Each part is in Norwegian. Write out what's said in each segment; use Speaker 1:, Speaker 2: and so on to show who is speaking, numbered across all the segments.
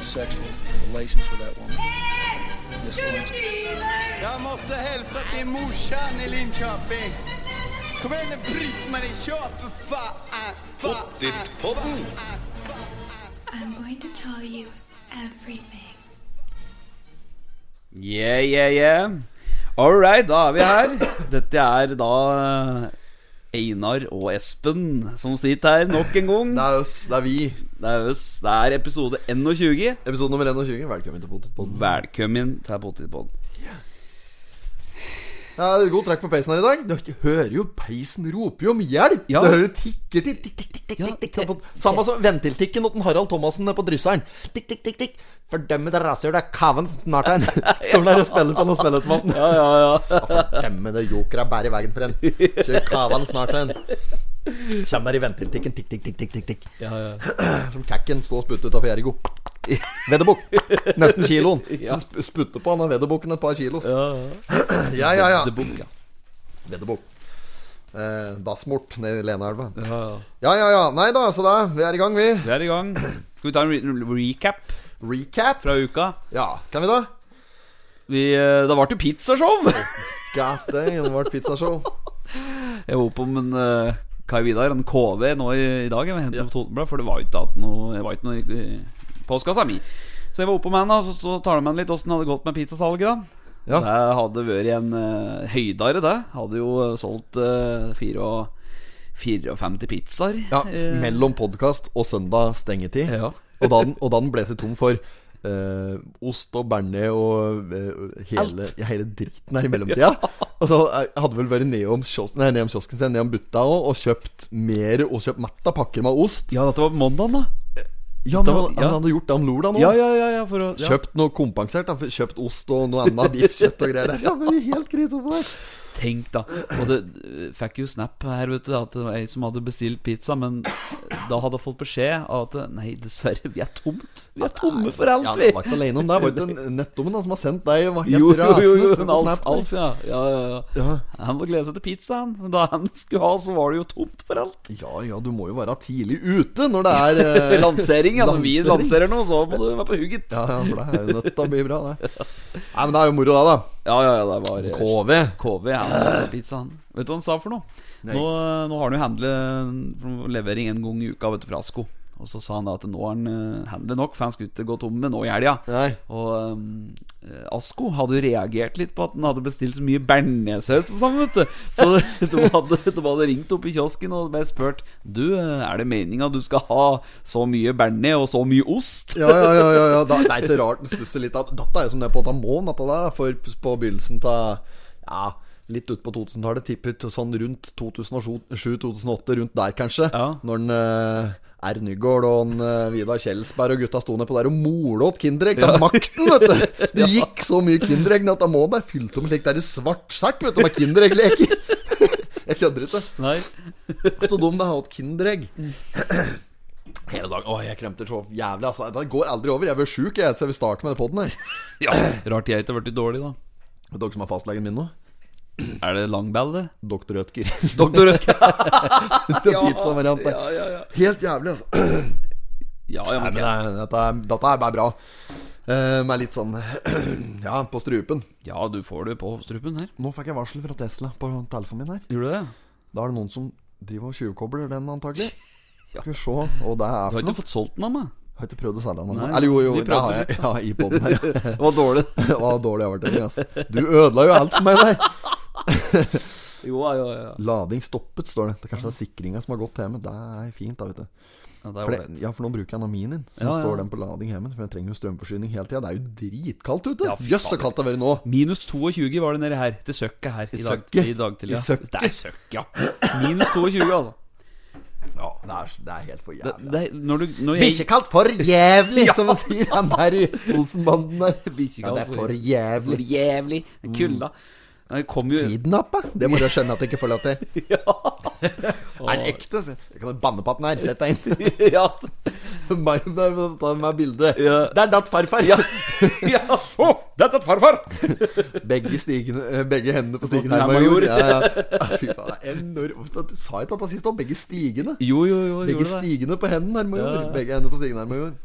Speaker 1: sexual relations with that woman. Miss Lewinsky.
Speaker 2: Jeg måtte hilse til morsan i Linköping. Kom igjen, Britt-Marie, kjør, for faen!
Speaker 3: Pottitpodden.
Speaker 4: I'm going to tell you everything.
Speaker 5: Yeah, yeah, yeah. All right, da er vi her. Dette er da eh, Einar og Espen som sitter her nok en gang.
Speaker 3: Det er oss, det er vi.
Speaker 5: Det er, oss. det er episode 21.
Speaker 3: Episode nummer 21. Velkommen til Potetpodden.
Speaker 5: Velkommen til Potetpodden.
Speaker 3: Ja, det er god trekk på peisen her i dag. Du hører jo peisen roper jo om hjelp!
Speaker 5: Ja.
Speaker 3: Du hører det tikker tikk, tikk, tikk, tikk,
Speaker 5: Ja,
Speaker 3: tikk, tikk.
Speaker 5: det-
Speaker 3: Sånn på- Samme som ventiltikken til Harald Thomassen nede på drysseren. Tikk, tikk, tikk, tikk. Fordømme det rasehjulet er kaven snart en. Står der og spiller på noen spilleautomaten.
Speaker 5: Ja, ja, ja.
Speaker 3: Fordømme det jokera bærer i veien for en. Kjør kaven snart en. Kjem der i ventiltikken. Tikk, tikk, tikk, tikk, tikk, tikk.
Speaker 5: ja, ja.
Speaker 3: Som kakken stå og sputte ut av Ergo. Veddebukk. Nesten kiloen. Sp- Sputte på han av veddebukken et par kilos. Ja, ja, ja.
Speaker 5: The Book, ja.
Speaker 3: Veddebukk. Eh, Dassmort ned i Lenaelva.
Speaker 5: ja. ja.
Speaker 3: Ja, ja, ja. Nei da, så da. Vi er i gang, vi.
Speaker 5: Vi er i gang. Skal vi ta en re recap
Speaker 3: Recap.
Speaker 5: fra uka?
Speaker 3: Ja, kan vi da?
Speaker 5: Vi, eh, det ble jo pizzashow.
Speaker 3: God damn, det ble pizzashow.
Speaker 5: Jeg var på med en eh, Kai Vidar, en KV, nå i, i dag. Jeg hentet opp Totenblad, for det var jo ikke at noe, det var ikke noe i- i postkassa mi. Så jeg var oppe med han, da, så, så tar de meg litt åssen det hadde gått med pizzasalget. da
Speaker 3: Ja.
Speaker 5: Det hadde vært en eh, høydare, det. Hadde jo eh, solgt eh, fire og 54 pizzaer.
Speaker 3: Ja,
Speaker 5: Eh,
Speaker 3: Mellom podkast og søndag stengetid.
Speaker 5: Ja.
Speaker 3: Og da den, og da den ble seg tom for eh, ost og bearnés og eh, hele, ja, hele dritten her i mellomtida. Og så eh, hadde vel vært nedom kiosken, nei, nedom kiosken sin, nedom butta og, og kjøpt mer og kjøpt matta pakker med ost.
Speaker 5: ja, dette var på mandagen, da.
Speaker 3: Ja, men
Speaker 5: det var-
Speaker 3: han,
Speaker 5: ja.
Speaker 3: han hadde gjort det om lor da nå.
Speaker 5: Ja, ja, ja, ja, for å, ja.
Speaker 3: Kjøpt noe kompensert. Da. Kjøpt ost og noe annet. Biff, kjøtt og greier. Der. Ja, men det er helt krise på meg.
Speaker 5: Tenk da Og det eh, fikk jo snap her vet du At det var en som hadde bestilt pizza Men da hadde jeg fått beskjed av at eh, Nei dessverre vi er tomt Vi er tomme for alt
Speaker 3: Ja,
Speaker 5: vi
Speaker 3: jeg var ikke alene om det. Det var ikke nettdommen da, som har sendt deg var helt
Speaker 5: Jo jo jo, jo
Speaker 3: rasende
Speaker 5: men
Speaker 3: på
Speaker 5: Alf,
Speaker 3: Snap.
Speaker 5: Alf ja. Ja, ja, ja
Speaker 3: Ja.
Speaker 5: Han må glede seg til pizza han Men da han skulle ha så var det jo tomt for alt
Speaker 3: ja ja, du må jo være tidlig ute når det er eh,
Speaker 5: Lansering ja når vi
Speaker 3: Lansering.
Speaker 5: lanserer noe Så må du være på hugget Ja
Speaker 3: Ja, ja, for det er jo nødt til å bli bra, det. Nei, men det er jo moro, da. da
Speaker 5: ja ja det var eh,
Speaker 3: KV.
Speaker 5: KV ja, pizza han Vet du hva han sa for noe?
Speaker 3: Nei.
Speaker 5: Nå, nå har han jo handlet for levering en gang i uka vet du, fra Asko Og så sa han da at nå har han eh, handlet nok For han skulle ikke gå tomme nå i helga
Speaker 3: Nei.
Speaker 5: Og ehm, eh, Asko hadde jo reagert litt på at han hadde bestilt så mye bearnéssaus og sånn, vet du. Så de hadde, de hadde ringt opp i kiosken og bare spurt Du, eh, er det meninga du skal ha så mye bearnés og så mye ost?
Speaker 3: Ja, ja, ja. ja, ja. Da, det er ikke rart den stusser litt. at- Dette er jo som det er på Tamon, dette der. da, For på begynnelsen av Ja, litt ut på 2000-tallet. Tipper til sånn rundt 2007-2008, rundt der kanskje.
Speaker 5: Ja.
Speaker 3: Når den eh, R. Nygaard og en, eh, Vidar Kjelsberg og gutta sto ned på der og mola åt Kinderegg. Det er makten, vet du! Det gikk så mye Kinderegg at Tamon er fylt opp med slik der svart sekk, vet du, med Kinderegg-leker. Jeg kødder ikke.
Speaker 5: Nei.
Speaker 3: Så dum det har hatt Kinderegg. Hele dagen. Åh, jeg kremter så jævlig. Altså. Det går aldri over. Jeg blir sjuk, jeg, så jeg vil starte med den podden her.
Speaker 5: Ja, Rart jeg ikke har blitt dårlig, da.
Speaker 3: Vet dere som er fastlegen min nå?
Speaker 5: Er det langball, det?
Speaker 3: Dr. Rødtger.
Speaker 5: Doktor Rødtke.
Speaker 3: Til pizzavariant der.
Speaker 5: Ja, ja, ja.
Speaker 3: Helt jævlig, altså.
Speaker 5: ja, ja
Speaker 3: Nei,
Speaker 5: men,
Speaker 3: men
Speaker 5: det-
Speaker 3: det er- dette, er, dette er bare bra. Eh, Med litt sånn Ja, på strupen.
Speaker 5: ja, du får det på strupen her.
Speaker 3: Nå fikk jeg varsel fra Tesla på telefonen min her.
Speaker 5: Gjorde du det?
Speaker 3: Da er det noen som driver og tjuvkobler den, antagelig. Skal vi se hva det er
Speaker 5: Du
Speaker 3: for
Speaker 5: har ikke
Speaker 3: noe.
Speaker 5: fått solgt den av meg.
Speaker 3: Har ikke prøvd å selge den.
Speaker 5: Nei,
Speaker 3: Eller jo, jo,
Speaker 5: vi
Speaker 3: det har jeg. Ja, i podden her. ja.
Speaker 5: Det var dårlig.
Speaker 3: Det var dårlig overtenning, ass. Du ødela jo alt for meg der.
Speaker 5: Jo, ja, ja, ja.
Speaker 3: Lading stoppet, står det. det er kanskje det er sikringa som har gått hjemme. Det er fint, da, vet du.
Speaker 5: ja det er
Speaker 3: For,
Speaker 5: ålreit.
Speaker 3: det, ja, for nå bruker jeg Naminin, så
Speaker 5: Ja,
Speaker 3: nå
Speaker 5: ja.
Speaker 3: står den på lading hjemme. For jeg trenger jo strømforsyning hele tida. Det er jo dritkaldt ute.
Speaker 5: Ja,
Speaker 3: Jøss,
Speaker 5: fy
Speaker 3: så
Speaker 5: fader.
Speaker 3: kaldt det har vært nå.
Speaker 5: Minus 22 var det nede her, til søkket her. I,
Speaker 3: søkket?
Speaker 5: dag, i dag til,
Speaker 3: I
Speaker 5: ja.
Speaker 3: søkket?
Speaker 5: Det er søkket, ja. Minus 22, altså.
Speaker 3: Ja, det er, det er helt for
Speaker 5: Det,
Speaker 3: jævlig.
Speaker 5: det, er- når du, når jeg,
Speaker 3: Bikkjekaldt for jævlig, som man sier han der i Olsenbanden der. Ja,
Speaker 5: Bikkjekaldt
Speaker 3: det er
Speaker 5: for
Speaker 3: for
Speaker 5: for
Speaker 3: jævlig.
Speaker 5: jævlig Mm. kulda. Jeg kom jo
Speaker 3: Kidnappa? Det må du skjønne at du ikke får lov til.
Speaker 5: ja.
Speaker 3: Er den ekte? sier jeg. Jeg kan jo banne på at den er. Sett deg inn.
Speaker 5: ja, altså.
Speaker 3: Bare bare ta med meg bilde.
Speaker 5: Ja.
Speaker 3: Der datt farfar.
Speaker 5: ja, ja. Å, det er tatt farfar!
Speaker 3: Begge, stigene, eh, begge hendene på stigen
Speaker 5: den her
Speaker 3: her, major.
Speaker 5: major.
Speaker 3: Ja, ja. Ah, Fy faen, det er enormt. Du sa jo dette sist òg. Begge stigene.
Speaker 5: Jo, jo, jo.
Speaker 3: Begge
Speaker 5: gjorde det.
Speaker 3: stigene på hendene her, major.
Speaker 5: Ja, ja.
Speaker 3: Begge hendene på stigen her, major.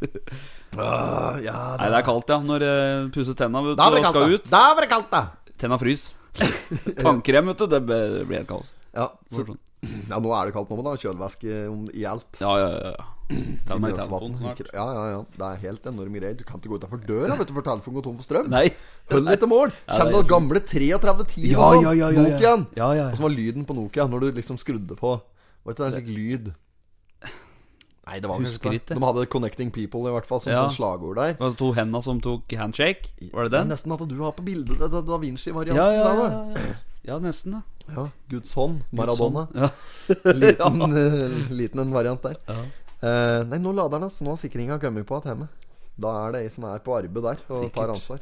Speaker 3: Ah, ja,
Speaker 5: Nei, det er kaldt, ja. Når uh, pusser tenna vet du,
Speaker 3: Da
Speaker 5: og
Speaker 3: var det kaldt,
Speaker 5: skal
Speaker 3: da.
Speaker 5: ut.
Speaker 3: Da var det kaldt, da.
Speaker 5: Tenna frys. Tannkrem, vet du. Det ble det ble helt kaos.
Speaker 3: Ja, så,
Speaker 5: Morsomt.
Speaker 3: ja, nå er det kaldt nå, men da. Kjølvæske om- i alt.
Speaker 5: Ja, ja, ja. ja. Ta meg i
Speaker 3: Løsvann.
Speaker 5: telefonen snart.
Speaker 3: Ja, ja, ja. Det er helt enorme greier. Du kan ikke gå utafor døra vet du, for telefonen går tom for strøm.
Speaker 5: Nei.
Speaker 3: Hold deg til mål.
Speaker 5: Ja,
Speaker 3: Kjem
Speaker 5: det er
Speaker 3: det gamle 3310
Speaker 5: Ja,
Speaker 3: og sånn?
Speaker 5: ja, ja, ja, ja.
Speaker 3: Nokiaen.
Speaker 5: Ja, ja, ja.
Speaker 3: Og så var lyden på Nokia når du liksom skrudde på. Var ikke det en slik lyd? Nei, det var
Speaker 5: Husker
Speaker 3: kanskje
Speaker 5: ikke.
Speaker 3: De hadde 'Connecting People' i hvert fall som
Speaker 5: Ja.
Speaker 3: sånn slagord der.
Speaker 5: Det var to henda som tok handshake. Var det
Speaker 3: er
Speaker 5: den?
Speaker 3: Nesten at du har på bildet det- det- Da Vinci-varianten.
Speaker 5: Ja, ja, ja.
Speaker 3: av det.
Speaker 5: ja. Ja, nesten, da. sånn.
Speaker 3: ja. Guds hånd. Maradona.
Speaker 5: Ja.
Speaker 3: Liten, eh, liten en variant der.
Speaker 5: Ja.
Speaker 3: Eh, nei, nå lader den, altså. Nå har sikringa kommet på igjen hjemme. Da er det ei som er på arbeid der og
Speaker 5: Sikkert.
Speaker 3: tar ansvar.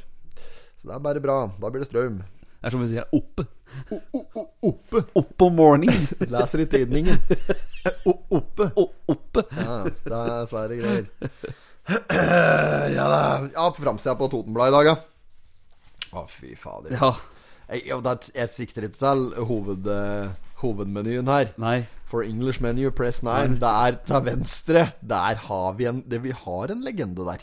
Speaker 3: Så det er bare bra. Da blir det strøm.
Speaker 5: Det er som vi sier oppe.
Speaker 3: Oppe!
Speaker 5: Oppe om morgenen.
Speaker 3: Leser i tidningen. Eh, O oppe.
Speaker 5: O- oppe.
Speaker 3: Ja, det er svære greier. Ja da. Ja, på framsida på Totenbladet i dag, ja. Å, fy fader.
Speaker 5: Ja.
Speaker 3: Jeg, ja, det er- jeg sikter ikke til hoved, eh, hovedmenyen her.
Speaker 5: Nei.
Speaker 3: For English menu, press 9. Det er til venstre. Der har vi en det, Vi har en legende der.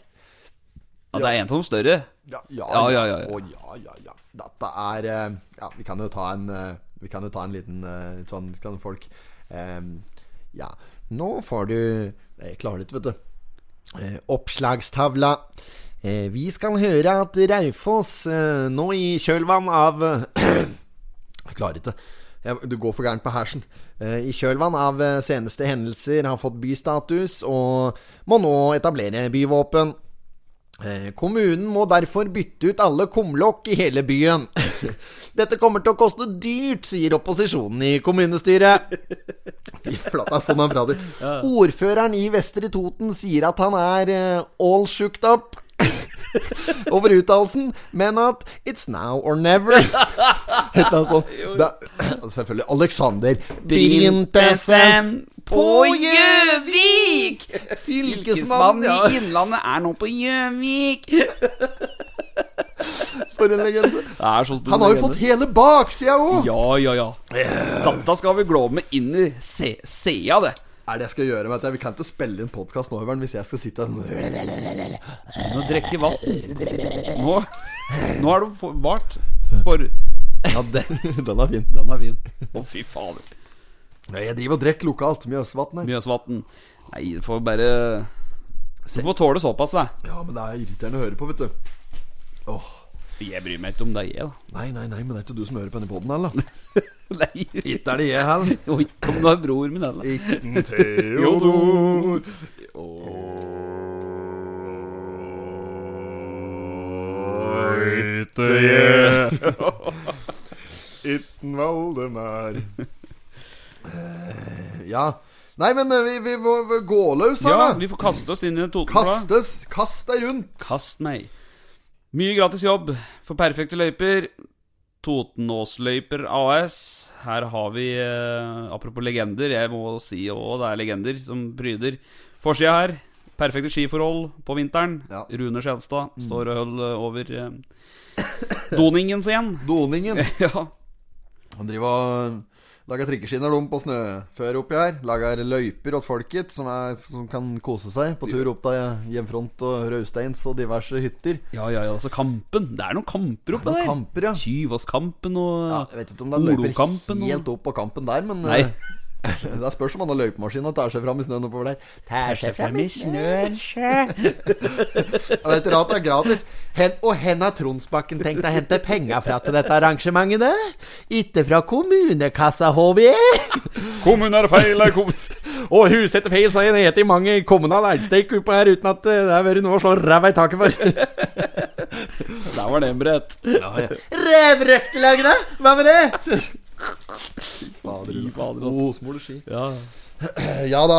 Speaker 5: Ja, det er en som er større.
Speaker 3: Ja, ja,
Speaker 5: Ja, ja, ja, ja.
Speaker 3: Å, ja, ja, ja. Dette er eh, Ja, vi kan jo ta en eh, Vi kan jo ta en liten eh, sånn Kan folk eh, Ja. Nå får du Jeg klarer det ikke, vet du. Eh, Oppslagstavla. Eh, Vi skal høre at Raufoss eh, nå i kjølvann av jeg klarer ikke. Jeg, du går for gærent på hersen. Eh, I kjølvann av eh, seneste hendelser har fått bystatus og må nå etablere byvåpen. Eh, Kommunen må derfor bytte ut alle kumlokk i hele byen. Dette kommer til å koste dyrt, sier opposisjonen i kommunestyret. Fy flate, det er sånn han prater. Ordføreren i Vestre Toten sier at han er eh, all shooked up over uttalelsen, men at it's now or never. Et eller annet sånt. Da- Selvfølgelig Alexander Brintesen
Speaker 5: Gjøvik!
Speaker 3: Fylkesmannen ja,
Speaker 5: Innlandet er nå på Gjøvik!
Speaker 3: For en legende.
Speaker 5: Det er sånn så stor
Speaker 3: Han har jo
Speaker 5: legende.
Speaker 3: fått hele baksida Eh, òg!
Speaker 5: Ja, ja, ja. Dette skal vi glå med inn i se- sea, det.
Speaker 3: Er det jeg skal gjøre? Vet jeg. Vi kan ikke spille inn podkast nå, Øveren, hvis jeg skal sitte
Speaker 5: Nå drikker vann. Nå, nå er det for- vart for Ja, den,
Speaker 3: Den er fin.
Speaker 5: den er fin. Å, fy fader.
Speaker 3: Nei, Jeg driver og drikker lokalt. Mjøsvatn her.
Speaker 5: Mjøsvatn. Nei, du får bare Du får tåle såpass, da.
Speaker 3: Ja, men det er irriterende å høre på, vet du. Åh.
Speaker 5: Jeg bryr meg ikke om det er jeg, da.
Speaker 3: Nei, nei, nei, men det er ikke du som hører på denne poden, eller?
Speaker 5: Nei,
Speaker 3: Ikke er det jeg heller.
Speaker 5: og ikke om du er bror min, eller?
Speaker 3: Ikke Theodor. Itten Valdemar. Eh, Ja. Nei, men eh, vi, vi må må gå løs her,
Speaker 5: Ja,
Speaker 3: Sånn, da.
Speaker 5: vi får kaste oss inn i Totenbladet.
Speaker 3: Kastes, kast deg rundt.
Speaker 5: Kast meg. Mye gratis jobb for perfekte løyper. Totenåsløyper AS. Her har vi, eh, apropos legender, jeg må si òg det er legender som pryder forsida her. Perfekte skiforhold på vinteren.
Speaker 3: Ja.
Speaker 5: Rune Skjelstad står og holder over eh, doningen sin.
Speaker 3: Doningen.
Speaker 5: ja.
Speaker 3: Han driver og lager trikkeskinner de på snøføre oppi her. Lager løyper åt folket som, er, som kan kose seg på tur opp til hjemfront og Rausteins og diverse hytter.
Speaker 5: ja, ja, ja. Altså Kampen. Det er noen kamper
Speaker 3: Det
Speaker 5: oppe
Speaker 3: er noen
Speaker 5: der.
Speaker 3: kamper, ja.
Speaker 5: Tyvåskampen og
Speaker 3: ja. Jeg vet ikke om det er løyper
Speaker 5: Olokampen og-
Speaker 3: helt opp på kampen der, men
Speaker 5: Nei.
Speaker 3: eh, det er spørs om han har løypemaskin og tær seg fram i snøen oppover der. Tær seg fram i snøen Jeg vet ikke at det er gratis. Hen, og hen har Tronsbakken tenkt å hente penger fra til dette arrangementet? da? Ikke fra kommunekassa, E? håper jeg?
Speaker 5: Kommunen er feil! er kommun-
Speaker 3: Og huset etter feil, så har jeg i mange kommunale elgsteik oppå her uten at eh, det har vært noe å slå ræva i taket for.
Speaker 5: Der var den, Brett.
Speaker 3: Revrøktelaget, da? Hva med det?
Speaker 5: Fy fader, altså.
Speaker 3: Osmole ski.
Speaker 5: Ja,
Speaker 3: Ja da.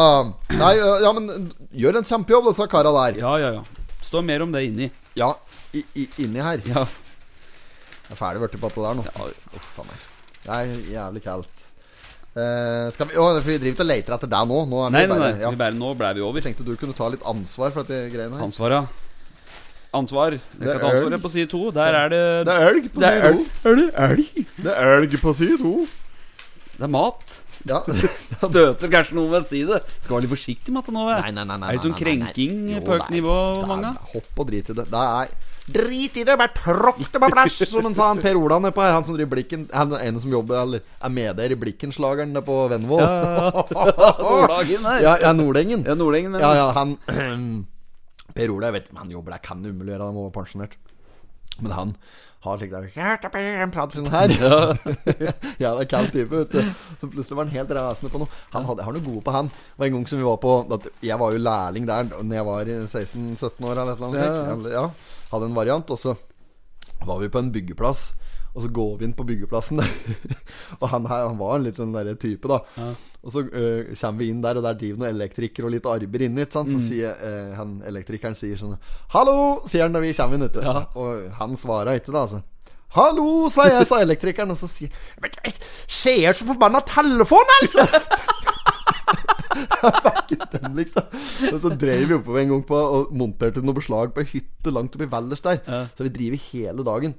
Speaker 3: Nei, eh, ja, men gjør en kjempejobb, disse kara der.
Speaker 5: ja, ja. ja. Står mer om det inni.
Speaker 3: Ja, i, i, inni her. Jeg
Speaker 5: Ja.
Speaker 3: er ferdig blitt på dette der nå.
Speaker 5: Ja.
Speaker 3: Uff a meg. Det er jævlig kaldt. Eh, skal vi, å, for vi driver ikke og leter etter deg nå. nå er vi
Speaker 5: Nei, nei,
Speaker 3: bare,
Speaker 5: nei.
Speaker 3: Ja.
Speaker 5: Vi bare, nå ble vi over.
Speaker 3: Tenkte du kunne ta litt ansvar for dette greiene her.
Speaker 5: Ansvar, ja. Ansvar. Jeg
Speaker 3: er
Speaker 5: kan ta ansvar
Speaker 3: øl.
Speaker 5: jeg, på side to. Der er det
Speaker 3: Det er elg på
Speaker 5: Det er
Speaker 3: side
Speaker 5: øl.
Speaker 3: to. Det er elg på side to.
Speaker 5: Det er sånn mat.
Speaker 3: Ja.
Speaker 5: Støter kanskje noe ved side. Skal være litt forsiktig med dette nå. jeg.
Speaker 3: Nei, nei, nei, nei,
Speaker 5: er det sånn
Speaker 3: nei, nei, nei.
Speaker 5: krenking
Speaker 3: Jo,
Speaker 5: på høyt
Speaker 3: det er-
Speaker 5: nivå,
Speaker 3: det er-
Speaker 5: mange?
Speaker 3: Hopp og drit i det. Det er Drit i det, bare tråkk det på plass, som han sa han Per Ola nedpå her. Han som driver Blikken Han er en som jobber Eller er med der i Blikken-slageren nede på Venvoll.
Speaker 5: Nordhagen der.
Speaker 3: ja, ja, Nordengen.
Speaker 5: Ja, Nordengen, men
Speaker 3: Ja, ja, han Per Ola, jeg vet ikke om han jobber der, kan umulig gjøre det, han var pensjonert. Men han har slik der Han prater sånn her. Ja, det er kald type, vet du. Så plutselig var han helt rasende på noe. Han hadde, jeg har noe gode på han. Det var en gang som vi var på at Jeg var jo lærling der Når jeg var i 16-17 år eller et eller annet. Ja. ja. Hadde en variant. Og så var vi på en byggeplass. Og så går vi inn på byggeplassen, og han her han var en litt sånn derre type, da. Og så øh, kommer vi inn der, og der driver noen elektrikere og litt arbeider inne. ikke sant? Så sier eh, han elektrikeren sier sånn 'Hallo!' sier han da vi kommer inn ute.
Speaker 5: Ja.
Speaker 3: Og han svarer ikke, da. altså Hallo, sa jeg, sa elektrikeren, og så sier Men jeg ser så forbanna telefon, altså! Jeg fikk den, liksom. Og så drev vi oppover en gang på og monterte noe beslag på ei hytte langt oppi Valdres der. Så vi driver hele dagen.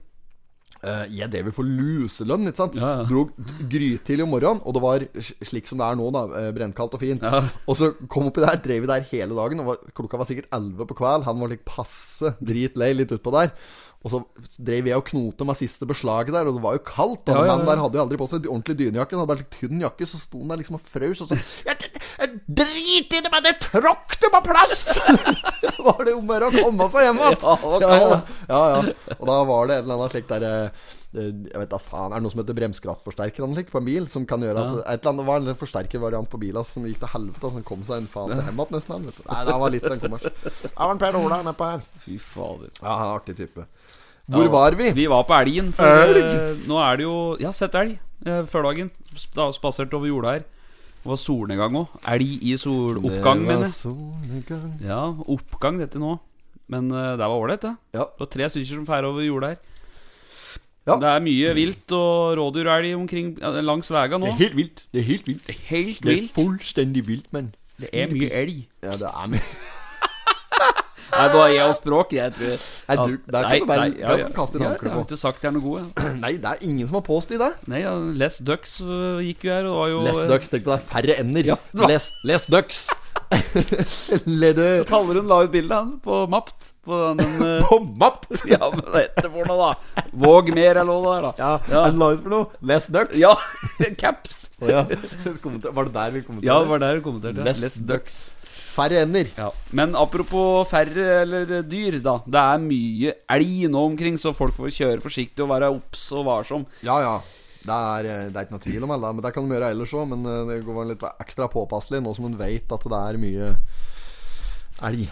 Speaker 3: Eh, jeg drev jo for luselønn, ikke sant.
Speaker 5: Ja, ja.
Speaker 3: Drog d- grytidlig om morgenen, og det var sl- slik som det er nå, da. eh, Brennkaldt og fint.
Speaker 5: Ja.
Speaker 3: Og så kom oppi der, drev vi der hele dagen. Og var, klokka var sikkert 11 på kveld. Han var like passe dritlei litt utpå der. Og så drev jeg og knote med siste beslaget der, og det var jo kaldt. Og
Speaker 5: Ja, ja, ja.
Speaker 3: mannen der hadde jo aldri på seg d- ordentlig dynejakke. Han hadde bare slik tynn jakke, så sto han der liksom og frøs. Og så «Ja, d- d- Drit i det, men det tråkk det på plass! var det om å gjøre å komme seg hjem igjen.
Speaker 5: Ja, det var
Speaker 3: ja, ja,
Speaker 5: kaldt.
Speaker 3: ja, ja. Og da var det et eller annet slikt der eh, eh, jeg vet da faen, Er det noe som heter bremskraftforsterker eller noe slikt på en bil? Som kan gjøre at et eller annet var en sånn forsterkervariant på bilen som gikk til helvete, som kom seg en faen til hjem igjen nesten. Vet du. Nei, det var litt av en kommers. Ja, var en Per Ola nedpå her.
Speaker 5: Fy fader.
Speaker 3: Ja, han er en artig type. Hvor var vi?
Speaker 5: Vi var på elgen. For,
Speaker 3: Elg?
Speaker 5: eh, nå er det jo Jeg har sett elg eh, før dagen. Da Spaserte over jorda her. Det var solnedgang òg. Elg i soloppgang, mener jeg.
Speaker 3: jeg.
Speaker 5: Ja, oppgang dette nå. Men eh, det var ålreit, det.
Speaker 3: Ja.
Speaker 5: Det var tre stykker som feirer over jorda her.
Speaker 3: Ja.
Speaker 5: Det er mye vilt og rådyr og elg omkring eh, langs vega nå.
Speaker 3: helt vilt. Det er helt vilt.
Speaker 5: Helt
Speaker 3: Det er
Speaker 5: vilt.
Speaker 3: fullstendig vilt, men
Speaker 5: Det er mye elg.
Speaker 3: Ja, det er mye
Speaker 5: Nei, det var jeg og språk, jeg tror.
Speaker 3: Nei, du, der kan
Speaker 5: Nei,
Speaker 3: du bare
Speaker 5: nei,
Speaker 3: der kan du kaste inn
Speaker 5: ja,
Speaker 3: håndkle
Speaker 5: Jeg har
Speaker 3: på.
Speaker 5: ikke sagt det er noe god. jeg.
Speaker 3: Nei, det er ingen som har påstått det.
Speaker 5: Nei, ja, Les Ducks øh, gikk jo her, og det var jo øh,
Speaker 3: Les Ducks, tenk på det. er Færre ender.
Speaker 5: eh, Ja, det var-
Speaker 3: Les, les Ducks. Lede
Speaker 5: Tallerud la ut bilde av han på Mapt. På den øh,
Speaker 3: på mapp.
Speaker 5: Ja, men hva heter det for noe, da? Våg mer, eller hva det er, da.
Speaker 3: Ja,
Speaker 5: Ja.
Speaker 3: han la ut for noe. Les Ducks.
Speaker 5: Ja, caps.
Speaker 3: Å, ja. Kommenter- Var det der vi kommenterte?
Speaker 5: Ja, det var der du kommenterte. ja.
Speaker 3: Les, Ducks. Færre ender.
Speaker 5: Ja. Men apropos færre eller dyr, da. Det er mye elg nå omkring, så folk får kjøre forsiktig og være obs og varsom.
Speaker 3: Ja, ja. Det er, eh, det er ikke noe tvil om alle, men det kan de gjøre ellers òg. Men eh, det går vel litt ekstra påpasselig nå som en veit at det er mye elg.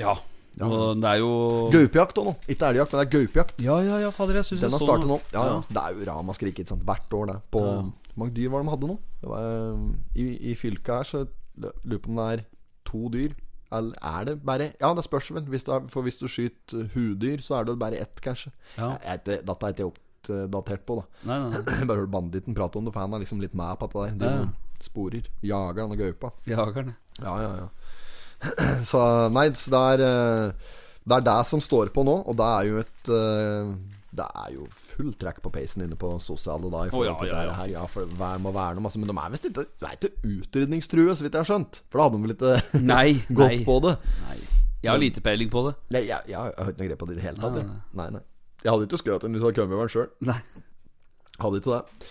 Speaker 5: Ja. Og det er jo
Speaker 3: Gaupejakt òg nå. Ikke elgjakt, men det er gaupejakt.
Speaker 5: Ja, ja, ja, fader, jeg syns jeg
Speaker 3: Den
Speaker 5: så
Speaker 3: har startet nå.
Speaker 5: noe.
Speaker 3: Ja, ja. Det er jo ramaskrik ikke sant? hvert år, det. På Hvor mange dyr var det de hadde nå? Det var, eh, I i fylket her så lurer jeg på om det er to dyr. Eller er det bare Ja, det spørs vel. Hvis det er, for hvis du skyter eh, hudyr, så er det bare ett, kanskje.
Speaker 5: Ja.
Speaker 3: Jeg- jeg vet ikke, Dette er ikke jeg oppdatert på, da.
Speaker 5: Nei, nei, nei.
Speaker 3: Bare hør banditten prate om det, for han er liksom litt med på dette der. Driver
Speaker 5: Ja.
Speaker 3: og Sporer. Jager denne gaupa.
Speaker 5: Jagerne.
Speaker 3: Ja, ja, ja. Så nei, så det er eh, Det er det som står på nå, og det er jo et eh, Det er jo full trekk på peisen inne på sosiale da. i
Speaker 5: Å, ja,
Speaker 3: forhold til
Speaker 5: ja, ja.
Speaker 3: dette Her, ja, for vær må verne om altså, Men de er visst ikke De er ikke utrydningstrue, så vidt jeg har skjønt. For da hadde de vel ikke
Speaker 5: Nei, nei.
Speaker 3: gått på det.
Speaker 5: Jeg har lite peiling på det.
Speaker 3: Nei, jeg, jeg, har- jeg har ikke noe grep på det i det hele tatt.
Speaker 5: Nei,
Speaker 3: jeg. Nei, nei. Jeg hadde ikke skutt den hvis jeg hadde kommet over den sjøl.
Speaker 5: Nei.
Speaker 3: Hadde ikke det.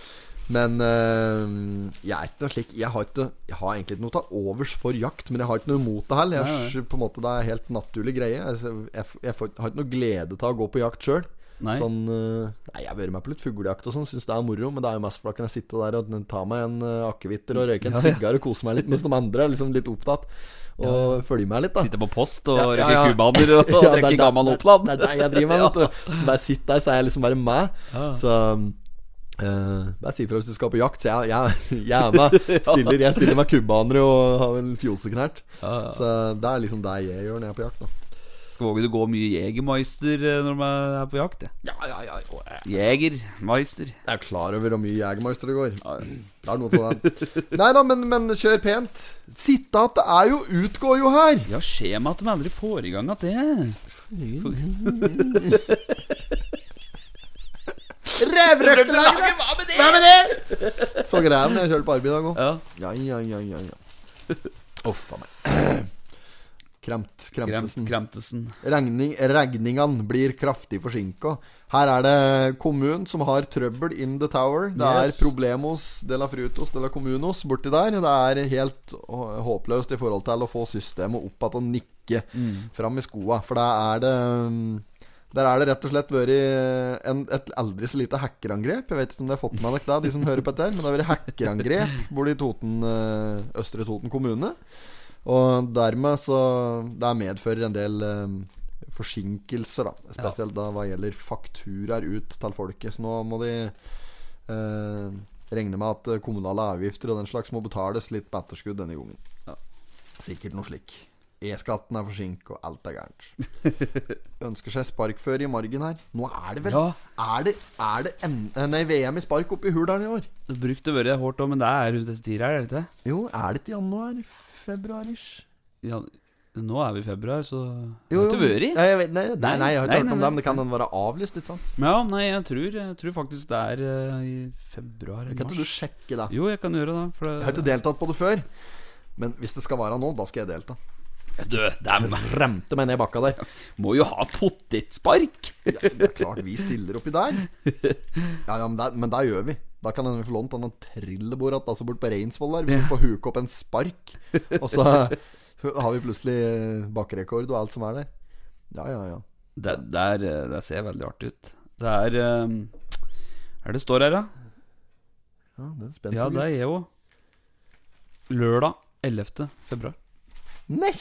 Speaker 3: Men eh, jeg er ikke noe slik Jeg har, ikke, jeg har egentlig ikke noe til overs for jakt, men jeg har ikke noe imot det heller. Jeg,
Speaker 5: Nei,
Speaker 3: s- på en måte, det er helt naturlig greie. Altså, Jeg, f- jeg får, har ikke noe glede til å gå på jakt sjøl.
Speaker 5: Nei.
Speaker 3: Sånn, eh, nei, jeg har vært med på litt fuglejakt og sånn, syns det er moro, men det er jo mest for da kan jeg sitte der og ta meg en eh, akevitter og røyke en
Speaker 5: Ja, ja.
Speaker 3: sigar og kose meg litt, mens de andre er liksom litt opptatt. Og følge meg litt, da.
Speaker 5: Sitte på post og
Speaker 3: Ja,
Speaker 5: røyke
Speaker 3: ja, ja.
Speaker 5: kubaner og,
Speaker 3: Ja,
Speaker 5: og
Speaker 3: det er
Speaker 5: drikke
Speaker 3: der-
Speaker 5: gammel
Speaker 3: det-
Speaker 5: Oppland.
Speaker 3: Det er det jeg driver med. vet du. Så bare sitt der, så er jeg liksom bare med. Så eh, bare si ifra hvis du skal på jakt, så jeg, jeg, jeg er med. Stiller, jeg stiller med kubbanere og har en fjoseknert. Så det er liksom det jeg gjør når jeg er på jakt. Da.
Speaker 5: Skal våge å gå mye Jegermeister eh, når man er på jakt. Ja.
Speaker 3: Ja, ja, ja, ja.
Speaker 5: Jegermeister.
Speaker 3: Jeg er klar over hvor mye Jegermeister det går. Det er noe av den. Nei da, men, men kjør pent. Sitte at det er jo utgår jo her.
Speaker 5: Ja, skjer meg at de aldri får i gang at det.
Speaker 3: Revrøktelaget! Hva med det? Så greia den jeg kjørte på arbeid i dag òg.
Speaker 5: Ja.
Speaker 3: Ja, ja, ja, ja, ja. Uff a meg. Kremt.
Speaker 5: Kremt,
Speaker 3: Kremtesen.
Speaker 5: Kremtesen.
Speaker 3: Regning, regningene blir kraftig forsinka. Her er det kommunen som har trøbbel in the tower. Det er
Speaker 5: Yes.
Speaker 3: problemos de la frutos de la comunos borti der. Det er helt hå- håpløst i forhold til å få systemet opp igjen og nikke fram i skoa. For der er det mm, der er det rett og slett vært en, et aldri så lite hackerangrep. Jeg vet ikke om de har fått med dere det, de som hører på dette, her, men det har vært hackerangrep borte i Toten, eh, Østre Toten kommune. Og dermed så Det medfører en del eh, forsinkelser, da. Spesielt da hva gjelder fakturaer ut til folket. Så nå må de eh, regne med at eh, kommunale avgifter og den slags må betales litt på etterskudd denne gangen.
Speaker 5: Ja.
Speaker 3: Sikkert noe slik. E-skatten er forsinket, og alt er gærent. Ønsker seg sparkføre i margen her. Nå er det vel
Speaker 5: Ja.
Speaker 3: Er det, er det N- eh, nei, VM i spark oppe i Hurdalen i år?
Speaker 5: Det brukte å være hårdt òg, men det er rundt disse tider her, er det ikke?
Speaker 3: Jo, er det til januar? Februar-ish?
Speaker 5: Ja, nå er vi i februar, så
Speaker 3: Jo,
Speaker 5: Det har ikke
Speaker 3: jo.
Speaker 5: vært.
Speaker 3: Nei, jeg vet, nei, nei, nei, jeg har
Speaker 5: Nei,
Speaker 3: ikke hørt
Speaker 5: nei,
Speaker 3: om
Speaker 5: nei.
Speaker 3: det, men det kan den være avlyst, ikke sant?
Speaker 5: Men ja, nei, jeg tror, jeg tror faktisk det er eh, i februar eller
Speaker 3: Kan ikke du
Speaker 5: mars.
Speaker 3: sjekke det?
Speaker 5: Jo, jeg kan gjøre det. For
Speaker 3: Jeg har ikke deltatt på det før, men hvis det skal være nå, da skal jeg delta.
Speaker 5: Du, det er,
Speaker 3: Remte meg ned bakka der.
Speaker 5: må jo ha potetspark!
Speaker 3: Ja, det er klart vi stiller oppi der. Ja, ja, men der, men der gjør vi. Da kan hende vi få lånt denne trillebåret altså bort på Reinsvoll der, hvis vi får huke opp en spark. Og så har vi plutselig eh, bakkerekord og alt som er der. Ja, ja, ja.
Speaker 5: Det, det, er, eh, det ser veldig artig ut. Det er um, Er det står her, da?
Speaker 3: Ja, det er spent
Speaker 5: Ja,
Speaker 3: på,
Speaker 5: det er
Speaker 3: gutt.
Speaker 5: jeg òg. Lørdag 11. februar.
Speaker 3: Nei!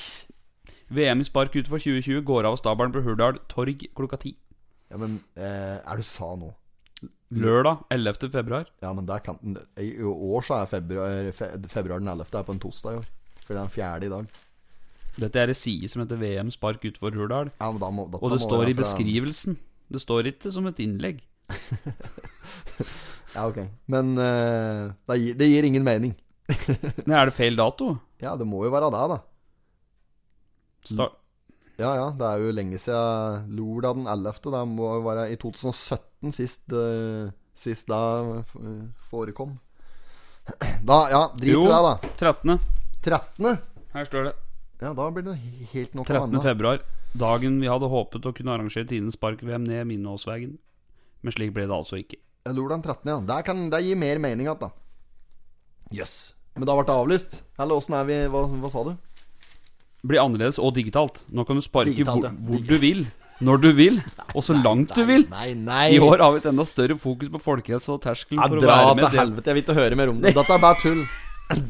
Speaker 5: VM i spark utenfor 2020 går av stabelen på Hurdal torg klokka ti.
Speaker 3: Ja, men eh, er du sa nå?
Speaker 5: Lørdag 11. februar.
Speaker 3: Ja, men der kan den I i år så er februar, fe, februar den 11. er på en torsdag i år. For det er den fjerde i dag.
Speaker 5: Dette er ei side som heter VM spark utenfor Hurdal.
Speaker 3: Ja, men da må, dette
Speaker 5: Og det
Speaker 3: må
Speaker 5: står i
Speaker 3: være fra-
Speaker 5: beskrivelsen. Det står ikke som et innlegg.
Speaker 3: Ja, ok. Men eh, det, gir, det gir ingen mening.
Speaker 5: Nei, er det feil dato?
Speaker 3: Ja, det må jo være det, da.
Speaker 5: Sta-
Speaker 3: Ja, ja. Det er jo lenge siden lordag den 11. Det må jo være i 2017 sist, eh, sist da f- eh, forekom. Da, ja, drit i
Speaker 5: Jo.
Speaker 3: det, da.
Speaker 5: 13.
Speaker 3: 13.
Speaker 5: Her står det.
Speaker 3: Ja, da blir det he- helt noe
Speaker 5: 13.
Speaker 3: annet.
Speaker 5: februar. Dagen vi hadde håpet å kunne arrangere Tines Park-VM ned Minnåsvegen. Men slik ble det altså ikke.
Speaker 3: Ja, Lordagen 13, ja. Der kan det gir mer mening igjen, da. Jøss. Yes. Men da ble det avlyst? Eller åssen er vi Hva, hva sa du?
Speaker 5: Blir annerledes og digitalt. Nå kan du sparke
Speaker 3: Digitalt, ja.
Speaker 5: hvor, hvor du vil, når du vil, og så langt du vil.
Speaker 3: Nei, nei.
Speaker 5: I år har vi et enda større fokus på folkehelse og terskelen
Speaker 3: ja,
Speaker 5: for å
Speaker 3: dra
Speaker 5: være
Speaker 3: til
Speaker 5: med. Det.
Speaker 3: helvete. Jeg vil ikke høre mer om det. Dette er bare tull.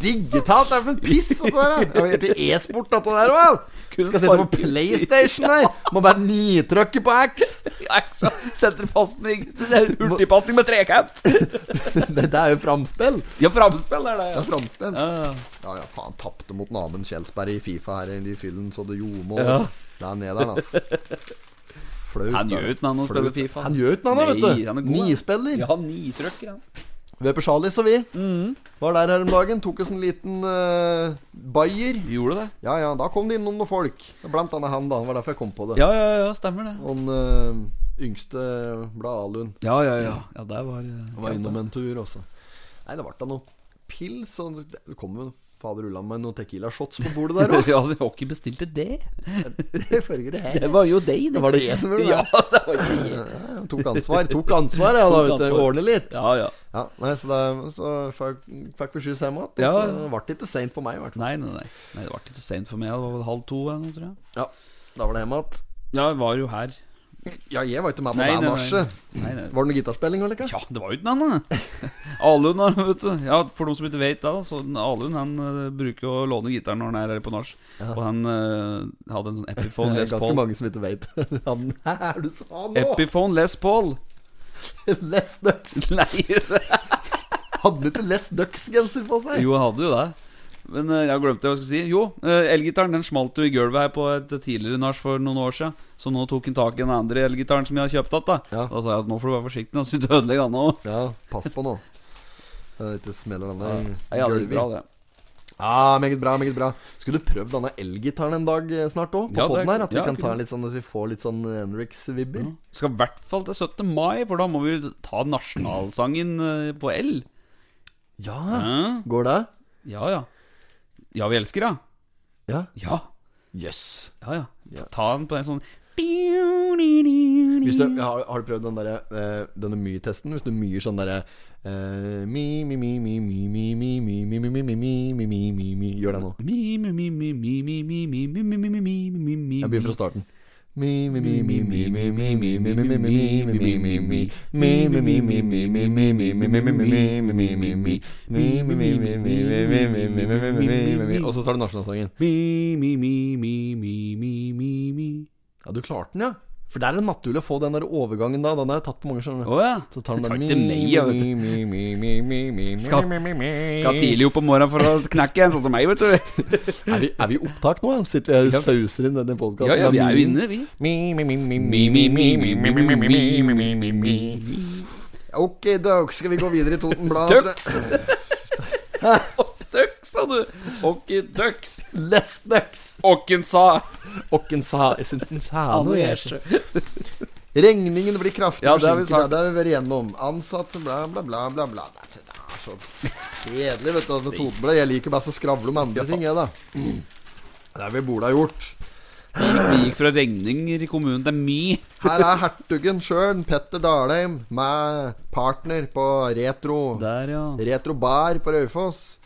Speaker 3: Digitalt? Det er for en piss, dette der. ja. Jeg vil til e-sport, dette der, vel.
Speaker 5: Kunne
Speaker 3: Skal sitte på
Speaker 5: sparke-
Speaker 3: PlayStation her. Må bare nitrykke på X.
Speaker 5: Ja, ikke sant? Senterpasning, hurtigpasning med trekant.
Speaker 3: Det det er jo framspill.
Speaker 5: Ja, framspill er det.
Speaker 3: Det
Speaker 5: Ja.
Speaker 3: er framspill.
Speaker 5: Ja,
Speaker 3: Ja, ja, faen. Tapte mot naboen Kjelsberg i Fifa her i fyllen, så det ljomer.
Speaker 5: Ja.
Speaker 3: Det er nederen, altså. Flaut.
Speaker 5: Han gjør
Speaker 3: da.
Speaker 5: ikke noe annet enn å spille
Speaker 3: Flaut.
Speaker 5: FIFA.
Speaker 3: Han gjør ikke noe
Speaker 5: Nei, han
Speaker 3: annet,
Speaker 5: er
Speaker 3: vet du.
Speaker 5: god, han.
Speaker 3: Nispiller.
Speaker 5: ja Mm. nitrøkker, han.
Speaker 3: Vi er på Charlies og vi. Var der her om dagen. Tok oss en liten eh, bayer.
Speaker 5: Gjorde det?
Speaker 3: Ja, ja, da kom det innom noen folk. Blant annet han, da. Det var derfor jeg kom på det.
Speaker 5: Ja, ja, ja, stemmer det.
Speaker 3: Han eh, yngste ble Alun.
Speaker 5: Ja, ja, ja. Ja, der var eh,
Speaker 3: Var innom en tur også. Nei, det ble da noe pils. Og det det kom jo en fader ulla med noen Tequila shots på bordet der òg.
Speaker 5: Ja, vi har ikke bestilt det.
Speaker 3: det
Speaker 5: Det var jo deg, det.
Speaker 3: var det jeg som gjorde det.
Speaker 5: Ja, det var ikke jeg.
Speaker 3: Ja, tok ansvar. Tok ansvar, ja, da,
Speaker 5: Tok
Speaker 3: vet du.
Speaker 5: ansvar.
Speaker 3: Ordne litt.
Speaker 5: Ja, ja.
Speaker 3: Ja, nei, Så, da, så fikk, fikk vi skyss hjem igjen.
Speaker 5: Ja.
Speaker 3: Så ble det ikke seint for meg, i hvert fall.
Speaker 5: Nei, nei, nei. nei det var ikke så sent for meg. Det var vel halv to eller noe, tror jeg.
Speaker 3: Ja, da var det hjemme igjen.
Speaker 5: Ja, jeg var jo her.
Speaker 3: Ja, jeg var ikke med på
Speaker 5: Nei,
Speaker 3: det
Speaker 5: nei, nei.
Speaker 3: nachet.
Speaker 5: Nei, nei.
Speaker 3: Var det noe gitarspilling, eller hva?
Speaker 5: Ja, det var jo ikke noe annet. Alun, han, vet du. Ja, for de som ikke vet det, da, så den Alun han eh, bruker å låne gitaren når han er her på nach. Og han eh, hadde en sånn Epiphone
Speaker 3: Det er
Speaker 5: Les
Speaker 3: ganske
Speaker 5: Paul.
Speaker 3: mange som ikke veit. Han her du sa nå!
Speaker 5: Epiphone Les Paul!
Speaker 3: Les Ducks!
Speaker 5: Nei,
Speaker 3: Hadde han ikke Les Ducks-genser på seg?
Speaker 5: jo, han hadde jo det. Men eh, jeg glemte hva jeg skulle si. Jo, eh, elgitaren den smalt jo i gulvet her på et tidligere nach for noen år siden. Så nå tok han tak i den andre elgitaren som jeg har kjøpt igjen.
Speaker 3: Ja.
Speaker 5: Da sa jeg at nå får du være forsiktig, nå, så du ødelegger han òg.
Speaker 3: Ja, pass på nå. Så det ikke smeller denne
Speaker 5: Ja, det
Speaker 3: gulvet.
Speaker 5: gikk bra, det.
Speaker 3: Ah, meget bra, meget bra. Skulle du prøvd denne elgitaren en dag eh, snart òg? På
Speaker 5: Ja, det-
Speaker 3: podden her? At vi
Speaker 5: ja,
Speaker 3: kan ta
Speaker 5: kunne-
Speaker 3: en litt sånn Så vi får litt sånn Henriks-vibber?
Speaker 5: Skal i hvert fall til 17. mai, for da må vi ta nasjonalsangen eh, på L.
Speaker 3: Ja.
Speaker 5: Hæ?
Speaker 3: Går det?
Speaker 5: Ja, ja. Ja, vi elsker, ja.
Speaker 3: Ja.
Speaker 5: Ja,
Speaker 3: Jøss. Yes.
Speaker 5: ja.
Speaker 3: Ja.
Speaker 5: ja. Ta den på en sånn
Speaker 3: Hvis du, har, har du prøvd den derre, eh, denne my-testen? Hvis du myer sånn derre eh, Mi, mi, mi, mi, mi, mi, mi, mi, mi, mi, mi, mi, mi, mi, mi, mi, mi Gjør det nå.
Speaker 5: Mi, mi, mi, mi, mi, mi, mi, mi, mi, mi, mi, mi, mi, mi, mi,
Speaker 3: Jeg begynner fra starten. Mi, mi, mi, mi, mi, mi, mi, mi, mi, mi, mi, mi, mi, mi, mi, mi. Og så tar du nasjonalsangen.
Speaker 5: Mi, mi, mi, mi, mi, mi, mi, mi.
Speaker 3: Ja, du klarte den, ja. For det er det naturlig å få den der overgangen da. Den har jeg tatt på mange skjønner. du.
Speaker 5: Å ja.
Speaker 3: Så tar den
Speaker 5: Jeg
Speaker 3: der
Speaker 5: tar ikke meg, jeg vet
Speaker 3: mi, mi, mi, mi, mi, mi, mi,
Speaker 5: Skal-
Speaker 3: mi, mi, mi.
Speaker 5: Skal tidlig opp om morgenen for å knekke en, sånn som meg, vet du.
Speaker 3: Er vi, er vi i opptak nå? eller? Sitter vi her og
Speaker 5: Ja.
Speaker 3: sauser inn denne podkasten?
Speaker 5: Ja, ja, vi er jo inne, vi.
Speaker 3: Ok, dog. Skal vi gå videre i Toten Blad?
Speaker 5: Tux! Tux, sa du. Okki Dux.
Speaker 3: Les ducks.
Speaker 5: Åkken sa.
Speaker 3: Åkken sa Jeg syns han sa noe. jeg.
Speaker 5: Åkken
Speaker 3: Regningen blir kraftig
Speaker 5: Ja, det har vi
Speaker 3: forsinket.
Speaker 5: sagt.
Speaker 3: Det har vi vært igjennom. Ansatte, bla, bla, bla, bla. bla. Det er så kjedelig, vet du. Med Totenbladet. Jeg liker best å skravle om andre ting, jeg, da. Mm. Det er vi burde ha gjort.
Speaker 5: Vi gikk fra regninger i kommunen til mi.
Speaker 3: Her er hertugen sjøl, Petter Dalheim, med partner på Retro.
Speaker 5: Der, ja.
Speaker 3: Retro Bar på Raufoss.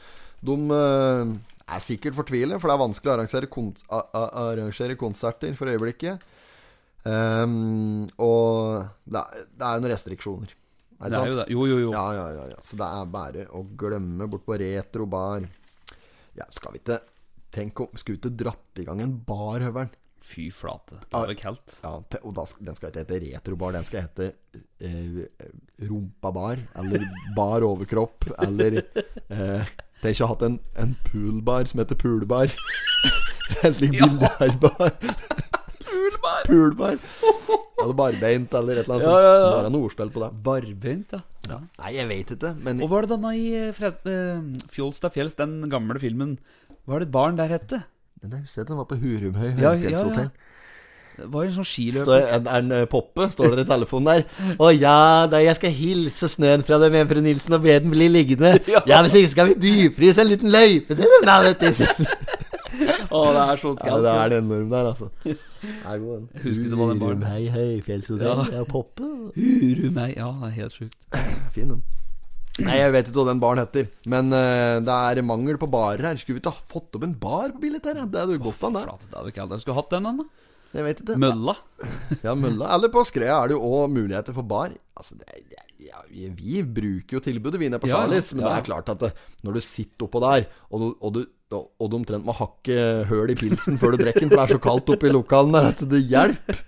Speaker 3: De eh, er sikkert fortvilet, for det er vanskelig å arrangere, kon a a arrangere konserter for øyeblikket. Ehm, og det er, det er jo noen restriksjoner. Er
Speaker 5: Det er jo det. Jo, jo, jo.
Speaker 3: Ja, ja, ja, ja. Så det er bare å glemme bort på Retro Bar. Ja, skal vi ikke Tenk om Skulle vi ikke dratt i gang en bar, Høveren?
Speaker 5: Fy flate. Det var kaldt.
Speaker 3: Ja, te- og da skal, den skal ikke hete retrobar, den skal hete eh, rumpabar, eller bar overkropp, eller eh, Tenk å ha hatt en, en poolbar som heter poolbar. eller bilderbar.
Speaker 5: Ulbar.
Speaker 3: Poolbar. Eller barbeint, eller et eller annet
Speaker 5: Ja,
Speaker 3: sånt.
Speaker 5: ja, ja.
Speaker 3: Bare noe ordspill på det.
Speaker 5: Barbeint, ja. ja.
Speaker 3: Nei, jeg veit ikke, men
Speaker 5: Og hva er det denne i eh, Fred, eh, Fjols til fjells, den gamle filmen Hva er det et barn der hette?
Speaker 3: men jeg husker at den var på Hurumhøy
Speaker 5: Ja, ja,
Speaker 3: Høyfjellshotell.
Speaker 5: ja. Det var jo en sånn
Speaker 3: Står,
Speaker 5: skiløper.
Speaker 3: er den eh, Poppe? Står det i telefonen der? Å ja, da jeg skal hilse snøen fra dem hjemme fra Nilsen og be den bli liggende.
Speaker 5: Ja.
Speaker 3: Ja, hvis ikke skal vi dypfryse en liten løype til dem, da, vet du.
Speaker 5: Å, det er så
Speaker 3: Ja,
Speaker 5: kaldt. Ja,
Speaker 3: det er den enorm der, altså. Jeg
Speaker 5: husker ikke hva den var.
Speaker 3: Hei, hei, fjellshotell. Ja. Poppe.
Speaker 5: Huru meg. Ja, det er helt sjukt.
Speaker 3: Fin den. Nei, jeg vet ikke hva den baren heter, men eh, det er mangel på barer her. Skulle vi ikke ha fått opp en bar på Billit her? ja? Det hadde jo gått an, det.
Speaker 5: Flate, det hadde ikke jeg skulle hatt den ennå.
Speaker 3: Jeg vet ikke.
Speaker 5: Mølla.
Speaker 3: Ja, mølla. Eller på Skrea er det jo òg muligheter for bar. Altså, det er, det er- ja, vi, vi bruker jo tilbudet, vi inne på
Speaker 5: Ja,
Speaker 3: Charlies. Men
Speaker 5: ja.
Speaker 3: det er klart at det, når du sitter oppå der, og du, og du og du omtrent må hakke høl i pilsen før du drikker den, for det er så kaldt oppe i lokalen der at det hjelper.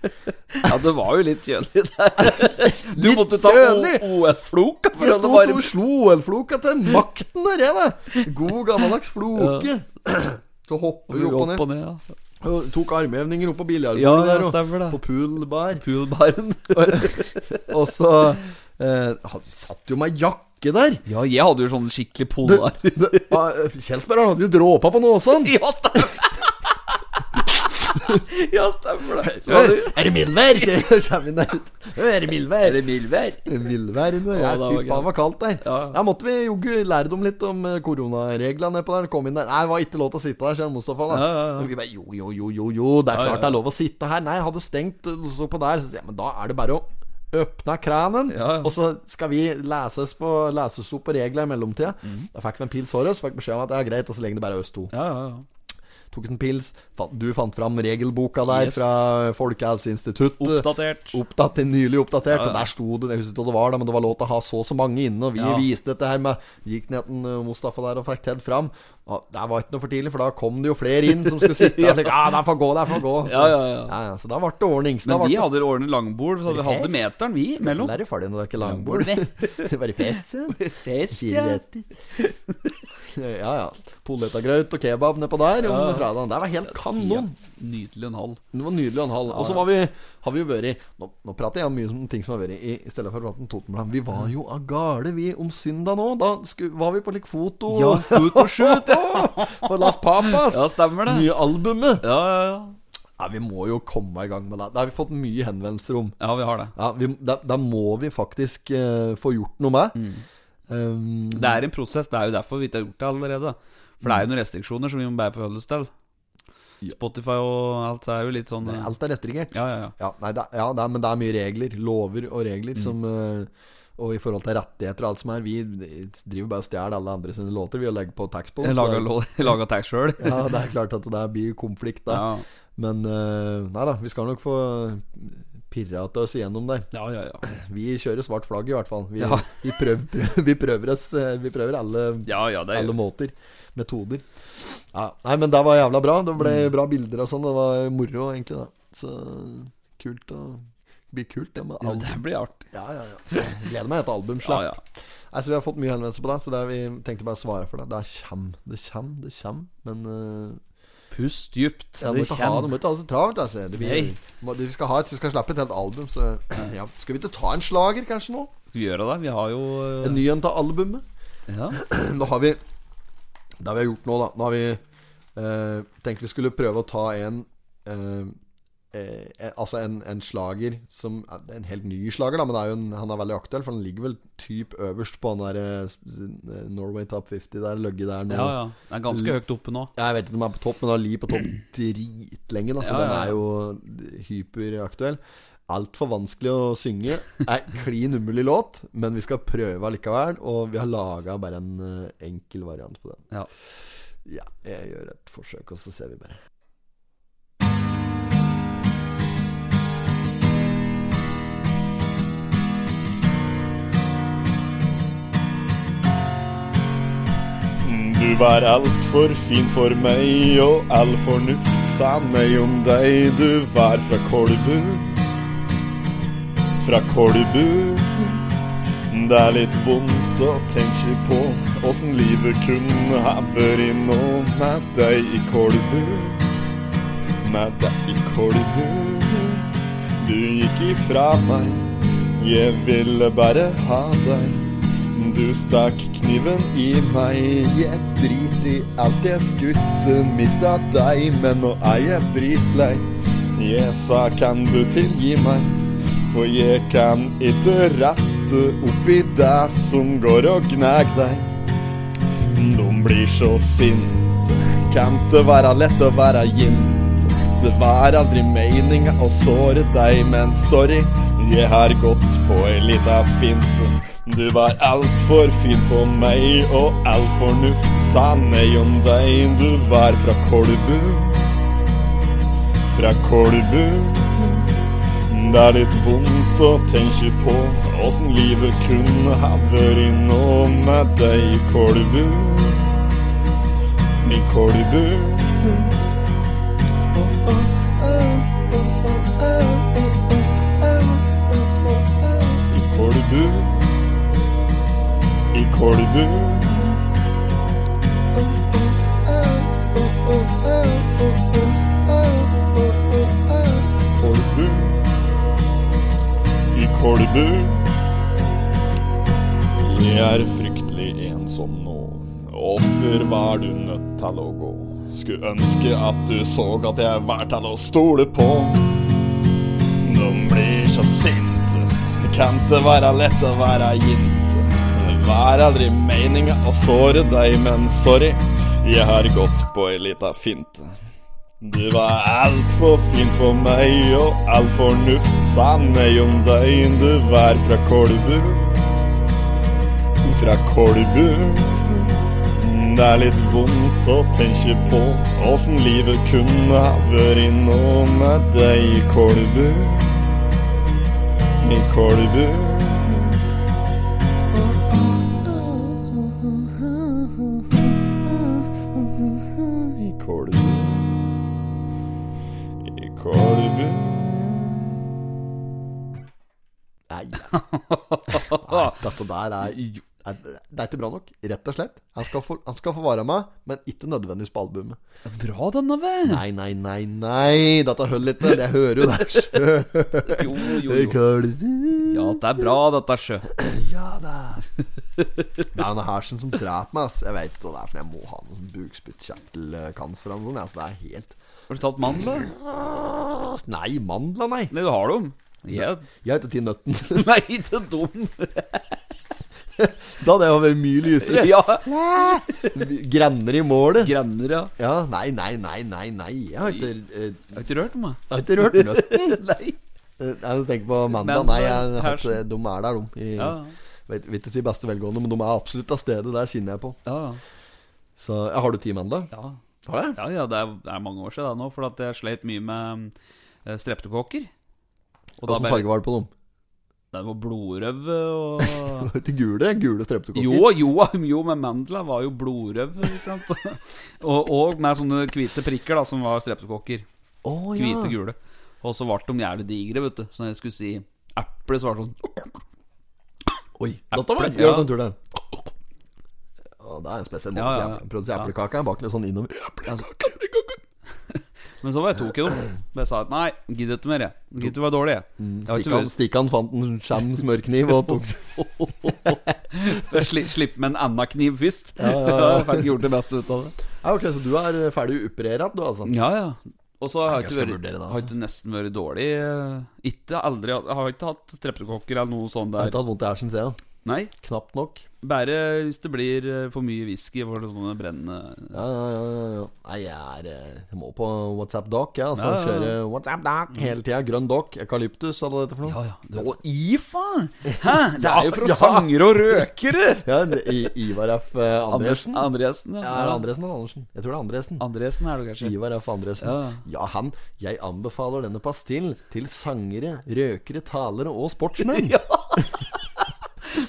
Speaker 5: Ja, det var jo litt kjølig der. Du
Speaker 3: Litt
Speaker 5: måtte ta
Speaker 3: kjølig.
Speaker 5: OL-floka for
Speaker 3: Jeg
Speaker 5: å
Speaker 3: sto
Speaker 5: holde
Speaker 3: og
Speaker 5: varmen.
Speaker 3: slo OL-floka til makten der, jeg, da. God gammeldags floke. Så hopper vi opp og ned.
Speaker 5: Opp og ned, ja.
Speaker 3: Og Tok armhevninger opp på biljarden
Speaker 5: Ja, ja,
Speaker 3: der, og
Speaker 5: stemmer det.
Speaker 3: på poolbar.
Speaker 5: Poolbaren.
Speaker 3: Og så eh, han satt jo med jakke der.
Speaker 5: Ja, jeg hadde jo sånn skikkelig
Speaker 3: Det-
Speaker 5: polar.
Speaker 3: det- ah, Kjelsberg han hadde jo dråpa på Nåsan.
Speaker 5: Ja, stemmer Ja, stemmer det. Så hadde-
Speaker 3: Er det mildvær? sier jeg, så er vi der ute. Er det
Speaker 5: Er
Speaker 3: mildvær?
Speaker 5: det mildvær?
Speaker 3: Mildvær inne.
Speaker 5: Ja,
Speaker 3: Ja,
Speaker 5: det var
Speaker 3: Fy faen, det var kaldt der.
Speaker 5: Ja.
Speaker 3: Jeg måtte vi jogge lære dem litt om eh, koronareglene nedpå der. Kom inn der. Nei, det var ikke lov til å sitte der, sier Mustafa. da
Speaker 5: Ja, ja, ja.
Speaker 3: Og vi bare, jo, jo, jo, jo, jo, det er
Speaker 5: Ja,
Speaker 3: klart
Speaker 5: ja,
Speaker 3: det er lov å sitte her. Nei, jeg hadde stengt eh, og så på der. Så sier jeg, men da er det bare å Øpna kranen,
Speaker 5: Ja, ja.
Speaker 3: og så skal vi leses, på, leses opp på regler i mellomtida.
Speaker 5: Mhm.
Speaker 3: Da fikk vi en pils Horus, fikk beskjed om at det er greit, og så lenge det bare er oss to.
Speaker 5: Ja, ja, ja.
Speaker 3: Tok oss en pils. Fant- Du fant fram regelboka der
Speaker 5: Yes.
Speaker 3: fra Folkehelseinstituttet.
Speaker 5: Oppdatert.
Speaker 3: Oppdatert, Nylig oppdatert.
Speaker 5: Ja, ja.
Speaker 3: Og der sto det, jeg husker ikke hva det var, da, men det var lov til å ha så og så mange inne. Og vi
Speaker 5: Ja.
Speaker 3: viste dette her med Gikk ned til eh, Mustafa der og fikk Ted fram. Og det var ikke noe for tidlig, for da kom det jo flere inn som skulle sitte der. slik, Ja, der får gå, der får gå. Så,
Speaker 5: Ja, ja, ja.
Speaker 3: Så da ble det ordnings.
Speaker 5: Men vi hadde ordnet langbord, så vi hadde
Speaker 3: Fest.
Speaker 5: meteren, vi, mellom.
Speaker 3: Det er ferdig når det er ikke langbord.
Speaker 5: Langbord,
Speaker 3: Bare fesen.
Speaker 5: Fest,
Speaker 3: Fire retter. Ja, ja. Poletagraut og kebab nedpå der om
Speaker 5: Ja.
Speaker 3: fredagen. Det var helt
Speaker 5: Ja,
Speaker 3: kanon!
Speaker 5: nydelig en halv.
Speaker 3: Det var nydelig og en halv. Og så var vi, har vi jo vært i nå, nå prater jeg om mye om ting som har vært i, i stedet for å prate om Totenbladet. Vi var jo av gale, vi, om søndag nå. Da sku, var vi på litt foto.
Speaker 5: Ja, fotoshoot! Ja.
Speaker 3: For Las Papas.
Speaker 5: ja, stemmer det.
Speaker 3: Nye albumet.
Speaker 5: Ja, ja, ja.
Speaker 3: Nei, vi må jo komme i gang med det. Det har vi fått mye henvendelser om.
Speaker 5: Ja, vi har det.
Speaker 3: Ja, vi, da, da må vi faktisk eh, få gjort noe med. Um,
Speaker 5: Det er en prosess. Det er jo derfor vi ikke har gjort det allerede. For
Speaker 3: Mm.
Speaker 5: det er jo noen restriksjoner som vi må bare forholde oss til. Spotify og alt det er jo litt sånn
Speaker 3: Nei,
Speaker 5: Ja,
Speaker 3: alt er restaurert.
Speaker 5: ja, ja.
Speaker 3: Ja, nei, det, er- ja det er, men det er mye regler. Lover og regler som eh, Og i forhold til rettigheter og alt som er. Vi driver bare og stjeler alle andre sine låter. Vi og legger på tax på dem,
Speaker 5: Jeg
Speaker 3: så-
Speaker 5: laga, laga tag sjøl.
Speaker 3: Ja, det er klart at det blir konflikt da.
Speaker 5: Ja.
Speaker 3: Men eh, nei da, vi skal nok få pirra til oss igjennom der.
Speaker 5: ja, ja, ja.
Speaker 3: Vi kjører svart flagg, i hvert fall. Vi,
Speaker 5: Ja.
Speaker 3: vi, prøv, prøv, vi prøver oss eh, Vi prøver alle,
Speaker 5: Ja, ja, det
Speaker 3: alle
Speaker 5: er
Speaker 3: måter. Metoder. Ja, nei, men det var jævla bra. Det ble
Speaker 5: Mm.
Speaker 3: bra bilder og sånn. Det var moro, egentlig. Da. Så kult å bli kult, det med
Speaker 5: jo
Speaker 3: album.
Speaker 5: Det blir artig.
Speaker 3: Ja, ja, ja. Gleder meg til
Speaker 5: Ja,
Speaker 3: albumslapp.
Speaker 5: ja.
Speaker 3: Nei, så Vi har fått mye henvendelser på det, så det er, vi tenkte bare å svare for det. Det er kjem, det kjem, det kjem. Men eh,
Speaker 5: Pust dypt.
Speaker 3: ja, du må
Speaker 5: det
Speaker 3: ikke ha, du
Speaker 5: kommer.
Speaker 3: må ikke ha det så travelt. Altså. Det blir,
Speaker 5: Nei.
Speaker 3: må, du, vi skal ha et, vi skal slappe et helt album, så ja. Skal vi ikke ta en slager, kanskje, nå?
Speaker 5: Skal vi gjøre det? Vi har jo eh,
Speaker 3: En ny en til albumet.
Speaker 5: ja.
Speaker 3: Da har vi Det har vi gjort nå, da. Nå har vi eh, tenkt vi skulle prøve å ta en eh, eh, Altså en, en slager som det er En helt ny slager, da, men det er jo en, han er veldig aktuell, for han ligger vel typ øverst på han der eh, Norway Top 50 der, løgget der nå.
Speaker 5: ja, ja. Det er ganske høyt oppe nå.
Speaker 3: Jeg vet ikke om den er på topp, men den har ligget på topp dritlenge. da, Så
Speaker 5: Ja, ja, ja.
Speaker 3: den er jo hyperaktuell. Altfor vanskelig å synge. Er klin umulig låt, men vi skal prøve allikevel. Og vi har laga bare en eh, enkel variant på den.
Speaker 5: Ja.
Speaker 3: Ja, jeg gjør et forsøk, og så ser vi bare.
Speaker 6: Du var altfor fin for meg, og all fornuft sa nei om deg. Du var fra Kolbu, fra Kolbu. Det er litt vondt å tenke på åssen livet kunne ha vært nå med deg i Kolbu, med deg i Kolbu. Du gikk ifra meg, jeg ville bare ha deg. Du stakk kniven i meg, jeg drit i alt jeg skutte, mista deg, men nå er jeg dritlei. Jeg sa kan du tilgi meg, for jeg kan ikke rette opp i det som går og gnag deg. De blir så sinte, kan det være lett å være jint. Det var aldri meninga å såre deg, men sorry, jeg har gått på ei lita finte. Du var altfor fin for meg, og all fornuft sa nei om deg. Du var fra Kolbu, fra Kolbu. Det er litt vondt å tenke på åssen livet kunne ha vært nå med deg i Kolbu. I Kolbu. I Kolbu. I Kolbu. Kolbu i Kolbu. Jeg er fryktelig ensom nå. Hvorfor var du nødt til å gå? Skulle ønske at du så at jeg var til å stole på. De blir så sinte. Kan det være lett å være jinte? Var aldri meninga å såre deg, men sorry, jeg har gått på ei lita finte. Du var altfor fin for meg, og all fornuft sa nei om deg. Du var fra Kolbu, fra Kolbu. Det er litt vondt å tenke på åssen livet kunne ha vært nå med deg i Kolbu, i Kolbu. I Kolbu. I Kolbu
Speaker 3: Nei, Nei dette der er Nei, Det det er ikke bra nok, rett og slett. Han skal få, han skal få være med, men ikke nødvendigvis på albumet.
Speaker 5: Bra, denne, vel?
Speaker 3: Nei, nei, nei, nei, dette holder ikke. Det hører jo der sjøl.
Speaker 5: Jo, jo, jo. Ja, det er bra, dette, sjø.
Speaker 3: Ja da. Det er denne hersen som dreper meg, ass. Jeg vet ikke hva det er, for jeg må ha noe sånn bukspyttkjertelkancer eller noe sånt. ja, så det er helt
Speaker 5: Har du tatt mandler?
Speaker 3: Mm. Nei, mandla, nei.
Speaker 5: Nei, du har dem. Ja.
Speaker 3: Jeg heter Tinn Nøtten.
Speaker 5: Nei, ikke dum.
Speaker 3: Da hadde jeg vært mye lysere.
Speaker 5: Ja.
Speaker 3: Grenner i målet.
Speaker 5: Grenner, ja.
Speaker 3: Ja, nei, nei, nei, nei. nei Jeg har ikke, eh, jeg
Speaker 5: Jeg har ikke rørt meg.
Speaker 3: har ikke rørt nøtten.
Speaker 5: Nei.
Speaker 3: Eh, Jeg tenker på mandag.
Speaker 5: Men-
Speaker 3: Nei, jeg har
Speaker 5: hersen.
Speaker 3: ikke, de er der, de. I,
Speaker 5: Ja,
Speaker 3: vet, vil ikke si beste velgående, men de er absolutt av stedet. Der kjenner jeg på.
Speaker 5: ja.
Speaker 3: Så ja, Har du ti mandag?
Speaker 5: ja.
Speaker 3: Har jeg?
Speaker 5: Ja, ja, det er, det er mange år siden da nå, for at jeg sleit mye med eh, streptokokker. Og da
Speaker 3: Åssen
Speaker 5: bare,
Speaker 3: farge var det på dem?
Speaker 5: det var blodrøv og
Speaker 3: Var det ikke gule? Gule streptokokker?
Speaker 5: Jo, jo, jo, men mandla var jo blodrøv. ikke Sant? og, og med sånne hvite prikker da, som var streptokokker.
Speaker 3: Å, ja.
Speaker 5: Hvite, gule. Og så ble de jævlig digre, vet du. Så når jeg skulle si eple, så var det sånn
Speaker 3: Oi,
Speaker 5: Apple,
Speaker 3: datter
Speaker 5: ja.
Speaker 3: Gjør den turen der. Å, det er en spesiell måte
Speaker 5: Ja, ja,
Speaker 3: å
Speaker 5: ja.
Speaker 3: si eple- produsere eplekake Jeg baker litt sånn innover. Eplekake, eplekake.
Speaker 5: Men så var jeg tok i dem. Men jeg sa at nei, gidder ikke mer, jeg. Gidder ikke være dårlig, jeg.
Speaker 3: Mm,
Speaker 5: jeg. har ikke
Speaker 3: Stikkan,
Speaker 5: vært-
Speaker 3: Stikkan fant en skjem smørkniv og tok
Speaker 5: Jeg sli, Slipp med en annen kniv først.
Speaker 3: Ja, ja, ja.
Speaker 5: jeg fikk gjort det beste ut av det.
Speaker 3: ja, Ok, Så du er eh, ferdig operert, du, altså?
Speaker 5: Ja, ja. Og så har jeg
Speaker 3: Jeg
Speaker 5: ikke
Speaker 3: skal
Speaker 5: vært,
Speaker 3: vurdere det, altså.
Speaker 5: har ikke nesten vært dårlig. eh, Ikke aldri hatt- Jeg har ikke hatt streptokokker eller noe sånt
Speaker 3: Jeg har
Speaker 5: der.
Speaker 3: ikke hatt vondt i hersen, ser jeg.
Speaker 5: Nei.
Speaker 3: Knapt nok.
Speaker 5: Bare hvis det blir eh, for mye whisky for sånn sånne brennende
Speaker 3: Ja, ja, ja, ja, ja. Nei, jeg er eh, Jeg må på WhatsApp Doc, jeg. Altså,
Speaker 5: Ja, ja, ja.
Speaker 3: Kjøre WhatsApp Doc hele tida. Grønn Doc, eukalyptus, hva er dette for noe?
Speaker 5: Ja, ja. Du, og IFA! Hæ? Det er jo fra
Speaker 3: Ja, ja.
Speaker 5: sangere og røkere!
Speaker 3: Ja, I, Ivar F. eh, Andresen. Ja,
Speaker 5: Andresen, ja.
Speaker 3: er det Andresen eller Andersen? Jeg tror det er Andresen.
Speaker 5: Andresen er det kanskje.
Speaker 3: Ivar F. Andresen.
Speaker 5: Ja.
Speaker 3: Ja. han. Jeg anbefaler denne pastill til sangere, røkere, talere og sportsmenn.
Speaker 5: Ja.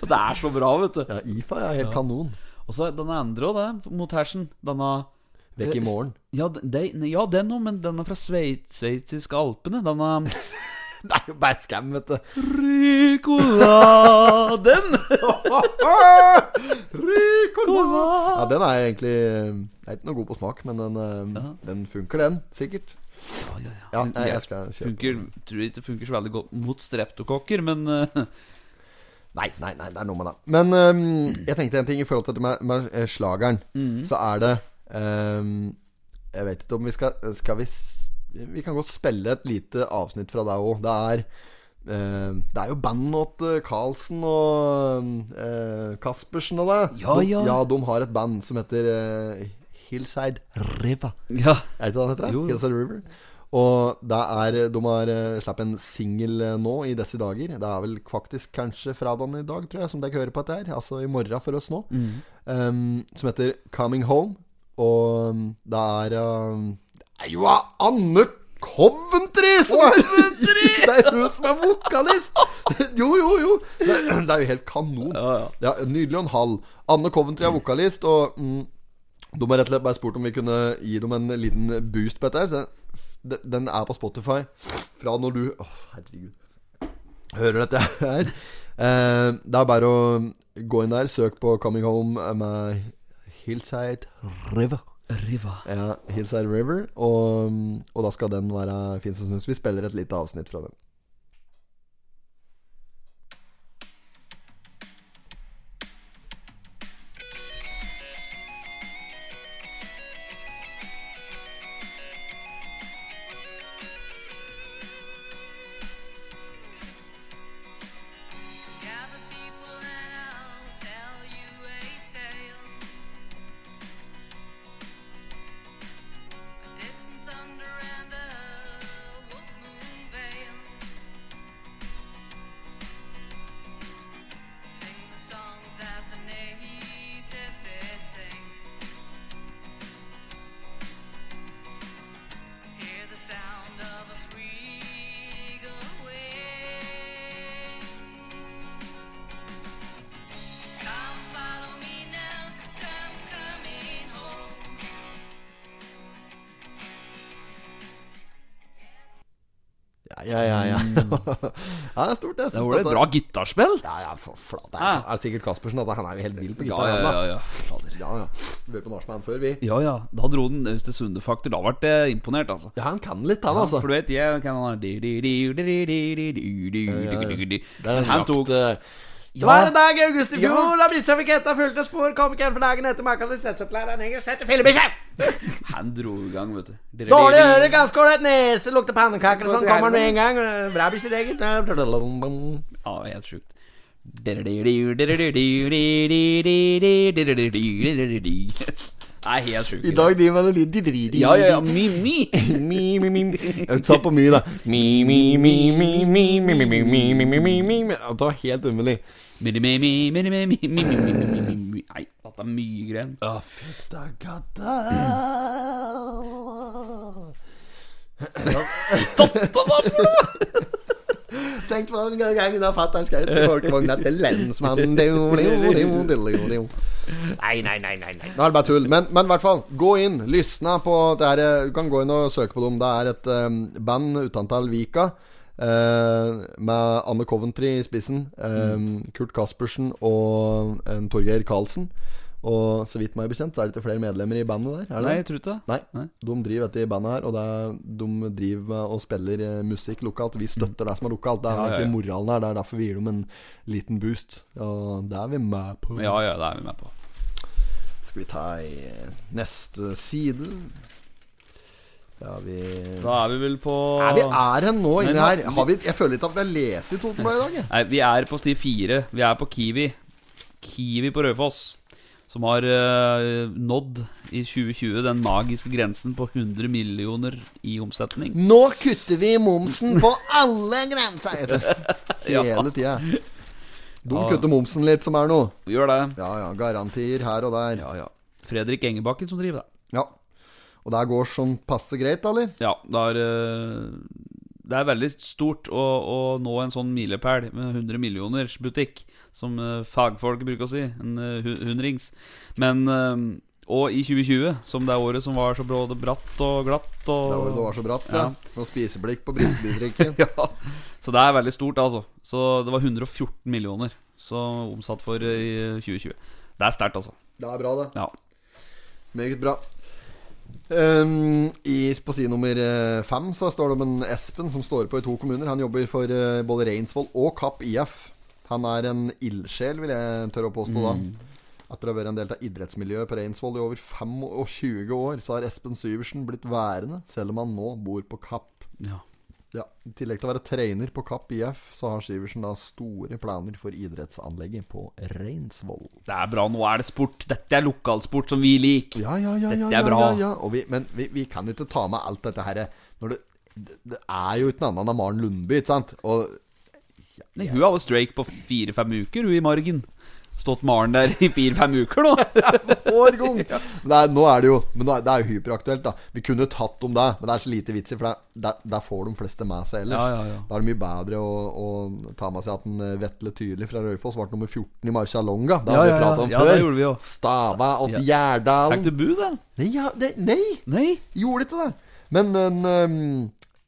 Speaker 5: Det er så bra, vet du.
Speaker 3: Ja, IFA er helt kanon.
Speaker 5: Og så den andre òg, den mot hersen. Denne
Speaker 3: Vekk i morgen.
Speaker 5: Ja, de, ja den òg, men den er fra Sveit- sveitsiske alpene. Denne
Speaker 3: Det er jo bare skam, vet du.
Speaker 5: Ricoladen! Ricola
Speaker 3: Ja, den er egentlig eh, Jeg er ikke noe god på smak, men den, eh, den funker, den. Sikkert.
Speaker 5: Ja, ja, ja.
Speaker 3: Ja, nei, jeg skal kjøpe
Speaker 5: Funker, tror ikke det funker så veldig godt mot streptokokker, men eh,
Speaker 3: Nei, nei, nei, det er noe med det. Men øhm, jeg tenkte en ting i forhold til dette med, med eh, slageren.
Speaker 5: Mm.
Speaker 3: Så er det øhm, Jeg vet ikke om vi skal Skal vi s- Vi kan godt spille et lite avsnitt fra deg òg. Det er øhm, Det er jo band åt eh, Carlsen og øh, Caspersen og det.
Speaker 5: Ja,
Speaker 3: de,
Speaker 5: ja.
Speaker 3: ja. De har et band som heter eh, Hillside River.
Speaker 5: ja.
Speaker 3: Er det ikke det han heter?
Speaker 5: Jo, jo.
Speaker 3: det? Hillside River. Og det er, de har eh, slapp en singel eh, nå i disse dager. Det er vel faktisk kanskje fredagen i dag, tror jeg, som dere hører på dette her. Altså i morgen for oss nå.
Speaker 5: Mm.
Speaker 3: Em, som heter 'Coming Home'. Og em, det er em, Det er jo Anne Coventry som er Det er hun som er vokalist! Jo, jo, jo. Det, er- det er jo helt kanon.
Speaker 5: Ja, ja.
Speaker 3: nydelig og en halv. Anne Coventry er vokalist, og mm, de har rett og slett bare spurt om vi kunne gi dem en liten boost på dette. her så de- Den er på Spotify fra når du Å, herregud. Hører dette her. Eh, det er bare å gå inn der, søk på 'Coming Home' eh, med Hillside River.
Speaker 5: Riva.
Speaker 3: Ja, Hillside River. Og, mm, og da skal den være fin som syns. Vi spiller et lite avsnitt fra den.
Speaker 7: Gather people and I'll tell you a tale. A distant thunder and a wolf moon veil.
Speaker 3: ja, ja, ja. ja det er stort, det.
Speaker 5: Det var det bra gitarspill.
Speaker 3: Ja, ja, for flate. Det
Speaker 5: Ja.
Speaker 3: er, er sikkert Kaspersen. At han er jo helt vill på
Speaker 5: Ja,
Speaker 3: gitar.
Speaker 5: ja,
Speaker 3: han, da.
Speaker 5: ja. ja. Fader.
Speaker 3: Ja, ja. Vi hørte på Nachman før, vi.
Speaker 5: Ja, ja. Da dro den Østersund-faktor. Da ble jeg imponert, altså.
Speaker 3: Ja, han kan litt, han, altså.
Speaker 5: For du vet, jeg kan ha Men
Speaker 3: Der er
Speaker 5: Han
Speaker 3: han
Speaker 5: tok
Speaker 3: lagt, eh,
Speaker 5: Ja.
Speaker 8: Hver dag i august i
Speaker 5: Ja.
Speaker 8: fjor har Britt-trafikanten fulgt av spor komikeren for dagen etter maken til selskapslæreren henger seg til fillebikkje.
Speaker 5: Han dro i gang, vet du.
Speaker 8: Dårlig å høre, ganske ålreit nese, lukter pannekaker og sånn. Kommer han med en gang.
Speaker 3: Eh,
Speaker 8: Bra bikkje, det, gitt.
Speaker 5: Ja, helt sjukt. Nei, helt sjukt.
Speaker 3: I dag driver han og lider driver
Speaker 5: Ja, ja, ja. Mi, mi.
Speaker 3: Mi, mi, mi. Jeg tar på mye, da. Mi, mi, mi, mi, mi, mi, mi, mi, mi, mi, mi, mi, mi, mi. Ja, Det var helt umulig.
Speaker 5: Mi, mi, mi, mi, mi, mi, mi, mi, mi, mi, mi, mi. Nei, dette er mye greier.
Speaker 3: Da, ga, da. Tenk på den gangen da fatter'n skrev til folkevogna til lensmannen Dio, dio, dio, dio, dio.
Speaker 8: Nei, nei, nei, nei. nei.
Speaker 3: Nå er det bare tull. Men, men i hvert fall, gå inn. Lysna på det her. eh, Du kan gå inn og søke på dem. Det er et eh, band utentil Vika. eh, med Anne Coventry i spissen. eh, Kurt Caspersen og en Torgeir Karlsen. Og så vidt meg bekjent, så er det ikke flere medlemmer i bandet der. Er
Speaker 5: Nei,
Speaker 3: det?
Speaker 5: jeg tror ikke det.
Speaker 3: Nei.
Speaker 5: Nei.
Speaker 3: De driver dette i bandet her, og det er, de driver med og spiller eh, musikk lokalt. Vi støtter det som er lokalt. Det
Speaker 5: Ja,
Speaker 3: er
Speaker 5: ja,
Speaker 3: egentlig
Speaker 5: ja.
Speaker 3: moralen her. Det er derfor vi gir dem en liten boost. Og det er vi med på.
Speaker 5: Ja, ja, det er vi med på.
Speaker 3: Skal vi ta i eh, neste side? Ja, vi
Speaker 5: Da er vi vel på
Speaker 3: er vi er hen nå
Speaker 5: Men
Speaker 3: inni
Speaker 5: da-
Speaker 3: her. Har vi, jeg føler ikke at vi har lest i Totenbladet i dag. jeg.
Speaker 5: Nei, vi er på sti fire. Vi er på Kiwi. Kiwi på Rødfoss. Som har eh, nådd i 2020 den magiske grensen på 100 millioner i omsetning.
Speaker 3: Nå kutter vi momsen på alle grenser! Heter. det.
Speaker 5: Ja.
Speaker 3: Hele tida. De
Speaker 5: Ja.
Speaker 3: kutter momsen litt, som er noe.
Speaker 5: Vi gjør det.
Speaker 3: Ja ja, garantier her og der.
Speaker 5: Ja, ja. Fredrik Engebakken som driver det.
Speaker 3: Ja. Og det går sånn passe greit, da, eller?
Speaker 5: Ja, det er, eh, det er veldig stort å, å nå en sånn milepæl med 100 millioners butikk, som eh, fagfolk bruker å si. En eh, hu- hundrings. Men eh, Og i 2020, som det er året som var så både bratt og glatt og
Speaker 3: Det var, det var så bratt, ja.
Speaker 5: Ja.
Speaker 3: Og spiseblikk på brystbidrikken.
Speaker 5: ja. Så det er veldig stort, altså. Så det var 114 millioner Så omsatt for eh, i 2020. Det er sterkt, altså.
Speaker 3: Det er bra, det.
Speaker 5: Ja.
Speaker 3: Meget bra. Ehm, i, på side nummer eh, fem så står det om en Espen som står på i to kommuner. Han jobber for eh, både Reinsvoll og Kapp IF. Han er en ildsjel, vil jeg tørre å påstå da. Etter å ha vært en del av idrettsmiljøet på Reinsvoll i over 25 år, så har Espen Syversen blitt værende, selv om han nå bor på Kapp.
Speaker 5: ja.
Speaker 3: Ja, I tillegg til å være trener på Kapp IF, så har Syversen da store planer for idrettsanlegget på Reinsvoll.
Speaker 5: Det er bra. Nå er det sport. Dette er lokalsport som vi liker.
Speaker 3: Ja, ja, ja,
Speaker 5: Dette
Speaker 3: ja,
Speaker 5: er bra.
Speaker 3: Ja, ja. Og vi, men vi, vi kan jo ikke ta med alt dette her når det, det, det er jo uten annet enn Maren Lundby, ikke sant? Og
Speaker 5: Nei, hun hadde streik på fire-fem uker, hun i margen. Stått Maren der i fire-fem uker nå.
Speaker 3: årgang! Men det er, nå er det jo Men nå er, det er jo hyperaktuelt, da. Vi kunne tatt om det, men det er så lite vits i, for det, det, der får de fleste med seg ellers.
Speaker 5: Ja, ja, ja.
Speaker 3: Da er det mye bedre å, å ta med seg at en eh, Vetle Tyrli fra Raufoss ble nummer 14 i Marcialonga.
Speaker 5: Ja,
Speaker 3: Det
Speaker 5: ja,
Speaker 3: hadde vi
Speaker 5: ja.
Speaker 3: pratet om
Speaker 5: Ja,
Speaker 3: før.
Speaker 5: det gjorde vi jo.
Speaker 3: Stava og
Speaker 5: Ja. Fikk
Speaker 3: Gjerdalen.
Speaker 5: du bu, den?
Speaker 3: Nei, ja, det, nei!
Speaker 5: Nei?
Speaker 3: Gjorde ikke det. Men en, ehm,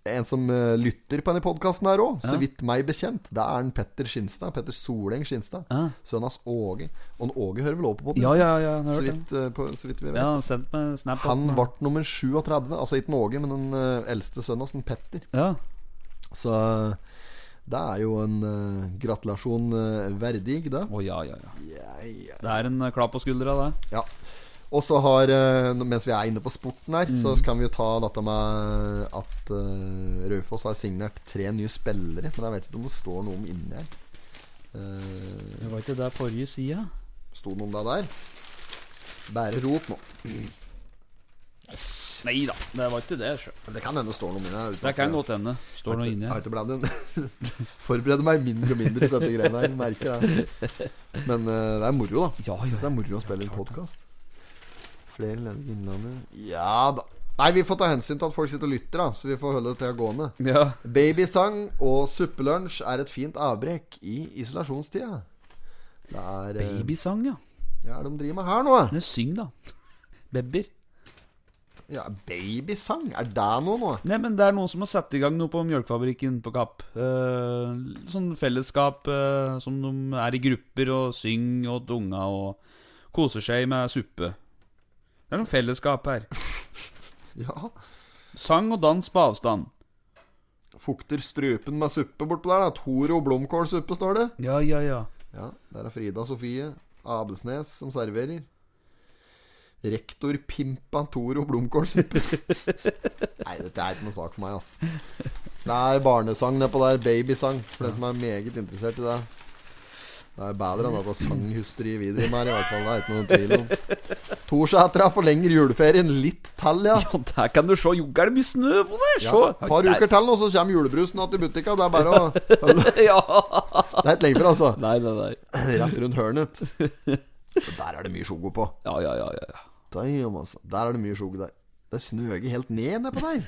Speaker 3: en som eh, lytter på denne podkasten her òg, så vidt meg bekjent, det er en Petter Skinstad. Petter Soleng Skinstad.
Speaker 5: Ja.
Speaker 3: Sønnen hans Åge. Og en Åge hører vel òg på podden
Speaker 5: Ah. Ja, ja, ja. Jeg har
Speaker 3: så,
Speaker 5: hørt det.
Speaker 3: vidt, eh, på, så vidt vi vet.
Speaker 5: Ja, han sendte meg en snap.
Speaker 3: Han ble nummer 37. Altså ikke en Åge, men den eh, eldste sønnen hans, en Petter.
Speaker 5: Ja.
Speaker 3: Så eh, det er jo en eh, gratulasjon eh, verdig, det.
Speaker 5: Å, ja, ja, ja. Det er en eh, klapp på skuldra, det.
Speaker 3: Ja. Og så har eh, Mens vi er inne på sporten her,
Speaker 5: Mm.
Speaker 3: så kan vi jo ta dette med at eh, Raufoss har signert tre nye spillere. Men jeg vet ikke om det står noe om inni her. Uh,
Speaker 5: Det var ikke det forrige sida.
Speaker 3: sto det noe om det der? Bære rot nå.
Speaker 5: Nei da, det var ikke det. sjø.
Speaker 3: Det kan hende det står noe om inni her. uten
Speaker 5: Det
Speaker 3: at
Speaker 5: kan
Speaker 3: jeg-
Speaker 5: godt hende. Står noe
Speaker 3: Jeg
Speaker 5: inni
Speaker 3: har
Speaker 5: her.
Speaker 3: ikke bladd inn. Forbereder meg mindre og mindre til dette greiene her. Merker det. Men eh, det er moro, da.
Speaker 5: Ja,
Speaker 3: Jeg syns det er moro å spille inn podkast. Flere ledere i Innlandet Ja da. Nei, vi får ta hensyn til at folk sitter og lytter, da. Så vi får holde dette gående.
Speaker 5: Ja.
Speaker 3: Babysang og suppelunsj er et fint avbrekk i isolasjonstida. Det er eh,
Speaker 5: Babysang, ja.
Speaker 3: Ja, er det de driver med her nå? eh?
Speaker 5: Nei, syng, da. Babyer.
Speaker 3: Ja, Babysang? Er det noe nå?
Speaker 5: Nei, men det er noen som har satt i gang noe på mjølkefabrikken på Kapp. Eh, sånn fellesskap eh, som de er i grupper og synger og dunga og koser seg med suppe. Det er noe fellesskap her.
Speaker 3: Ja.
Speaker 5: Sang og dans på avstand.
Speaker 3: Fukter strupen med suppe bortpå der. da Toro blomkålsuppe, står det.
Speaker 5: Ja, ja, ja.
Speaker 3: Ja, Der er Frida Sofie Abelsnes som serverer. Rektor Pimpa Toro blomkålsuppe. Nei, dette er ikke noe sak for meg, ass. Det er barnesang nedpå der. Babysang. For den som er meget interessert i det. Det er bedre enn at det er sanghysteri videre i meg, i hvert fall. Det er ikke noen tvil om. Torsætra forlenger juleferien litt til, ja.
Speaker 5: Ja, der kan du se. Jo, er det mye snø på der?
Speaker 3: Ja,
Speaker 5: Se.
Speaker 3: et par uker til nå, så kommer julebrusen igjen i butikka. Det er bare å Det
Speaker 5: Ja.
Speaker 3: er ikke lenge før, altså.
Speaker 5: Nei, nei, nei.
Speaker 3: Rett rundt hørnet. Og der er det mye sjogo på.
Speaker 5: Ja, ja, ja. ja.
Speaker 3: Damn, altså. Der er det mye sjogo der. Det snøger helt ned nedpå der.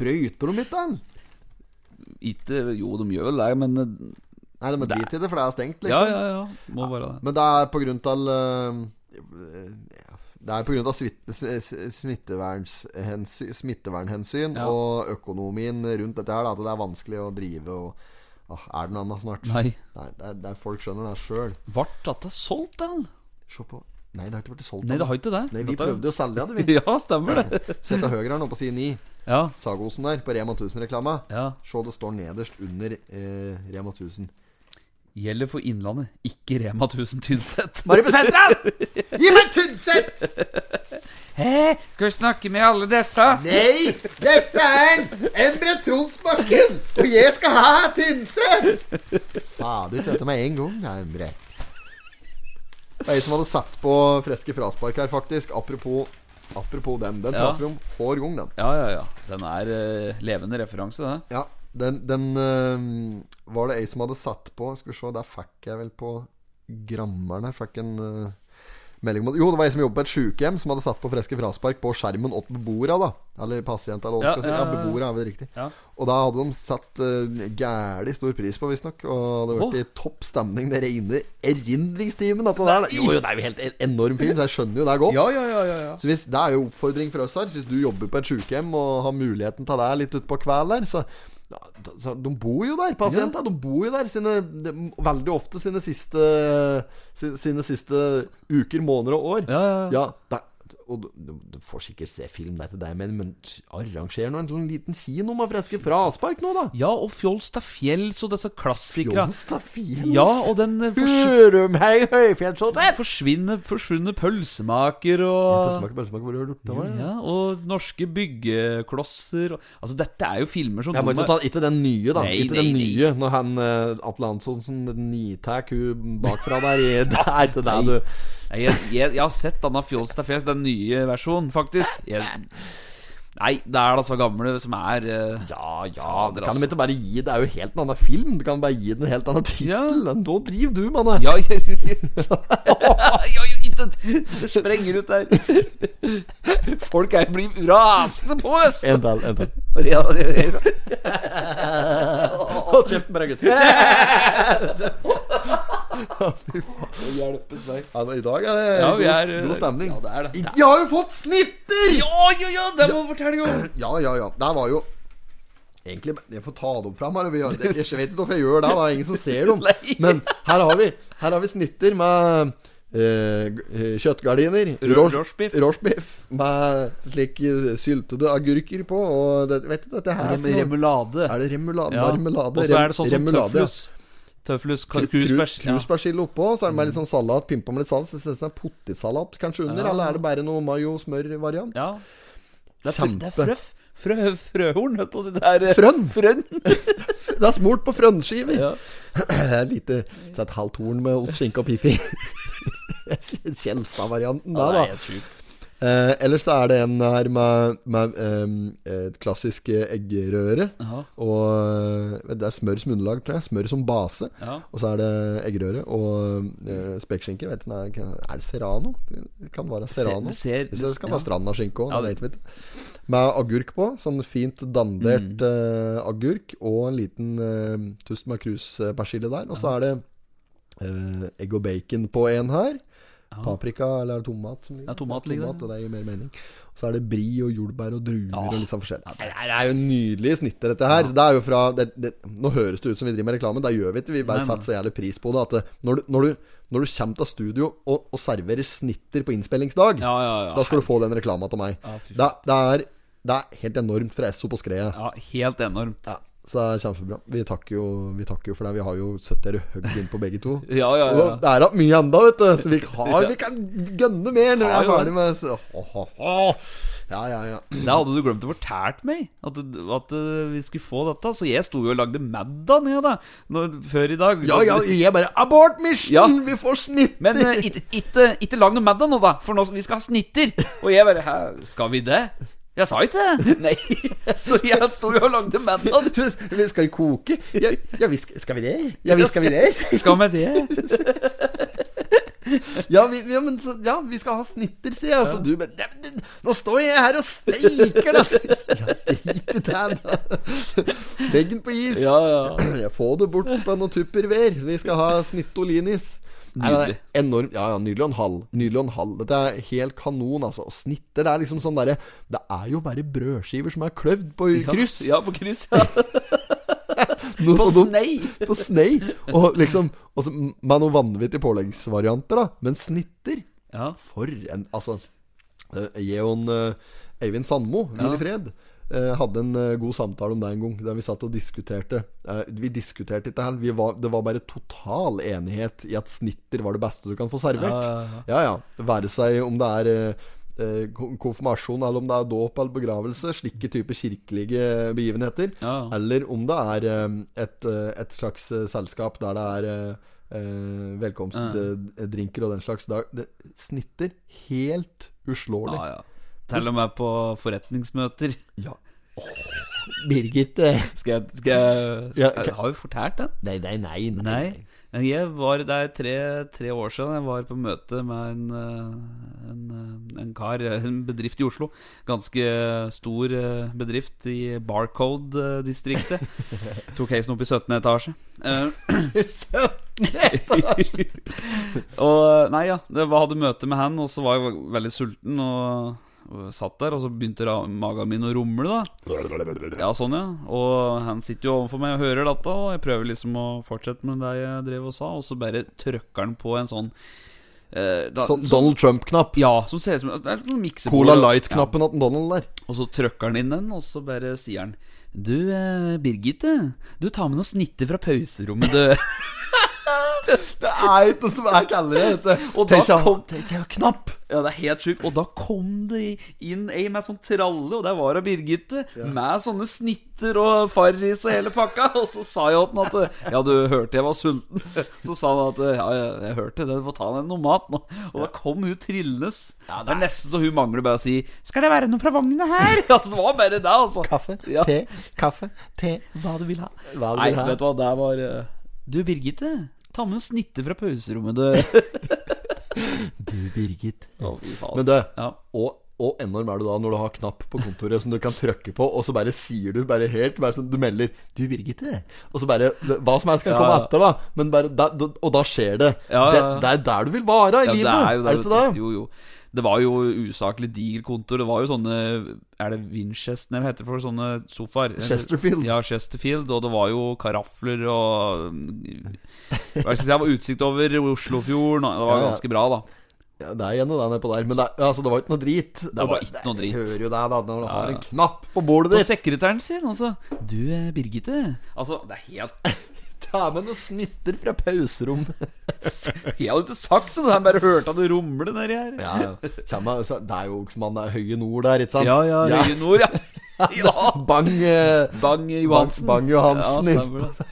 Speaker 3: Brøyter de ikke den?
Speaker 5: Ikke Jo, de gjør vel det, men eh,
Speaker 3: Nei, de må drite i det, for det er stengt,
Speaker 5: Ja,
Speaker 3: liksom.
Speaker 5: ja, ja. Må være det.
Speaker 3: Men det er på grunn av eh, Det er på grunn av svit- s- s- smittevernhensyn, smittevernhensyn
Speaker 5: Ja.
Speaker 3: og økonomien rundt dette her, da, at det er vanskelig å drive og Åh, Er det noe annet snart?
Speaker 5: Nei.
Speaker 3: Nei, det er, det er folk skjønner det sjøl.
Speaker 5: Ble dette solgt, den?
Speaker 3: Se på Nei, det har ikke blitt solgt.
Speaker 5: Nei, det har
Speaker 3: ennå.
Speaker 5: ikke det.
Speaker 3: Nei, vi
Speaker 5: Dette er-
Speaker 3: prøvde å selge det, vi.
Speaker 5: Ja, stemmer det.
Speaker 3: Se til høyre her nå, på side 9.
Speaker 5: Ja.
Speaker 3: Sagosen der, på Rema 1000-reklama.
Speaker 5: ja.
Speaker 3: Se, det står nederst under eh, Rema 1000.
Speaker 5: Gjelder for Innlandet, ikke Rema 1000 Tynset.
Speaker 3: Bare på senteret! Gi meg Tynset!
Speaker 5: Hæ? Skal vi snakke med alle disse?
Speaker 3: Nei, dette er Endre Tronsbakken, og jeg skal ha Tynset! Sa du ikke dette med en gang, da, Endre? Det er jeg som hadde satt på friske fraspark her, faktisk. Apropos, apropos den. Den
Speaker 5: Ja.
Speaker 3: prater vi om hver gang, den.
Speaker 5: Ja, ja, ja. Den er eh, levende referanse, det.
Speaker 3: Ja, den, den øhm, var det ei som hadde satt på Skal vi se, der fikk jeg vel på grammeren her Fikk en øh, melding om at- Jo, det var ei som jobbet på et sykehjem, som hadde satt på friske fraspark på skjermen åt beboere, da. Eller pasient, eller hva
Speaker 5: Ja,
Speaker 3: man skal si.
Speaker 5: ja,
Speaker 3: Ja,
Speaker 5: ja, ja.
Speaker 3: beboere er vel riktig.
Speaker 5: Ja.
Speaker 3: Og da hadde de satt uh, gæli stor pris på, visstnok. Og det hadde vært i topp stemning. Det reine erindringstimen. dette der. Jo, jo, det er jo helt en enorm film, så jeg skjønner jo det er godt.
Speaker 5: Ja, ja, ja, ja, ja.
Speaker 3: Så hvis, Det er jo oppfordring fra oss her. Hvis du jobber på et sykehjem og har muligheten til det litt utpå kvelden der, så ja, da- så De bor jo der, pasienter. De bor jo der sine, de, veldig ofte sine siste sine, sine siste uker, måneder og år.
Speaker 5: Ja, ja, ja.
Speaker 3: da- og du, du, du får sikkert se film, det er ikke det jeg mener, men arranger nå en sånn liten kino med friske fraspark nå, da!
Speaker 5: Ja, og Fjolstad Fjells og disse klassikere.
Speaker 3: Jonstadfjells!
Speaker 5: Ja, og den eh, forsv
Speaker 3: Hurumhei høyfjellshotell!
Speaker 5: forsvinne, forsvunne pølsemaker og
Speaker 3: Pølsemaker, pølsemaker, hvor har du gjort av meg?
Speaker 5: ja, og norske byggeklosser. og- Altså, dette er jo filmer som
Speaker 3: Jeg må
Speaker 5: de
Speaker 3: ikke
Speaker 5: har-
Speaker 3: ta Ikke den nye, da.
Speaker 5: Nei,
Speaker 3: ikke
Speaker 5: nei,
Speaker 3: den
Speaker 5: nei.
Speaker 3: nye når han eh, Atle Antonsen nitar hun bakfra der. i- Det er ikke det, du.
Speaker 5: Nei, jeg, jeg, jeg har sett denne Fjolstad Fjells, den nye versjonen, faktisk. Jeg, nei, det er altså gamle som er eh,
Speaker 3: Ja,
Speaker 5: Fader,
Speaker 3: ja. Du kan
Speaker 5: altså.
Speaker 3: de ikke bare gi Det er jo helt en annen film. Du kan bare gi den en helt annen tittel.
Speaker 5: Ja.
Speaker 3: Ja. Da driver du, mann.
Speaker 5: Ja, jeg, jeg, jeg, Ja, ja, ikke Det sprenger ut der. Folk er, blir rasende på oss!
Speaker 3: En til, en til.
Speaker 5: Ja, ja, ja.
Speaker 3: Hold kjeften på deg, gutt.
Speaker 5: Hjelpes meg.
Speaker 3: Ja, da, I dag er det
Speaker 5: Ja, vi
Speaker 3: god,
Speaker 5: er- eh,
Speaker 3: god stemning.
Speaker 5: ja, det er det.
Speaker 3: I- Vi har jo fått snitter!
Speaker 5: Ja, ja, ja, det må vi fortelle om!
Speaker 3: Ja, ja, ja. Der var jo Egentlig, Jeg får ta dem fram her. og vi har- Jeg jeg vet ikke hvorfor jeg gjør det. Det er ingen som ser dem.
Speaker 5: Nei.
Speaker 3: Men her har vi Her har vi snitter med eh, g- eh, kjøttgardiner.
Speaker 5: Rå-
Speaker 3: ros-
Speaker 5: rorsbiff.
Speaker 3: rorsbiff, Med slik eh, syltede agurker på. Og det, vet du dette her
Speaker 5: Rem,
Speaker 3: for noe?
Speaker 5: remulade.
Speaker 3: Er det remulade?
Speaker 5: Ja.
Speaker 3: Marmelade?
Speaker 5: Og så er det sånn som
Speaker 3: remulade, ja.
Speaker 5: tøflus. Tøflus,
Speaker 3: Kru-
Speaker 5: kar-
Speaker 3: kru-
Speaker 5: krusbæsj. Ja. Mm.
Speaker 3: Krusbærsille oppå, så er det med litt sånn salat. Pimpa med litt salat. Så ser det ut som en potetsalat kanskje under.
Speaker 5: Ja.
Speaker 3: Eller er det bare noe mayo-smør-variant?
Speaker 5: ja. Det er, fr- det er
Speaker 3: Kjempe.
Speaker 5: frøff. Frø, frøhorn, holdt på å si. Det er eh,
Speaker 3: Frønn!
Speaker 5: Frønn.
Speaker 3: Det er smurt på frønnskiver.
Speaker 5: Ja.
Speaker 3: Det er lite Så et halvt horn med ost, skinke og piffi. Kjelstad-varianten
Speaker 5: Ja,
Speaker 3: der,
Speaker 5: det
Speaker 3: da.
Speaker 5: er helt sjukt.
Speaker 3: Eh, ellers så er det en her med, med ehm, et klassisk eh, eggerøre.
Speaker 5: Ja.
Speaker 3: Og eh, det er smør som underlag, tror jeg. Smør som base.
Speaker 5: Ja.
Speaker 3: Og så er det eggerøre og eh, spekkskinke. Vet du, er, er det serrano? Det kan være serrano.
Speaker 5: det ser-
Speaker 3: Hvis det skal
Speaker 5: ja.
Speaker 3: være strandaskinke òg,
Speaker 5: Ja,
Speaker 3: det
Speaker 5: det-
Speaker 3: vet vi ikke. Med agurk på. Sånn fint dandert
Speaker 5: Mm.
Speaker 3: eh, agurk. Og en liten eh, tust med kruspersille der. Og så er det eh, egg og bacon på en her. Paprika eller er det tomat? Som ligger?
Speaker 5: Ja, tomat ligger der.
Speaker 3: det gir mer mening. Og så er det bri og jordbær og druer
Speaker 5: Ah.
Speaker 3: og litt sånn forskjellig. Nei, Det er jo nydelige snitter, dette her. Det er jo fra det, det, Nå høres det ut som vi driver med reklame, det gjør vi ikke. Vi
Speaker 5: Nei,
Speaker 3: bare
Speaker 5: nei.
Speaker 3: setter så jævlig pris på det. At det, når, du, når, du, når du kommer til studio og, og serverer snitter på innspillingsdag,
Speaker 5: Ja, ja, ja.
Speaker 3: da skal du få den reklama til meg.
Speaker 5: Ja, fy
Speaker 3: det, det, er, det er helt enormt fra Esso på skredet.
Speaker 5: Ja, helt enormt. Ja,
Speaker 3: Så det er kjempebra. Vi takker jo, vi takker jo for det. Vi har jo sett dere høgd inn på begge to.
Speaker 5: ja, ja.
Speaker 3: Og det er igjen mye enda, vet du. Så vi, har, vi kan gønne mer når vi
Speaker 5: Har jo
Speaker 3: er
Speaker 5: det.
Speaker 3: ferdig med så. Ho, ho, ho.
Speaker 5: Åh,
Speaker 3: Ja, ja, ja.
Speaker 5: det hadde du glemt å fortelle meg, at, at eh, vi skulle få dette. Så jeg sto jo og lagde middag ned da, når, før i dag.
Speaker 3: Ja, ja, jeg bare Abort mission!
Speaker 5: Ja.
Speaker 3: Vi får snitter!
Speaker 5: Men eh, ikke- ikke ikke lag noe middag nå, da, for nå, vi skal ha snitter. Og jeg bare Hæ, skal vi det? Jeg sa ikke det. Nei. Så jeg sto jo og lagde middag.
Speaker 3: Vi skal koke? Ja, ja vi skal, skal vi det? Ja, vi skal vi det?
Speaker 5: Skal vi det?
Speaker 3: Ja, vi, ja, men, så, ja, vi skal ha snitter, sier jeg. Og så du bare «Nei, men du, Nå står jeg her og steiker, da! Ja, drit i det, da. Veggen på is.
Speaker 5: Ja, ja.
Speaker 3: Ja, Få det bort på noe tupperware. Vi skal ha snittolinis. Nei, det er
Speaker 5: Nydelig.
Speaker 3: Enorm, ja, ja, nydelig og en halv. Nydelig og en halv. Dette er helt kanon, altså. Og snitter, det er liksom sånn derre Det er jo bare brødskiver som er kløvd på kryss.
Speaker 5: Ja, på kryss. Ja.
Speaker 3: Noe
Speaker 5: På
Speaker 3: så dumt.
Speaker 5: snei.
Speaker 3: På snei. Og liksom og så Med noen vanvittige påleggsvarianter, da. Men snitter
Speaker 5: Ja.
Speaker 3: For en Altså, eh, Jeon eh, Eivind Sandmo, hvil
Speaker 5: Ja.
Speaker 3: i fred, eh, hadde en eh, god samtale om det en gang, der vi satt og diskuterte. Eh, vi diskuterte ikke her, vi var, det var bare total enighet i at snitter var det beste du kan få
Speaker 5: Ja,
Speaker 3: servert. Ja, ja. Være seg om det er eh, eh, kon- konfirmasjon, eller om det er dåp eller begravelse, slike typer kirkelige begivenheter.
Speaker 5: Ja.
Speaker 3: Eller om det er eh, et, eh, et slags eh, selskap der det er eh, eh, velkomstdrinker og den slags. Da, det snitter helt uslåelig.
Speaker 5: Ja, ja. Til og med på forretningsmøter.
Speaker 3: Ja. Birgit eh,
Speaker 5: Skal jeg, skal jeg,
Speaker 3: Ja,
Speaker 5: jeg Har jo fortalt den?
Speaker 3: Nei, nei, nei. nei.
Speaker 5: Nei. Men Jeg var der tre, tre år siden. Jeg var på møte med en, eh, en, eh, en kar, eh, en bedrift i Oslo. Ganske stor eh, bedrift i Barcode-distriktet. Tok heisen opp i 17. etasje. Eh, og nei, ja. Det var, hadde møte med han, og så var jeg veldig sulten. Og, og satt der, og så begynte ra- magen min å rumle, da. Ja, sånn, ja. Og han sitter jo overfor meg og hører dette, og jeg prøver liksom å fortsette med det jeg drev og sa, og så bare trykker han på en sånn eh, da,
Speaker 3: Sånn Donald Trump-knapp.
Speaker 5: Ja, som ser ut som det er sånn miksebord.
Speaker 3: Cola Light-knappen til Donald der.
Speaker 5: Og så trykker han inn den, og så bare sier han Du, eh, Birgitte, du tar med noen snitter fra pauserommet, du.
Speaker 3: Det er jo ikke noe som er kaldere, vet du.
Speaker 5: Og da
Speaker 3: Tenk seg-
Speaker 5: kom-
Speaker 3: tenk seg å knapp.
Speaker 5: Ja, det er helt sjukt. Og da kom det inn ei med sånn tralle, og der var hun Birgitte, med sånne snitter og farris og hele pakka. Og så sa jeg til han at Ja, du hørte jeg var sulten. Så sa han at Ja, jeg, jeg hørte det, du får ta deg noe mat nå. Og da kom hun trillende. det er nesten så hun mangler bare å si Skal det være noe fra vogna her? altså, det var bare det, altså.
Speaker 3: Kaffe,
Speaker 5: Ja.
Speaker 3: te, kaffe, te. Hva du vil ha. Hva du
Speaker 5: Nei,
Speaker 3: vil ha.
Speaker 5: vet du hva, der var eh, Du, Birgitte, ta med noen snitter fra pauserommet, du.
Speaker 3: Du, Birgit.
Speaker 5: Å, fy faen.
Speaker 3: Men du,
Speaker 5: Ja.
Speaker 3: og, og enorm er du da når du har knapp på kontoret som du kan trykke på, og så bare sier du bare helt bare sånn, Du melder 'Du, Birgitte', og så bare Hva som helst kan
Speaker 5: Ja,
Speaker 3: komme
Speaker 5: ja.
Speaker 3: etter, da. Men bare, da, da og da skjer det.
Speaker 5: Ja, ja, ja.
Speaker 3: Det, det er der du vil være i
Speaker 5: Ja,
Speaker 3: livet. Er, det ikke
Speaker 5: vet du.
Speaker 3: det?
Speaker 5: Jo, jo. Det var jo usaklig diger kontor. Det var jo sånne Er det Winchester Nei, hva heter det for sånne sofaer?
Speaker 3: Chesterfield.
Speaker 5: Ja, Chesterfield. Og det var jo karafler og Hva skal jeg si, det var utsikt over Oslofjorden. og Det
Speaker 3: Ja,
Speaker 5: var
Speaker 3: ja.
Speaker 5: ganske bra, da.
Speaker 3: Ja, det er igjen og det er nedpå der. Men det, er- altså, det var ikke noe drit. Det
Speaker 5: var ikke noe drit.
Speaker 3: Jeg hører jo det da når du har en knapp på
Speaker 5: Og
Speaker 3: bordet ditt.
Speaker 5: sekretæren sin, altså. Du, eh, Birgitte. Altså, det er helt
Speaker 3: Ta med noen snitter fra pauserommet.
Speaker 5: Jeg hadde ikke sagt noe, han bare hørte at det rumle nedi her.
Speaker 3: Ja, ja. Kjem, altså, det er jo Olsmann, det er høye nord der, ikke sant?
Speaker 5: ja, ja, Høye Nord, ja. ja.
Speaker 3: Bang eh,
Speaker 5: Bang Johansen.
Speaker 3: Bang Johansen.
Speaker 5: Ja, stemmer det.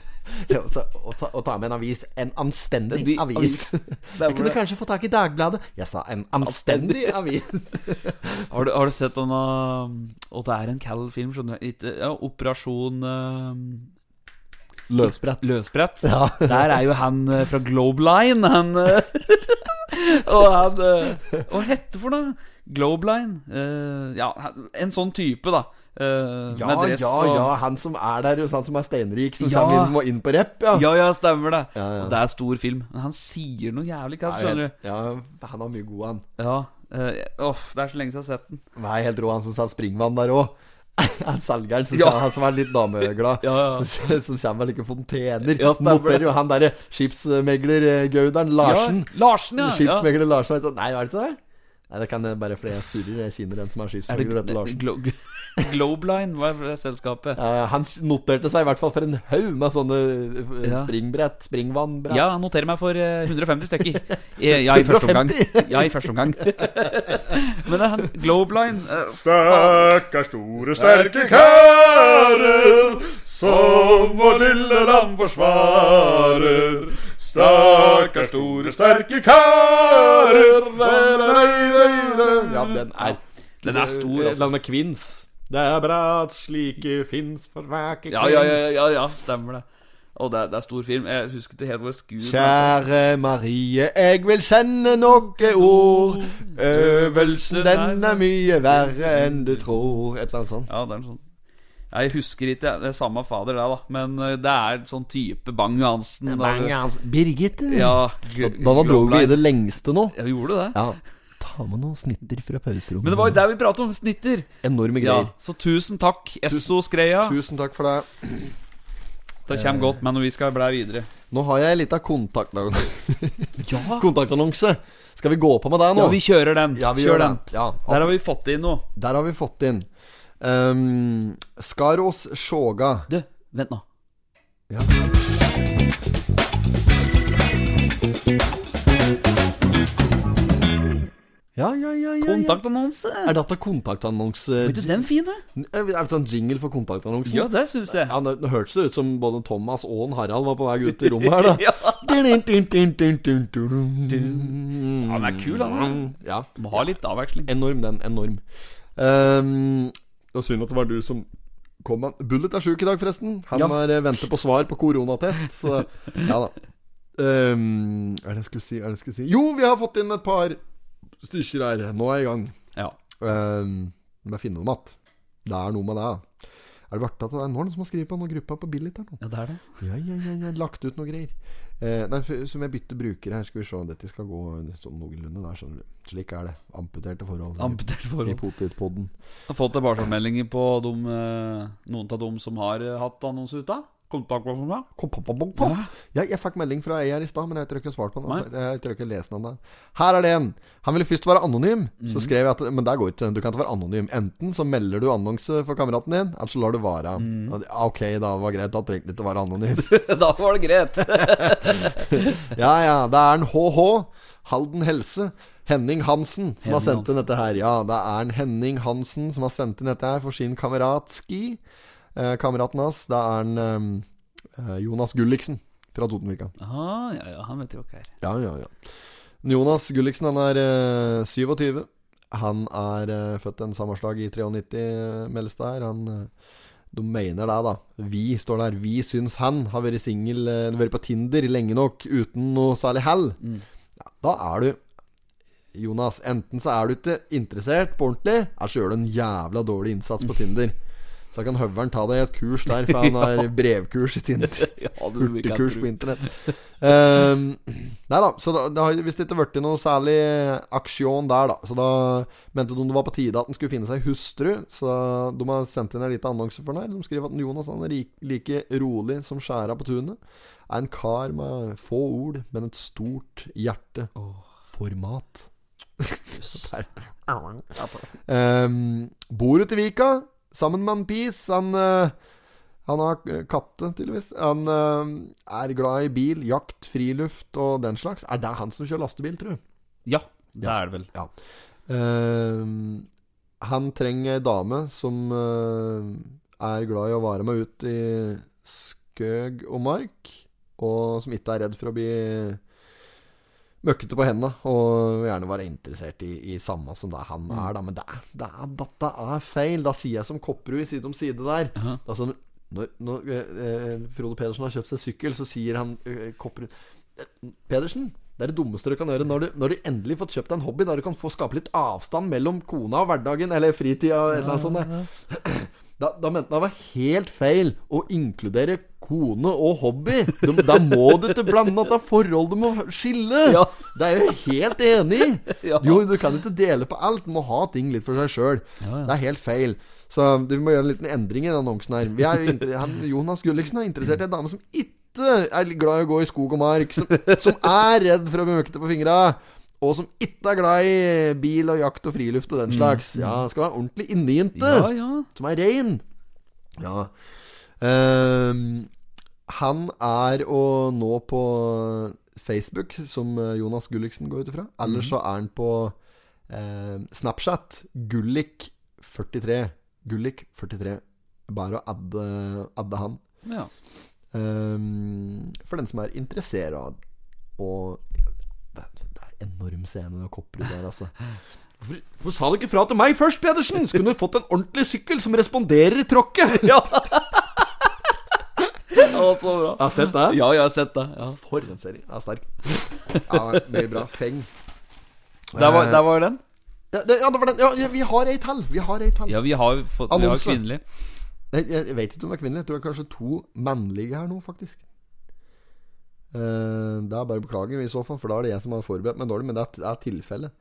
Speaker 3: Ja, og så- og ta, og ta med en avis. En anstendig
Speaker 5: De-
Speaker 3: avis.
Speaker 5: avis.
Speaker 3: Jeg kunne kanskje få tak i Dagbladet. Jeg sa en anstendig avis.
Speaker 5: Har du, har du sett denne Og det er en kall film, skjønner du. Ikke- Ja, Operasjon eh,
Speaker 3: Løsbrett.
Speaker 5: Løsbrett.
Speaker 3: Ja.
Speaker 5: Der er jo han eh, fra Globe Line, han eh, Og han eh, Hva heter det for noe? Globeline. eh, ja, en sånn type, da. eh,
Speaker 3: Ja,
Speaker 5: med dress
Speaker 3: ja,
Speaker 5: og
Speaker 3: ja. Han som er der, just han som er steinrik, som
Speaker 5: Ja.
Speaker 3: kommer inn, må inn på rep, ja.
Speaker 5: Ja, ja, stemmer det.
Speaker 3: Ja, ja.
Speaker 5: Og det er stor film. Men han sier noe jævlig
Speaker 3: Ja,
Speaker 5: kast,
Speaker 3: jeg
Speaker 5: skjønner
Speaker 3: vet.
Speaker 5: du.
Speaker 3: ja, han har mye god, han.
Speaker 5: Ja. eh, Uff, det er så lenge siden jeg har sett den.
Speaker 3: Nei, helt rå, han som sa springvann der òg. Han selgeren som,
Speaker 5: Ja.
Speaker 3: sa, han som er litt dameglad,
Speaker 5: Ja, ja.
Speaker 3: Som, som kommer med like fontener.
Speaker 5: Ja, stemmer det.
Speaker 3: Noterer jo han derre skipsmegler-gauderen Larsen.
Speaker 5: Ja, Larsen, ja. ja.
Speaker 3: Skipsmegler Larsen. vet du. Nei, er det ikke det? Nei, det kan jeg bare fordi jeg surrer. Jeg kjenner en som er
Speaker 5: Er det
Speaker 3: skipsmegler og heter Larsen.
Speaker 5: Glo Globeline, hva er det selskapet?
Speaker 3: Ja, han noterte seg i hvert fall for en haug med sånne eh,
Speaker 5: Ja.
Speaker 3: springbrett, springvannbrett.
Speaker 5: Ja, noter meg for eh, 150 stykker. Eh, Ja, i første omgang. Ja, i første omgang. Men eh, Globeline eh,
Speaker 6: Stakkars store, sterke karer som vår lille land forsvarer. Stakkars store, sterke karer
Speaker 3: Ja, den er
Speaker 5: Den er stor,
Speaker 3: Eh,
Speaker 5: altså.
Speaker 3: Land med kvinns.
Speaker 6: Det er bra at slike fins for hver
Speaker 5: Ja, ja, ja, ja, ja stemmer det. Og det er, det er stor film. Jeg husker ikke helt hvor skuen er.
Speaker 3: Kjære Marie, jeg vil sende noe ord. Øvelsen, den er mye verre enn du tror. Et eller annet sånt.
Speaker 5: Ja, det er en sånn Jeg husker ikke. Det er samme fader, det, da. Men eh, det er sånn type Bang Hansen. og-
Speaker 3: Birgitte.
Speaker 5: Ja, gl-
Speaker 3: Da, da dro vi i
Speaker 5: Globeline.
Speaker 3: det lengste nå.
Speaker 5: Ja, vi gjorde det.
Speaker 3: Ja. Ta med noen snitter fra pauserommet.
Speaker 5: Men det var jo der vi pratet om. Snitter.
Speaker 3: Enorme
Speaker 5: Ja,
Speaker 3: greier.
Speaker 5: så tusen takk, Esso Skreia.
Speaker 3: Tusen takk for det.
Speaker 5: Det kommer godt med når vi skal blæ videre.
Speaker 3: Nå har jeg litt av kontaktannonse.
Speaker 5: Ja,
Speaker 3: kontaktannonse. Skal vi gå på med det nå?
Speaker 5: vi kjører den.
Speaker 3: Ja, vi
Speaker 5: Kjør
Speaker 3: gjør
Speaker 5: den.
Speaker 3: det. Ja,
Speaker 5: Der har vi fått inn noe.
Speaker 3: Der har vi fått inn um, Skaros Sjoga.
Speaker 5: Du, vent nå.
Speaker 3: Ja, ja, ja, ja, ja.
Speaker 5: Kontaktannonse.
Speaker 3: Er dette kontaktannonse...
Speaker 5: Var ikke den fin, da?
Speaker 3: Er det sånn jingle for kontaktannonsen?
Speaker 5: Ja, det syns jeg.
Speaker 3: Ja, det, det hørtes det ut som både Thomas og en Harald var på vei ut i rommet her, da.
Speaker 5: Ja.
Speaker 3: Ja,
Speaker 5: den er kul, han,
Speaker 3: Ja.
Speaker 5: Må ha litt avveksling.
Speaker 3: Enorm, den. Enorm. Um, og synd at det var du som kom med den. Bullet er sjuk i dag, forresten. Han
Speaker 5: Ja.
Speaker 3: var, eh, venter på svar på koronatest, så ja da. Um, hva er det jeg skulle si? Hva er det jeg skulle si? Jo, vi har fått inn et par stykker her. Nå er jeg i gang.
Speaker 5: Ja.
Speaker 3: Um, må jeg finne dem igjen. Det er noe med det. ja. Er det verdt at det er noen som har skrevet på noen gruppa på Billit her nå?
Speaker 5: ja, det er det.
Speaker 3: Ja, ja, ja, ja, lagt ut noe greier. Eh, nei, for- så må jeg bytte bruker her. Skal vi se. Dette skal gå sånn noenlunde der, skjønner du. Slik er det. Amputerte forhold.
Speaker 5: Amputert
Speaker 3: I
Speaker 5: forhold.
Speaker 3: potetpodden.
Speaker 5: Har fått tilbakemeldinger på dem, eh, noen av dem som har eh, hatt annonse ute. Kontaktannonse.
Speaker 3: Kom, pop, pop, pop, pop. Ja, jeg fikk melding fra ei her i stad, men jeg tror ikke jeg svarte på den. Altså. Jeg tror ikke jeg leser den der. Her er det en. Han ville først være anonym. Så skrev jeg at Men der går ikke den. Du kan ikke være anonym. Enten så melder du annonse for kameraten din, eller så lar du være. Og det- Ok, da var det greit. Da trengte du ikke å være anonym.
Speaker 5: da var det greit.
Speaker 3: Ja, ja, det er en HH Halden Helse Henning Hansen som har
Speaker 5: Henning
Speaker 3: sendt inn dette her Ja, det er en Henning Hansen som har sendt inn dette her For sin kamerat Ski eh, Kameraten hans, det er en eh, Jonas Gulliksen fra Totenvika
Speaker 5: Ah, ja, ja, han vet jo hva det er.
Speaker 3: Ja, ja, ja Jonas Gulliksen, han er eh, 27 Han er eh, født en sammenslag i 93 eh, meldes det her Han... eh, de mener det, da. Vi står der. Vi syns han har vært singel, eh, vært på Tinder lenge nok uten noe særlig hell.
Speaker 5: Mm.
Speaker 3: Ja, da er du Jonas, enten så er du ikke interessert på ordentlig, eller så gjør du en jævla dårlig innsats på Tinder. Så kan høveren ta deg i et kurs der, for han har brevkurs i Tinder.
Speaker 5: Ja, du, vi kan
Speaker 3: Hurtigkurs
Speaker 5: tro.
Speaker 3: på internett. Ehm, nei da, så da, det har visst ikke blitt noe særlig aksjon der, da. Så da mente de det var på tide at han skulle finne seg hustru, så de har sendt inn en liten annonse for den her. De skriver at Jonas han er rik- like rolig som skjæra på tunet. Er en kar med få ord, men et stort hjerte. For mat. Der. Ehm, bor ute i Vika, sammen med en pis. Han eh, han har eh, katte, tydeligvis. Han eh, er glad i bil, jakt, friluft og den slags. Er det han som kjører lastebil, tror du?
Speaker 5: Ja, det er det vel.
Speaker 3: Eh, han trenger ei dame som eh, er glad i å være med ut i skøg og mark, og som ikke er redd for å bli møkkete på hendene, og gjerne være interessert i, i samme som det han er, da. Men det er, det er, dette er feil. Da sier jeg som Kopperud i Side om side der.
Speaker 5: Aha.
Speaker 3: Det er sånn, når, når eh, eh, Frode Pedersen har kjøpt seg sykkel, så sier han eh, Kopperud eh, Pedersen, Det er det dummeste du kan gjøre når du, når du endelig fått kjøpt deg en hobby, der du kan få skape litt avstand mellom kona og hverdagen, eller fritida, et eller annet sånt. eh. Da, da mente han det var helt feil å inkludere kone og hobby. Du, da må du ikke blande at det er forhold du må skille.
Speaker 5: Ja.
Speaker 3: Det er jeg jo helt enig i.
Speaker 5: Ja.
Speaker 3: Jo, du kan ikke dele på alt. Du må ha ting litt for seg sjøl. Det er helt feil. Så vi må gjøre en liten endring i den annonsen her. Vi er jo inter- han, Jonas Gulliksen er interessert i en dame som ikke er glad i å gå i skog og mark. Som, som er redd for å bli møkkete på fingra. Og som ikke er glad i bil og jakt og friluft og den slags. Ja, skal være ordentlig innejente.
Speaker 5: Mm. Ja, ja.
Speaker 3: Som er rein. Ja. Ehm, han er å nå på Facebook, som eh, Jonas Gulliksen går ut ifra. Eller så er han på eh, Snapchat. Gullik43. Gullik43. Bare å adde, adde han.
Speaker 5: ja.
Speaker 3: Ehm, for den som er interessert av Og det det er enorm scene med Kopperud der, altså. Hvorfor, hvorfor sa du ikke fra til meg først, Pedersen? Skulle du fått en ordentlig sykkel som responderer i tråkket?
Speaker 5: Ja. Å, så bra.
Speaker 3: Jeg har sett det.
Speaker 5: Ja, jeg har sett det. Ja.
Speaker 3: For en serie. Det er sterk. Ja, det er mye bra. Feng.
Speaker 5: Der, var, der var den.
Speaker 3: Ja, det, ja, det var den. Ja, vi har ei til. Vi har ei til.
Speaker 5: Ja, vi har fått vi har
Speaker 3: Annonse.
Speaker 5: kvinnelig.
Speaker 3: Jeg, jeg, jeg vet ikke om det er kvinnelig. Jeg tror det er kanskje to mannlige her nå, faktisk. Eh, det er bare å beklage i så fall, for da er det jeg som har forberedt meg dårlig. Men det er, det er tilfellet.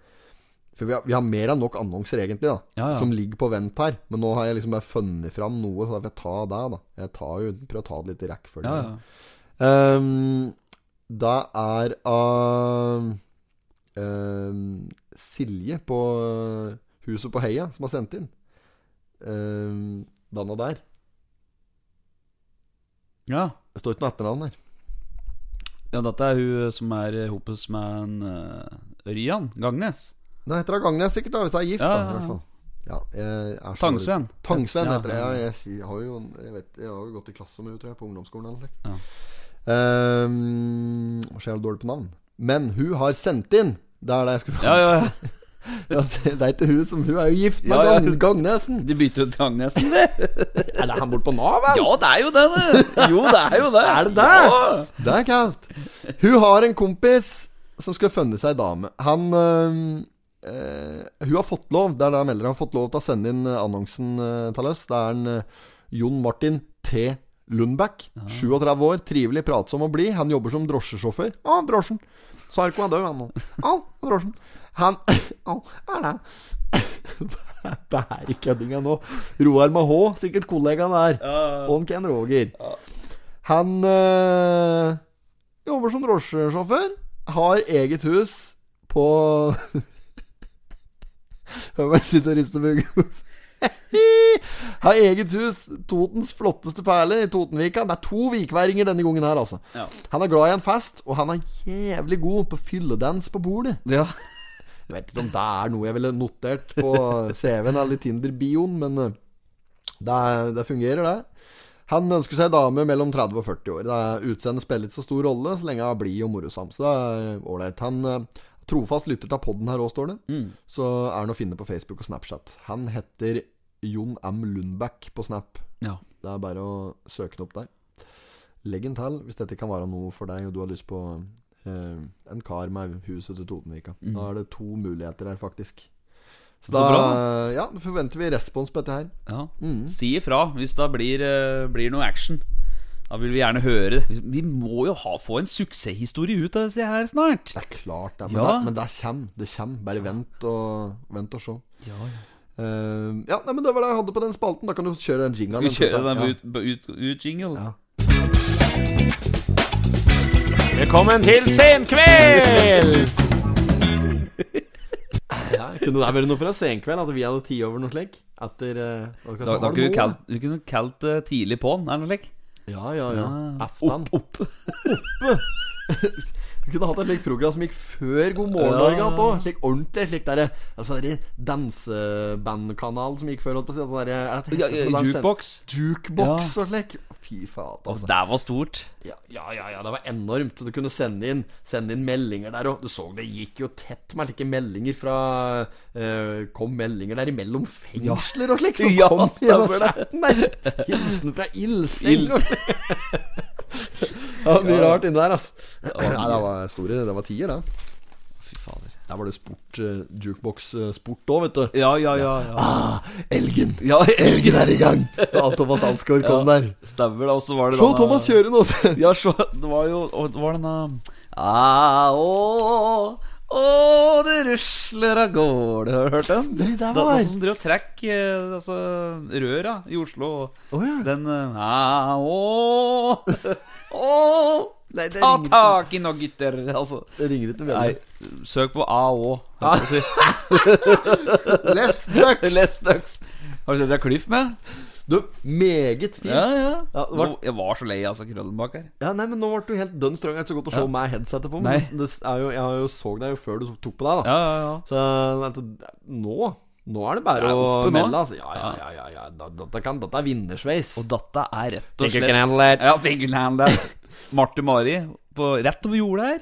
Speaker 3: For vi har, vi har mer enn nok annonser, egentlig, da
Speaker 5: Ja, ja.
Speaker 3: som ligger på vent her. Men nå har jeg liksom bare funnet fram noe, så da får jeg ta det, da. Jeg tar jo, prøver å ta det litt i rekkefølge.
Speaker 5: Ja, ja.
Speaker 3: Ehm, det er av ehm, Silje på eh, Huset på Heia som har sendt inn. Um, Danna der.
Speaker 5: ja.
Speaker 3: Det står ikke noe etternavn her.
Speaker 5: Ja, dette er hun som er hopes med en eh, Ørjan Gagnes.
Speaker 3: Det heter da Gagnes sikkert, da, hvis jeg er gift,
Speaker 5: Ja, ja,
Speaker 3: da. I
Speaker 5: ja.
Speaker 3: hvert fall. Ja, jeg er så dårlig-
Speaker 5: Tangsven.
Speaker 3: Tangsven
Speaker 5: Ja,
Speaker 3: heter det.
Speaker 5: ja.
Speaker 3: Ja, jeg, si- har jo, jeg, vet, jeg har jo gått i klasse med henne, tror jeg, på ungdomsskolen eller noe.
Speaker 5: Ja.
Speaker 3: Ehm, og så er jeg dårlig på navn. Men hun har sendt inn Det er det jeg skulle
Speaker 5: Ja, ja, ja.
Speaker 3: Ja, se, Det er ikke hun som Hun er jo gift med
Speaker 5: Ja, ja.
Speaker 3: Gang- Gagnesen.
Speaker 5: De bytter ut Gagnesen, det.
Speaker 3: Er det han borte på Nav, vel?
Speaker 5: Ja, det er jo det, det. Jo, det er jo det.
Speaker 3: Er det det?
Speaker 5: Ja.
Speaker 3: Det er kaldt. Hun har en kompis som skal funne seg dame. Han øhm, øh, Hun har fått lov, det er det han melder, han har fått lov til å sende inn øh, annonsen øh, til oss. Det er en øh, Jon Martin T. Lundbæk. 37 år, trivelig, pratsom og blid. Han jobber som drosjesjåfør. Å, drosjen. Sarko er død, han nå. Å, drosjen. Han Å, er det Det er ikke køddinga nå. Roar med H, sikkert kollegaen der. Og en Ken Roger. Han øh, jobber som drosjesjåfør. Har eget hus på Høveren sitter og rister på hodet. Har eget hus, Totens flotteste perle i Totenvika. Det er to vikværinger denne gangen her, altså.
Speaker 5: Ja.
Speaker 3: Han er glad i en fest, og han er jævlig god på fylledans på bordet.
Speaker 5: Ja.
Speaker 3: Jeg vet ikke om det er noe jeg ville notert på CV-en eller Tinder-bioen, men eh, det, er- det fungerer, det. Han ønsker seg dame mellom 30 og 40 år. Det er Utseendet spiller ikke så stor rolle, så lenge hun er blid og morosam. Så det er ålreit. Han eh, trofast lytter til podden her òg, står det.
Speaker 5: Mm.
Speaker 3: Så er han å finne på Facebook og Snapchat. Han heter Jon M. Lundbæk på Snap.
Speaker 5: Ja.
Speaker 3: Det er bare å søke den opp der. Legg den til hvis dette kan være noe for deg, og du har lyst på eh, en kar med huset til Totenvika. Da er det to muligheter her, faktisk. Så,
Speaker 5: Mm. Så
Speaker 3: da
Speaker 5: bra.
Speaker 3: Ja, nå forventer vi respons på dette her.
Speaker 5: ja. Si ifra hvis det blir, eh, blir noe action. Da vil vi gjerne høre. Vi må jo ha, få en suksesshistorie ut av disse her snart.
Speaker 3: Det er klart, det. Men,
Speaker 5: Ja.
Speaker 3: det, men det kommer. Det kommer. Bare vent og, vent og se.
Speaker 5: Ja,
Speaker 3: Eh, ja, nei, men det var det jeg hadde på den spalten. Da kan du kjøre den jinglen.
Speaker 5: Skal vi kjøre den
Speaker 3: Ja.
Speaker 5: ut, ut, ut jingle?
Speaker 3: Ja.
Speaker 8: Velkommen til Senkveld!
Speaker 3: Ja, kunne det vært noe fra senkveld? At vi hadde ti over noe slik? Etter eh, hva
Speaker 5: Da,
Speaker 3: skal
Speaker 5: da
Speaker 3: vi
Speaker 5: kunne du
Speaker 3: kalle
Speaker 5: kalt- du kunne kalt det tidlig på'n, eller noe slikt.
Speaker 3: Ja, ja, ja.
Speaker 5: Ja.
Speaker 3: Aftan.
Speaker 5: Ah. Opp.
Speaker 3: Du kunne hatt et slikt program som gikk før God morgen
Speaker 5: Ja.
Speaker 3: Norge. Ja. Slik ordentlig slik derre altså, der dansebandkanal som gikk før. Holdt på å si, at det der, eh, er det
Speaker 5: Ja,
Speaker 3: det heter
Speaker 5: ja,
Speaker 3: for noe der?
Speaker 5: jukebox.
Speaker 3: Jukebox og slik. Fy faen,
Speaker 5: Altså,
Speaker 3: altså.
Speaker 5: det var stort.
Speaker 3: Ja, ja, ja, ja, det var enormt. Du kunne sende inn, sende inn meldinger der òg. Du så det gikk jo tett med slike meldinger fra eh, Kom meldinger der imellom fengsler og slik. Som
Speaker 5: Ja,
Speaker 3: kom
Speaker 5: stemmer
Speaker 3: gjennom chatten der. Hilsen fra ildseng.
Speaker 5: Ilds-
Speaker 3: og- Ja, mye rart inni der, ass. Nei, det var store. Det var tier, det.
Speaker 5: Fy fader.
Speaker 3: Der var det sport eh, jukebox-sport òg, vet du.
Speaker 5: Ja, ja, ja. ja.
Speaker 3: Ah, elgen!
Speaker 5: ja
Speaker 3: Elgen er i gang! Og Thomas Ansgaard kom
Speaker 5: Ja.
Speaker 3: der.
Speaker 5: Stemmer det. Og så var det
Speaker 3: Se
Speaker 5: denne-
Speaker 3: Thomas kjøre nå! se.
Speaker 5: Ja, så, det var jo og Det var denne ah, Å, å, det rusler av gårde. Har du hørt den?
Speaker 3: Nei, det var-
Speaker 5: Det var som drev og trekk eh, altså, røra i Oslo.
Speaker 3: Å, ja.
Speaker 5: Den eh, ah, Å, å
Speaker 3: Nei, det
Speaker 5: Ta
Speaker 3: ringer-
Speaker 5: tak i nå, gutter. Altså.
Speaker 3: Det ringer ikke
Speaker 5: Nei,
Speaker 3: noe
Speaker 5: søk på AÅ.
Speaker 3: bedre. Les Ducks!
Speaker 5: Les Ducks. Har du sett deg Cliff med?
Speaker 3: Du, meget fin.
Speaker 5: Ja,
Speaker 3: Ja.
Speaker 5: ja.
Speaker 3: Ja, det var-
Speaker 5: Nå- Jeg var så lei altså Krøllenbakk her.
Speaker 3: nei, men nå ble du helt dønn strøng. Det er ikke så godt å se
Speaker 5: Ja.
Speaker 3: meg headsetet på,
Speaker 5: Nei.
Speaker 3: men det er jo, jeg har jo så deg jo før du tok på deg, da.
Speaker 5: Ja, ja, ja.
Speaker 3: Så at, nå Nå er det bare
Speaker 5: Ja,
Speaker 3: å
Speaker 5: oppe nå.
Speaker 3: melde, altså. Ja, ja, ja. ja, ja. Da- Dette, kan, dette er vinnersveis.
Speaker 5: Og datta er rett og
Speaker 8: Think you
Speaker 5: slett
Speaker 8: can handle it?
Speaker 5: Ja, fingerhandler. Marte Mari på rett over jordet her,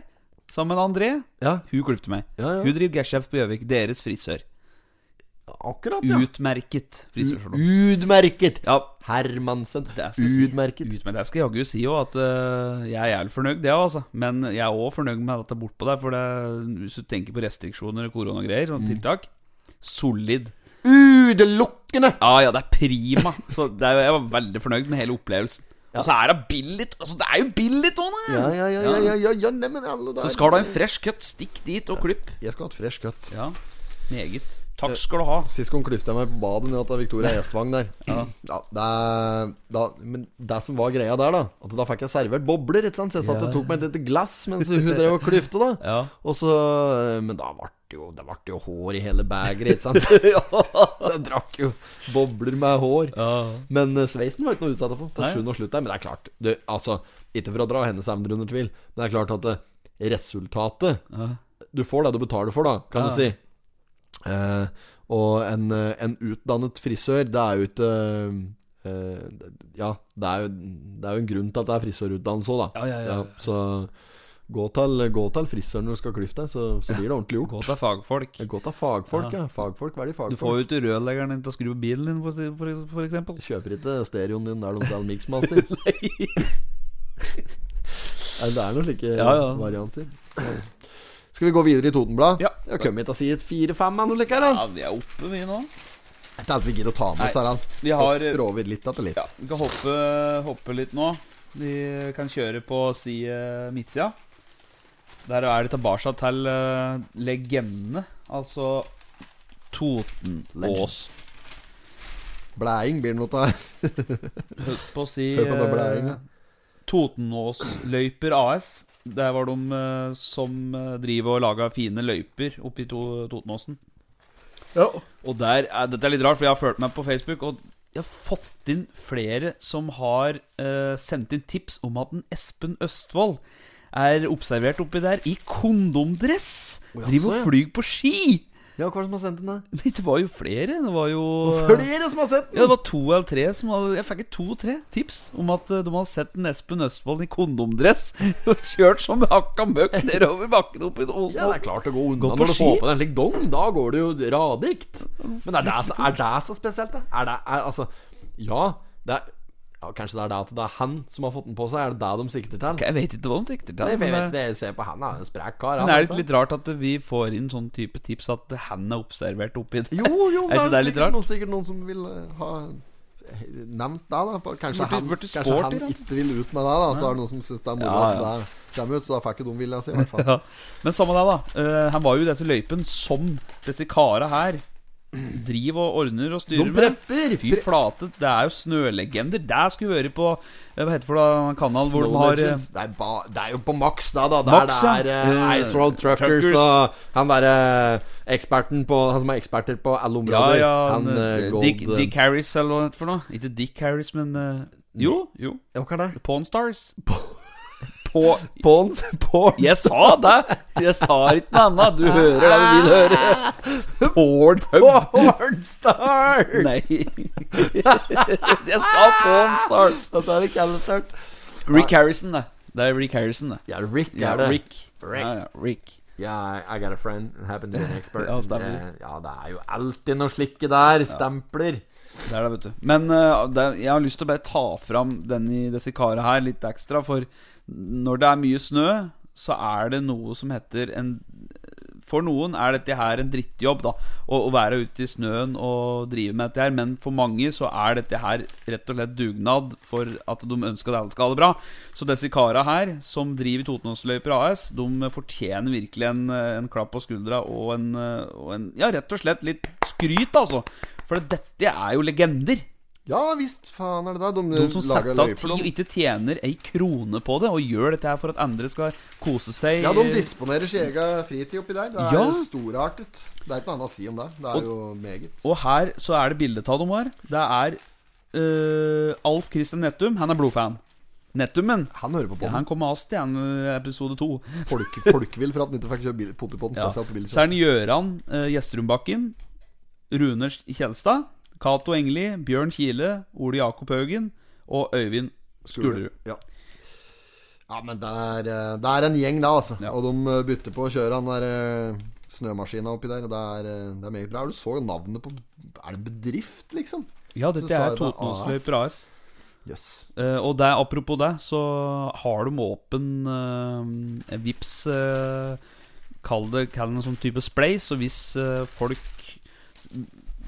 Speaker 5: sammen med André.
Speaker 3: Ja,
Speaker 5: Hun klipte meg.
Speaker 3: Ja, ja.
Speaker 5: Hun driver gashef på Gjøvik. Deres frisør.
Speaker 3: akkurat, ja.
Speaker 5: Utmerket frisørsalong.
Speaker 3: Utmerket!
Speaker 5: Ja,
Speaker 3: Hermansen.
Speaker 5: det skal jeg si.
Speaker 3: Utmerket.
Speaker 5: Ut med det. Jeg skal jaggu si jo at eh, jeg er fornøyd, det altså. Men jeg er òg fornøyd med at det er bortpå der. For det, hvis du tenker på restriksjoner og koronagreier, sånne
Speaker 3: Mm.
Speaker 5: tiltak Solid.
Speaker 3: Utelukkende!
Speaker 5: Ja ja, det er prima. Så det er, jeg var veldig fornøyd med hele opplevelsen. Og så er det billig. Altså, det er jo billig, Tone!
Speaker 3: Ja, ja, ja, ja, ja, ja, ja neimen alle der.
Speaker 5: Så skal du ha en fresh cut, stikk dit og klipp.
Speaker 3: Jeg skulle hatt fresh cut.
Speaker 5: Ja, meget. Takk skal du ha.
Speaker 3: Sist gang klyfta jeg meg på badet når jeg hadde Victoria Gjestvang der. Ja. det er, da, men det som var greia der, da At da fikk jeg servert bobler. Ikke sant? Så jeg satt og tok meg et lite glass mens hun drev og klyfte, da.
Speaker 5: Ja.
Speaker 3: Og så eh, Men da ble det jo, det ble jo hår i hele begeret, ikke sant? Så jeg drakk jo bobler med hår. Men eh, sveisen var ikke noe utsatt for. På
Speaker 5: Nei.
Speaker 3: sjuende og slutt der. Men det er klart du, Altså, ikke for å dra hennes evner under tvil, men det er klart at eh, resultatet Du får det du betaler for, da,
Speaker 5: Ja.
Speaker 3: kan du si. Eh, og en, eh, en utdannet frisør, det er jo ikke eh, eh, Ja, det er jo, det er jo en grunn til at det er frisørutdannelse òg, da.
Speaker 5: Ja, ja, ja.
Speaker 3: så gå til, gå til frisøren når du skal klyfte deg, så, så blir det ordentlig
Speaker 5: Gå
Speaker 3: gjort.
Speaker 5: til fagfolk.
Speaker 3: Gå til fagfolk, ja. Fagfolk, hva er de
Speaker 5: Du
Speaker 3: fagfolk?
Speaker 5: får jo ikke rørleggeren din til å skru på bilen din, for, si- for, for eksempel.
Speaker 3: Kjøper ikke stereoen din der de selger Mixmaster. Nei, det er noen slike
Speaker 5: Ja, ja.
Speaker 3: varianter. Skal vi gå videre i Totenblad?
Speaker 5: Ja.
Speaker 3: Jeg kommer hit og sier et fire-fem eller noe slikt. eller?
Speaker 5: Ja, vi er oppe, vi nå.
Speaker 3: Jeg tenkte vi gidder å ta med oss
Speaker 5: Nei.
Speaker 3: her.
Speaker 5: Vi har eh,
Speaker 3: Rover litt etter litt.
Speaker 5: Ja, vi kan hoppe, hoppe litt nå. Vi kan kjøre på si eh, midtsida. Der er det tilbake til eh, legendene. Altså Totenås.
Speaker 3: Blæing blir det noe av.
Speaker 5: Holdt på å si
Speaker 3: Hør på den
Speaker 5: eh,
Speaker 3: blæinga.
Speaker 5: Totenåsløyper AS. Der var de eh, som eh, driver og lager fine løyper oppe i to Totenåsen.
Speaker 3: Ja.
Speaker 5: Og der er, Dette er litt rart, for jeg har fulgt meg på Facebook, og jeg har fått inn flere som har eh, sendt inn tips om at en Espen Østfold er observert oppi der i kondomdress!
Speaker 3: Å, jaså,
Speaker 5: driver
Speaker 3: ja.
Speaker 5: og flyr på ski!
Speaker 3: ja, hva er det som har sendt den, da?
Speaker 5: Men det var jo flere. Det var jo
Speaker 3: Flere som har
Speaker 5: ja,
Speaker 3: sett
Speaker 5: det
Speaker 3: den!
Speaker 5: var to eller tre som hadde Jeg fikk to-tre tips om at eh, de hadde sett en Espen Østfold i kondomdress og kjørt som hakka møkk nedover bakken oppi Åsen.
Speaker 3: Ja, det er klart å gå unna
Speaker 5: Gå på
Speaker 3: når du
Speaker 5: ski.
Speaker 3: får på deg en slik dong. Da går det jo radikt. Men er det så, er det så spesielt, da? Er det er, Altså, ja, det er ja, Kanskje det er det at det er han som har fått den på seg? Er det det de sikter til?
Speaker 5: Jeg vet ikke hva han sikter
Speaker 3: Nei,
Speaker 5: til.
Speaker 3: for jeg
Speaker 5: Men,
Speaker 3: vet
Speaker 5: eh,
Speaker 3: ikke, jeg ser på han, han er en sprek kar.
Speaker 5: men er det ikke litt rart at vi får inn sånn type tips at han er observert oppi det?
Speaker 3: Jo, jo,
Speaker 5: Er
Speaker 3: men
Speaker 5: ikke
Speaker 3: det er
Speaker 5: det litt
Speaker 3: sikkert
Speaker 5: rart?
Speaker 3: noen, sikkert noen som vil eh, ha eh, nevnt det, da. på- Kanskje
Speaker 5: Burde-
Speaker 3: han,
Speaker 5: burde
Speaker 3: kanskje
Speaker 5: sport
Speaker 3: han
Speaker 5: i det?
Speaker 3: ikke vil ut med det, da. Så er det noen som syns det er
Speaker 5: Ja,
Speaker 3: moro at
Speaker 5: ja.
Speaker 3: det kommer ut, så da får ikke de vilja si, i hvert fall.
Speaker 5: Ja. Men samme det, da. Eh, han var jo i disse løypene som disse kara her driver og ordner og
Speaker 3: De
Speaker 5: styrer med.
Speaker 3: prepper!
Speaker 5: Fy flate, det er jo snølegender. Det skulle vi høre på eh, Hva heter det for da, kanal hvor de har eh,
Speaker 3: Legends. det, er ba, det er jo på maks, da. da. Der
Speaker 5: Max, ja.
Speaker 3: det er eh,
Speaker 5: Eh,
Speaker 3: Ice Road Truckers,
Speaker 5: Truckers.
Speaker 3: og han derre eh, eksperten på Han som er eksperter på
Speaker 5: Ja,
Speaker 3: alle områder.
Speaker 5: ja,
Speaker 3: han eh,
Speaker 5: eh,
Speaker 3: Gold
Speaker 5: Dick, Dick Harris eller hva det heter for noe. Ikke Dick Harris, men eh, Jo, jo.
Speaker 3: Ja, hva er det?
Speaker 5: Pawn Stars. På
Speaker 3: Pawns? Pawns?
Speaker 5: Jeg sa det! Jeg sa ikke noe annet. Du hører det du vil høre. Porn pub.
Speaker 3: Pornstars!
Speaker 5: Nei. Jeg sa Pawn Stars.
Speaker 3: Dette er ikke alle start.
Speaker 5: Rick Harrison, det. Det er Rick Harrison, det.
Speaker 3: Ja, Rick
Speaker 5: Ja,
Speaker 3: er det.
Speaker 5: Rick.
Speaker 3: Rick.
Speaker 5: Ja, ja, Rick.
Speaker 3: Ja, I got a friend. Happened to be an expert.
Speaker 5: Ja, stemmer.
Speaker 3: Eh, ja, det er jo alltid noe slikke der. Stempler.
Speaker 5: Det er det, vet du. Men eh, det, jeg har lyst til å bare ta fram den i disse karene her litt ekstra. For når det er mye snø, så er det noe som heter en For noen er dette her en drittjobb, da. Å, å være ute i snøen og drive med dette her. Men for mange så er dette her rett og slett dugnad for at de ønsker at alle skal ha det bra. Så disse karene her, som driver Totenåsløyper AS, de fortjener virkelig en, eh, en klapp på skuldra og en, eh, og en Ja, rett og slett litt skryt, altså. For dette er jo legender.
Speaker 9: Ja visst, faen er det da. De,
Speaker 5: De som setter
Speaker 9: lager
Speaker 5: av
Speaker 9: løyper,
Speaker 5: tid og
Speaker 9: de.
Speaker 5: ikke tjener ei krone på det, og gjør dette her for at andre skal kose seg.
Speaker 9: Ja, de disponerer sin egen fritid oppi der. Det er
Speaker 5: Ja.
Speaker 9: jo storartet. Det er ikke noe annet å si om det. Det er jo meget.
Speaker 5: Og her så er det bildet av dem her. Det er eh, Alf Christian Nettum. Han er blodfan. Nettumen.
Speaker 9: Han hører på
Speaker 5: Ja,
Speaker 9: podden.
Speaker 5: han kom med oss til en, eh, episode to.
Speaker 9: Folk, folkvill for at han ikke fikk kjøre bil- potipodden
Speaker 5: Ja.
Speaker 9: spesielt
Speaker 5: Så
Speaker 9: på bilkjøp.
Speaker 5: er det Gjøran eh, Gjestrumbakken, Rune Kjelstad, Cato Engli, Bjørn Kile, Ole Jakob Haugen og Øyvind Skulerud.
Speaker 9: Ja. ja, men det er, eh, det er en gjeng, da, altså.
Speaker 5: Ja.
Speaker 9: Og de eh, bytter på å kjøre han der eh, snømaskina oppi der. og Det er, eh, det er meget bra. Du så jo navnet på Er det en bedrift, liksom?
Speaker 5: Ja,
Speaker 9: Så
Speaker 5: dette
Speaker 9: sa
Speaker 5: er
Speaker 9: jeg det,
Speaker 5: Totenåsløyper AS.
Speaker 9: Jøss. Yes.
Speaker 5: Eh, og det, apropos det, så har de åpen uh, Vips eh, Kall det, kall det noen sånn type spleis. Og hvis eh, folk s-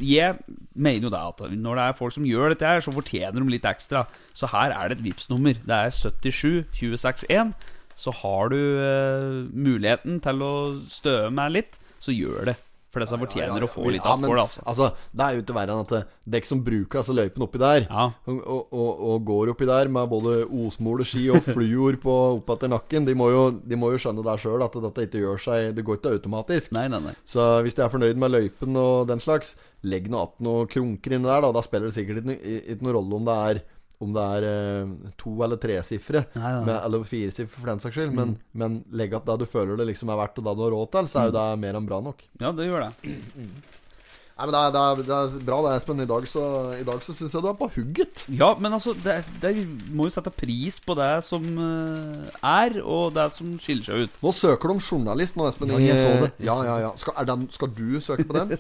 Speaker 5: Jeg mener jo det at når det er folk som gjør dette her, så fortjener de litt ekstra. Så her er det et vips nummer Det er 77 261. Så har du eh, muligheten til å støe meg litt, så gjør det. For disse
Speaker 9: Ja, ja,
Speaker 5: fortjener
Speaker 9: ja.
Speaker 5: å få litt
Speaker 9: Ja,
Speaker 5: av
Speaker 9: men,
Speaker 5: for det, altså.
Speaker 9: det er jo ikke verre enn at eh, dekk som bruker altså, løypen oppi der,
Speaker 5: Ja.
Speaker 9: og, og, og, og går oppi der med både osmole ski og fluor på oppetter nakken, de må jo, de må jo skjønne der sjøl at dette ikke gjør seg Det går ikke automatisk.
Speaker 5: Nei, nei, nei.
Speaker 9: Så hvis de er fornøyd med løypen og den slags, legg nå att noe krunker inni der, da. Da spiller det sikkert ikke, ikke noen rolle om det er om det er eh, to eller tresifre,
Speaker 5: Nei, Mm. nei, nei.
Speaker 9: med- eller firesifre for den saks skyld, men, men legg att det du føler det liksom er verdt, og det du har råd til,
Speaker 5: Mm.
Speaker 9: så er jo det mer enn bra nok.
Speaker 5: Ja, det gjør det.
Speaker 9: Nei, men det er, det er, det er bra det, Espen. I dag så, i dag så syns jeg du er på hugget.
Speaker 5: Ja, men altså, det, det må jo sette pris på det som eh, er, og det som skiller seg ut.
Speaker 9: Nå søker du om journalist nå, Espen.
Speaker 5: Ja,
Speaker 9: i-
Speaker 5: jeg så det. Jeg
Speaker 9: Ja,
Speaker 5: så
Speaker 9: ja, ja. Skal, er den, skal du søke på den?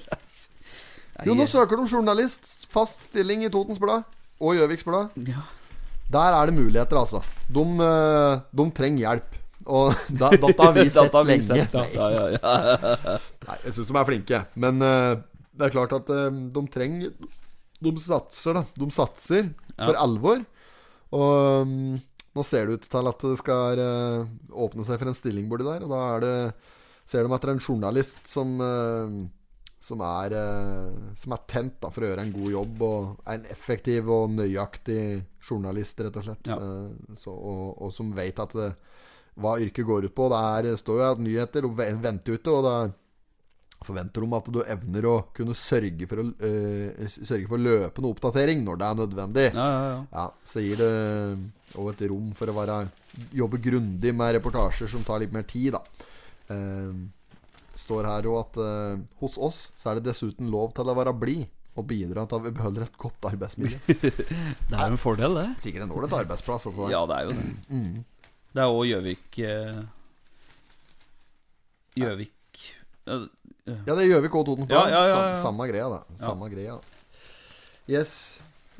Speaker 9: Jo, nå søker du om journalist. Fast stilling i Totens Blad og Gjøviks Blad.
Speaker 5: Ja.
Speaker 9: Der er det muligheter, altså. De, eh, de trenger hjelp. Og da, dette har vi sett
Speaker 5: Data har vi
Speaker 9: lenge.
Speaker 5: sett, ja. Ja, ja, ja.
Speaker 9: Nei, jeg syns de er flinke. Men eh, det er klart at eh, de trenger De satser, da. De satser for alvor. Og mm, nå ser det ut til at det skal eh, åpne seg for en stilling borti der. Og da er det ser de etter en journalist som eh, som er, eh, som er tent da, for å gjøre en god jobb. Og er en effektiv og nøyaktig journalist, rett og slett.
Speaker 5: Ja.
Speaker 9: Eh, så, og, og som vet at det, hva yrket går ut på. Det er, står jo at nyheter de venter ute, og det er Forventer de at du evner å kunne sørge for, å, eh, sørge for løpende oppdatering når det er nødvendig.
Speaker 5: Ja, ja, ja.
Speaker 9: Ja, Så gir det òg et rom for å være, jobbe grundig med reportasjer som tar litt mer tid, da. Eh, står her òg at eh, hos oss så er det dessuten lov til å være blid og bidra til at vi beholder et godt arbeidsmiljø.
Speaker 5: Det er jo en fordel, det.
Speaker 9: Sikkert en ålreit arbeidsplass. Altså.
Speaker 5: Ja, det er jo det.
Speaker 9: Mm.
Speaker 5: Det er òg Gjøvik eh, Gjøvik eh,
Speaker 9: Ja, det gjør vi K2 på.
Speaker 5: Ja, ja, ja, ja.
Speaker 9: Sam, samme greia, da. Samme greia. Yes.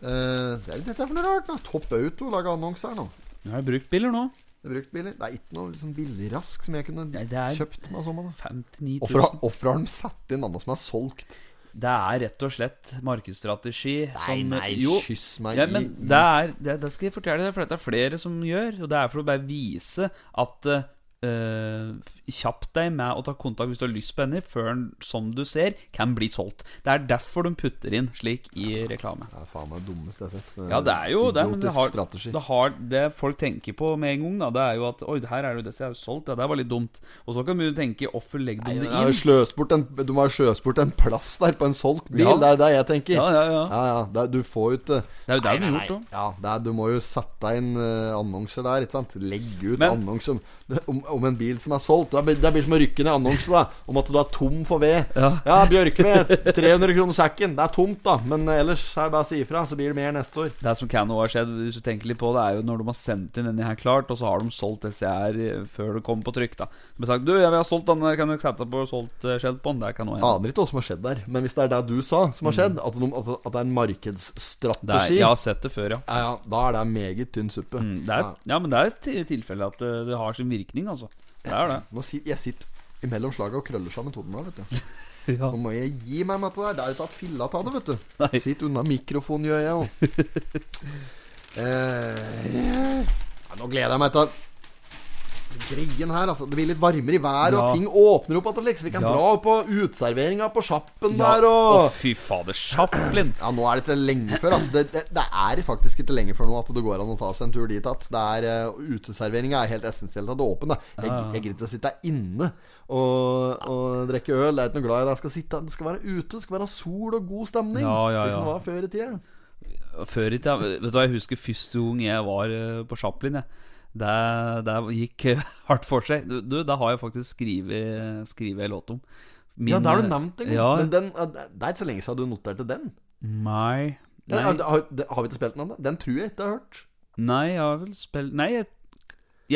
Speaker 9: Eh, det er dette er for noe rart. da Topp Auto lager annonse her nå.
Speaker 5: Nå er det bruktbiler nå.
Speaker 9: Det er Bruktbiler. Det er ikke noe sånn billigrask som jeg kunne
Speaker 5: Nei, det er-
Speaker 9: kjøpt meg som. da.
Speaker 5: 59
Speaker 9: Hvorfor har-
Speaker 5: 000.
Speaker 9: hvorfor har de satt inn annonse som er solgt?
Speaker 5: Det er rett og slett markedsstrategi som Jo,
Speaker 9: Kyss meg
Speaker 5: Ja,
Speaker 9: i
Speaker 5: men det, er, det, det skal jeg fortelle deg, for dette er flere som gjør. Og det er for å bare vise at uh, Kjapp deg med å ta kontakt hvis du har lyst på henne, før den, som du ser, kan bli solgt. Det er derfor de putter inn slik i reklame.
Speaker 9: Det er faen meg det dummeste jeg har sett.
Speaker 5: Ja, det er jo det, men det
Speaker 9: Idiotisk
Speaker 5: har,
Speaker 9: strategi.
Speaker 5: det har Det folk tenker på med en gang, da, det er jo at Oi, det her er jo det som er solgt, ja, det var litt dumt. Og så kan du tenke Hvorfor legger
Speaker 9: Nei,
Speaker 5: de
Speaker 9: de
Speaker 5: det
Speaker 9: har jo
Speaker 5: inn?
Speaker 9: sløst bort en, de har jo sløst bort en plass der på en solgt bil.
Speaker 5: Ja.
Speaker 9: Det er det jeg tenker.
Speaker 5: Ja, ja, ja.
Speaker 9: ja, ja det, er- du får jo ikke
Speaker 5: Det er jo det de har gjort òg.
Speaker 9: Ja, det er, du må jo sette inn eh, annonser der, ikke sant? Legge ut
Speaker 5: Men-
Speaker 9: annonser om, om
Speaker 3: om en bil som er solgt. Det er- Det blir som å rykke ned annonsen da om at du er tom for ved.
Speaker 5: Ja.
Speaker 3: bjørkved. 300 kroner sekken. Det er tomt, da. Men eh, ellers er det bare å si ifra, så blir det mer neste år.
Speaker 5: Det som kan også ha skjedd, hvis du tenker litt på det, er jo når de har sendt inn denne her klart, og så har de solgt disse her eh, før det kommer på trykk, da. De har sagt 'Du, jeg vil ha solgt den, der, kan du sette på solgt eh, skjelt på den?' Det kan også hende.
Speaker 3: Aner ikke hva som har skjedd der, men hvis det er det du sa som har skjedd, at, de, altså, at det er en
Speaker 5: Mm. Det er,
Speaker 3: markedsstrategi
Speaker 5: jeg
Speaker 3: ja.
Speaker 5: har sett det før, ja.
Speaker 3: Ja, Da er det meget tynn suppe.
Speaker 5: Mm, Det er,
Speaker 3: Ja.
Speaker 5: ja, men det er et ti- tilfelle at eh, det, det har sin virkning, altså. Det er det.
Speaker 3: Nå sit, jeg sitter imellom slaga og krøller sammen hodene. vet du.
Speaker 5: Ja.
Speaker 3: Nå må jeg gi meg med dette der. Det er jo tatt filla av det, vet du.
Speaker 5: Nei.
Speaker 3: Sitt unna mikrofonen, gjør jeg òg. eh, ja, nå gleder jeg meg til Greien her, altså. Det blir litt varmere i været,
Speaker 5: Ja.
Speaker 3: og ting åpner opp igjen. Liksom. Vi kan
Speaker 5: Ja.
Speaker 3: dra på uteserveringa på Sjappen
Speaker 5: Ja,
Speaker 3: der
Speaker 5: Å,
Speaker 3: og
Speaker 5: fy fader. Chaplin.
Speaker 3: ja, nå er det ikke lenge før. Altså. Det, det, det er faktisk ikke lenge før nå at det går an å ta seg en tur dit. At det er uh, Uteserveringa er helt essensielt at det er åpent. da.
Speaker 5: Ja,
Speaker 3: Jeg,
Speaker 5: ja.
Speaker 3: jeg gidder ikke å sitte inne og, og drikke øl. Jeg er ikke noe glad i det. Jeg skal sitte, det skal være ute, det skal være sol og god stemning.
Speaker 5: Ja, ja,
Speaker 3: Slik som
Speaker 5: ja.
Speaker 3: det var før i tida.
Speaker 5: Før i tida Vet du hva, jeg husker første gang jeg var eh, på Chaplin, jeg. Det, det gikk eh, hardt for seg. Du, du, det har jeg faktisk skrevet skrevet en låt om. Min,
Speaker 3: Ja, det har
Speaker 5: eh,
Speaker 3: du nevnt en gang.
Speaker 5: Ja.
Speaker 3: Men den, eh, det er ikke så lenge siden du noterte den.
Speaker 5: Nei.
Speaker 3: Den,
Speaker 5: Nei,
Speaker 3: har, har- har vi ikke spilt den ennå? Den tror jeg ikke jeg har hørt.
Speaker 5: nei jeg har vel spilt Nei, jeg,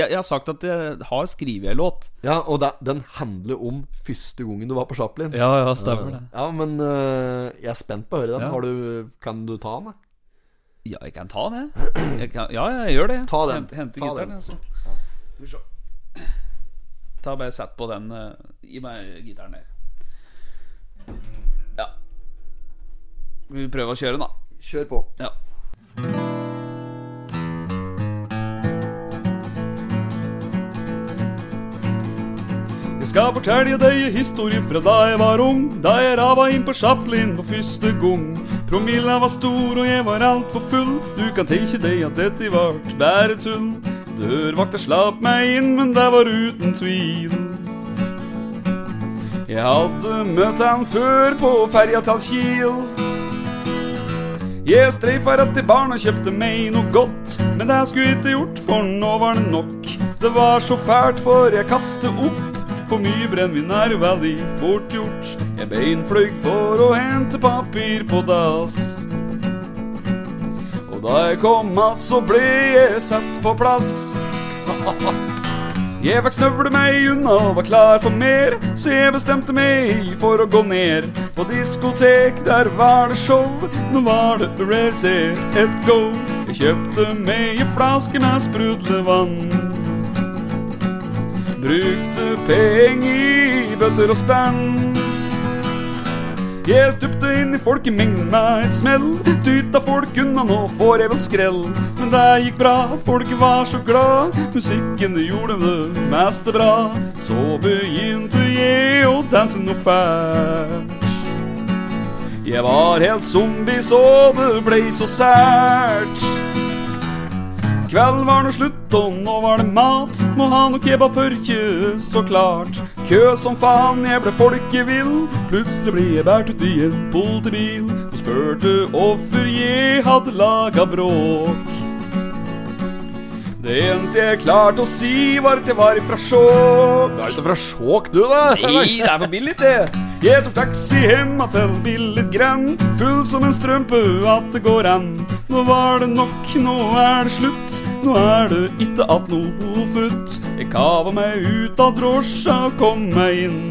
Speaker 5: jeg, jeg har sagt at jeg har skrevet en låt.
Speaker 3: Ja, Og det, den handler om første gangen du var på Chaplin.
Speaker 5: Ja, ja, stemmer det.
Speaker 3: Ja, men eh, jeg er spent på å høre den.
Speaker 5: Ja.
Speaker 3: Har du, kan du ta den? da?
Speaker 5: Ja, jeg kan ta den, jeg. jeg kan, ja, ja, jeg gjør det.
Speaker 3: Ta den.
Speaker 5: Hente, hente
Speaker 3: Ta
Speaker 5: gitaren,
Speaker 3: den.
Speaker 5: jeg, så. Skal vi se. Ta bare sett på den eh, Gi meg gitaren der. Ja. Vi prøver å kjøre den, da.
Speaker 3: Kjør på.
Speaker 5: Ja. Jeg skal fortelle deg en historie fra da jeg var ung. Da jeg rava inn på Chaplin for første gang. Promilla var stor, og jeg var altfor full. Du kan tenke deg at dette vart bare tull. Dørvakta slapp meg inn, men det var uten tvil. Jeg hadde møtt han før på ferja til Kiel. Jeg streifa rett til baren og kjøpte meg noe godt. Men det skulle jeg ikke gjort, for nå var det nok. Det var så fælt, for jeg kastet opp. For mye brennevin er jo veldig fort gjort. Jeg beinfløy for å hente papir på dass. Og da jeg kom att, så ble jeg satt på plass. Jeg fikk snøvle meg unna og var klar for mer, så jeg bestemte meg for å gå ned. På diskotek, der var det show, nå var det race, et go. Jeg kjøpte meg en flaske med sprudlevann. Brukte penger i bøtter og spenn. Jeg stupte inn i folkemengden med et smell. Dytta folk unna, nå får jeg vel skrell. Men det gikk bra, folket var så glad. Musikken det gjorde det meste bra. Så begynte jeg å danse noe fælt. Jeg var helt zombie, så det blei så sært. Kvelden var nå slutt, og nå var det mat. Må ha noe kebab for kjø, så klart. Kø som faen, jeg ble folkevill. Plutselig ble jeg båret ut i en politibil. Og spurte hvorfor jeg hadde laga bråk. Det eneste jeg klarte å si, var at jeg var ifra Skjåk.
Speaker 3: Du er ikke fra Skjåk, du, da?
Speaker 5: Nei, det er for billig, det. Jeg tok taxi hjemme til billig grend. Full som en strømpe at det går an. Nå var det nok, nå er det slutt. Nå er det ikke att noe futt. Jeg kava meg ut av drosja og kom meg inn.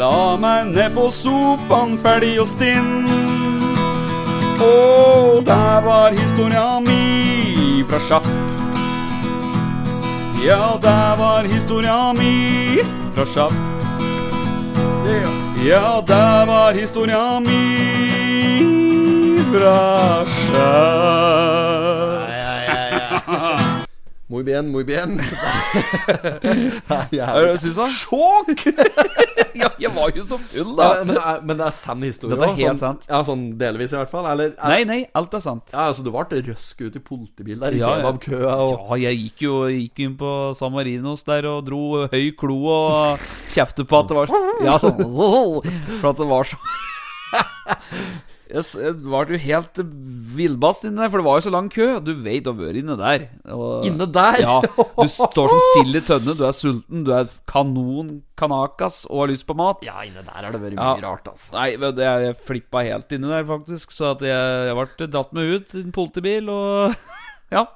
Speaker 5: La meg ned på sofaen, ferdig og stinn. Og der var historia mi fra sjapp. Ja, der var historia mi fra Sjapp. Ja, der var historia mi fra Sjapp.
Speaker 3: Muy bien, muy bien. Det
Speaker 5: Hva
Speaker 3: er
Speaker 5: syns du?
Speaker 3: Sjåk!
Speaker 5: Ja, jeg var jo så full,
Speaker 3: Ja,
Speaker 5: da.
Speaker 3: men, det er- men det er sann historie.
Speaker 5: Dette er helt
Speaker 3: sånn,
Speaker 5: sant.
Speaker 3: Ja, sånn delvis, i hvert fall. Eller er-
Speaker 5: Nei, nei, alt er sant.
Speaker 3: Ja, altså, du ble røsk ut i politibil der, i
Speaker 5: Ja, ja.
Speaker 3: kebabkøa og
Speaker 5: Ja, jeg gikk jo gikk inn på San Marinos der og dro høy klo og kjeftet på at det var Ja, sånn For at det var så Jeg s- jeg var jo helt villbast inni der, for det var jo så lang kø. Du vet å være inne der. Og,
Speaker 3: Inne der?
Speaker 5: Ja. Du står som sild i tønne. Du er sulten, du er kanon kanakas og har lyst på mat.
Speaker 3: Ja, inne der har det vært
Speaker 5: Ja.
Speaker 3: mye rart, altså.
Speaker 5: Nei, vet du, jeg, jeg flippa helt inni der, faktisk. Så at jeg, jeg ble dratt med ut i en politibil, og ja.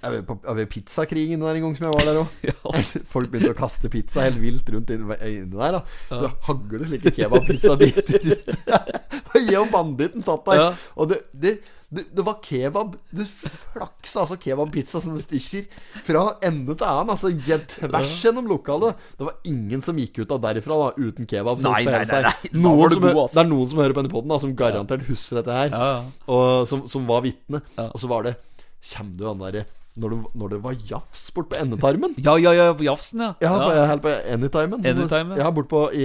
Speaker 3: Jeg var på jeg var i pizzakrigen der en gang som jeg var der òg.
Speaker 5: ja.
Speaker 3: Folk begynte å kaste pizza helt vilt rundt inne inne der. da Så Det hagler slike kebabpizzabiter rundt der. Jeg og banditten satt der.
Speaker 5: Ja.
Speaker 3: Og det, det, det, det var kebab Det flaksa altså kebabpizza som det stykker fra ende til annen. Altså jeg- tvers gjennom lokalet. Det var ingen som gikk ut av derfra da uten kebab. som
Speaker 5: Nei, nei,
Speaker 3: spredde seg.
Speaker 5: nei, nei. Da
Speaker 3: Noen
Speaker 5: var du
Speaker 3: som hø-
Speaker 5: god, ass.
Speaker 3: Det er noen som hører på denne podden da som garantert husker dette her.
Speaker 5: Ja, ja.
Speaker 3: Og som, som var vitne. Og så var det Kjem du han derre når, det- når det var jafs bort på endetarmen?
Speaker 5: Ja, ja, ja, på Jafsen, ja.
Speaker 3: Ja,
Speaker 5: ja.
Speaker 3: På, helt på Anytimen. som det-
Speaker 5: Anytimen.
Speaker 3: Ja, bort på i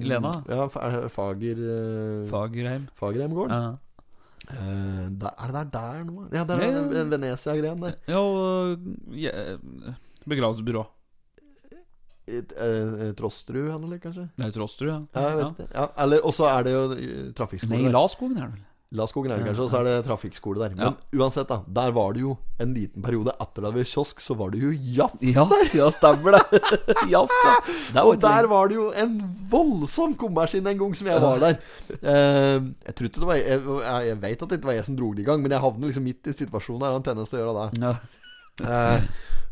Speaker 5: Lena.
Speaker 3: Ja, Fa- er det Fager... eh,
Speaker 5: Fagerheim.
Speaker 3: Fagerheimgården.
Speaker 5: Ja.
Speaker 3: Eh, der, er det der der nå? Ja, det er
Speaker 5: Ja, ja.
Speaker 3: den- den Venezia-greien der.
Speaker 5: Ja, og ja, begravelsesbyrå.
Speaker 3: I, eh, eh, Trosterud eller noe, kanskje?
Speaker 5: Nei, Trosterud, ja.
Speaker 3: Ja, jeg vet ikke. Ja, eller, og så er det jo eh, trafikkskole
Speaker 5: Nei,
Speaker 3: der.
Speaker 5: Laskogen er det vel.
Speaker 3: Laskogen er det kanskje, og så er det trafikkskole der. Men uansett, da. Der var det jo en liten periode etter det var kiosk, så var det jo jafs
Speaker 5: Ja,
Speaker 3: der.
Speaker 5: ja stemmer det. Jafs, ja. Det
Speaker 3: Og
Speaker 5: var
Speaker 3: der
Speaker 5: ikke-
Speaker 3: var det jo en voldsom kommersinn en gang som jeg var der. Eh, jeg tror ikke det var jeg, jeg, jeg vet at det ikke var jeg som dro det i gang, men jeg havner liksom midt i situasjonen der han tennis til å gjøre det.
Speaker 5: ja.
Speaker 3: Eh,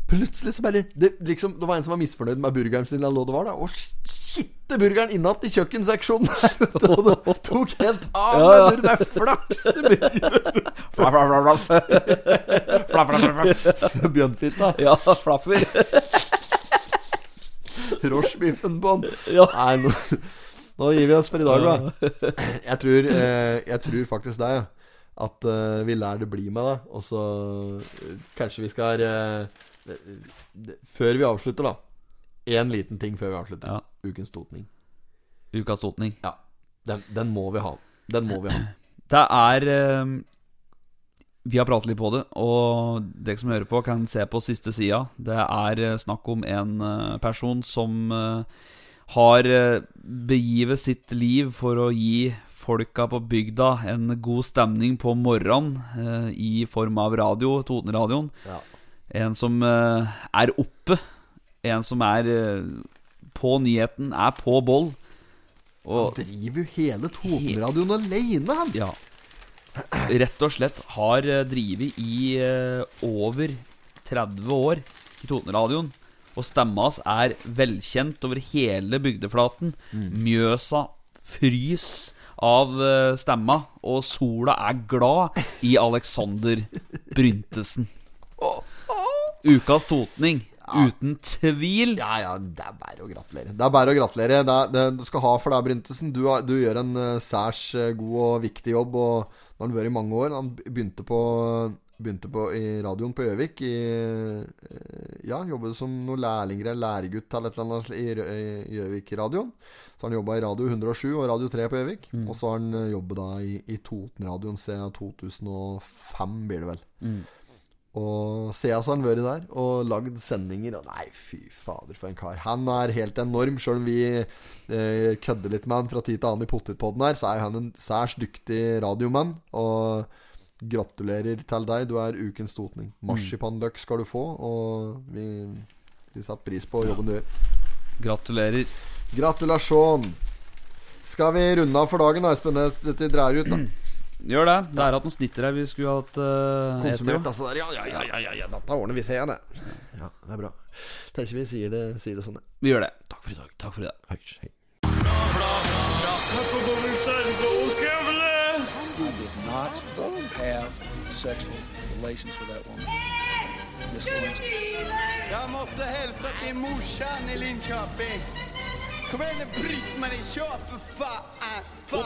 Speaker 3: plutselig så bare det, liksom, det var en som var misfornøyd med burgeren sin, eller hva det var. da Og skitte burgeren innatt i kjøkkenseksjonen der, vet du. Og det tok helt av.
Speaker 5: Ja, ja.
Speaker 3: men Det er flakseburger.
Speaker 5: Fla, fla, fla, fla. Fla, fla, fla, fla.
Speaker 3: Bjørnfitta.
Speaker 5: Ja, flaffer.
Speaker 3: Rochebiffen på han.
Speaker 5: Ja.
Speaker 3: Nei, nå, nå gir vi oss for i dag, da. Jeg tror, eh, jeg tror faktisk det. ja. At eh, vi lærer det bli med det. Og så eh, kanskje vi skal eh, det- det- Før vi avslutter, da. Én liten ting før vi avslutter.
Speaker 5: Ja.
Speaker 3: Ukens totning.
Speaker 5: Ukas totning.
Speaker 3: Den, den må vi ha. Den må vi ha.
Speaker 5: Det er eh, Vi har pratet litt på det, og dere som hører på, kan se på siste sida. Det er eh, snakk om en eh, person som eh, har eh, begivet sitt liv for å gi folka på bygda en god stemning på morgenen eh, i form av radio, Totenradioen.
Speaker 3: Ja.
Speaker 5: En som eh, er oppe. En som er eh, på nyheten, er på boll. Og
Speaker 3: Driver jo hele Totenradioen aleine, han!
Speaker 5: ja. Rett og slett har eh, drivet i eh, over 30 år i Totenradioen. Og stemma hans er velkjent over hele bygdeflaten. Mjøsa frys av eh, stemma, og sola er glad i Alexander Bryntesen. Ukas totning, uten tvil.
Speaker 3: Ja, ja, det er bare å gratulere. Det er bare å gratulere. Det er, det, du skal ha for deg, Bryntesen. Du, har- du gjør en eh, særs eh, god og viktig jobb. Og nå har han vært i mange år. Han begynte på, begynte på i radioen på Gjøvik. i, eh, Ja, jobbet som noen lærlinger eller læregutt eller et eller annet i Rø- i Gjøvik-radioen. Så har han jobba i Radio 107 og Radio 3 på Gjøvik. Og så har han eh, jobbet da i, i Totenradioen siden 2005, blir det vel. Og se oss han vært der og lagd sendinger. Og nei, fy fader, for en kar. Han er helt enorm. Sjøl om vi eh, kødder litt med han fra tid til annen i potetpodden her, så er han en særs dyktig radiomann. Og gratulerer til deg. Du er ukens totning. Marsipanløk skal du få, og vi, vi setter pris på jobben du gjør.
Speaker 5: Gratulerer.
Speaker 3: Gratulasjon! Skal vi runde av for dagen, da, Espen? Dette drar ut, da.
Speaker 5: Gjør det. Det er at noen snitter her vi skulle hatt eh, hett, jo.
Speaker 3: Konsumert, altså. der. Ja, ja, ja, ja, ja, ja. Dette ordner vi, ser jeg, det. Ja, det er bra. Tenker vi sier det, sier det sånn, det.
Speaker 5: Vi gjør det. Takk for i dag. Takk for i dag.
Speaker 3: Hei, hei.
Speaker 1: Not have sexual relations with that woman. Miss Lewinsky.
Speaker 2: Jag måste hälsa till morsan i Linköping. Kom igen nu Britt-Marie, kör för fan! Fan!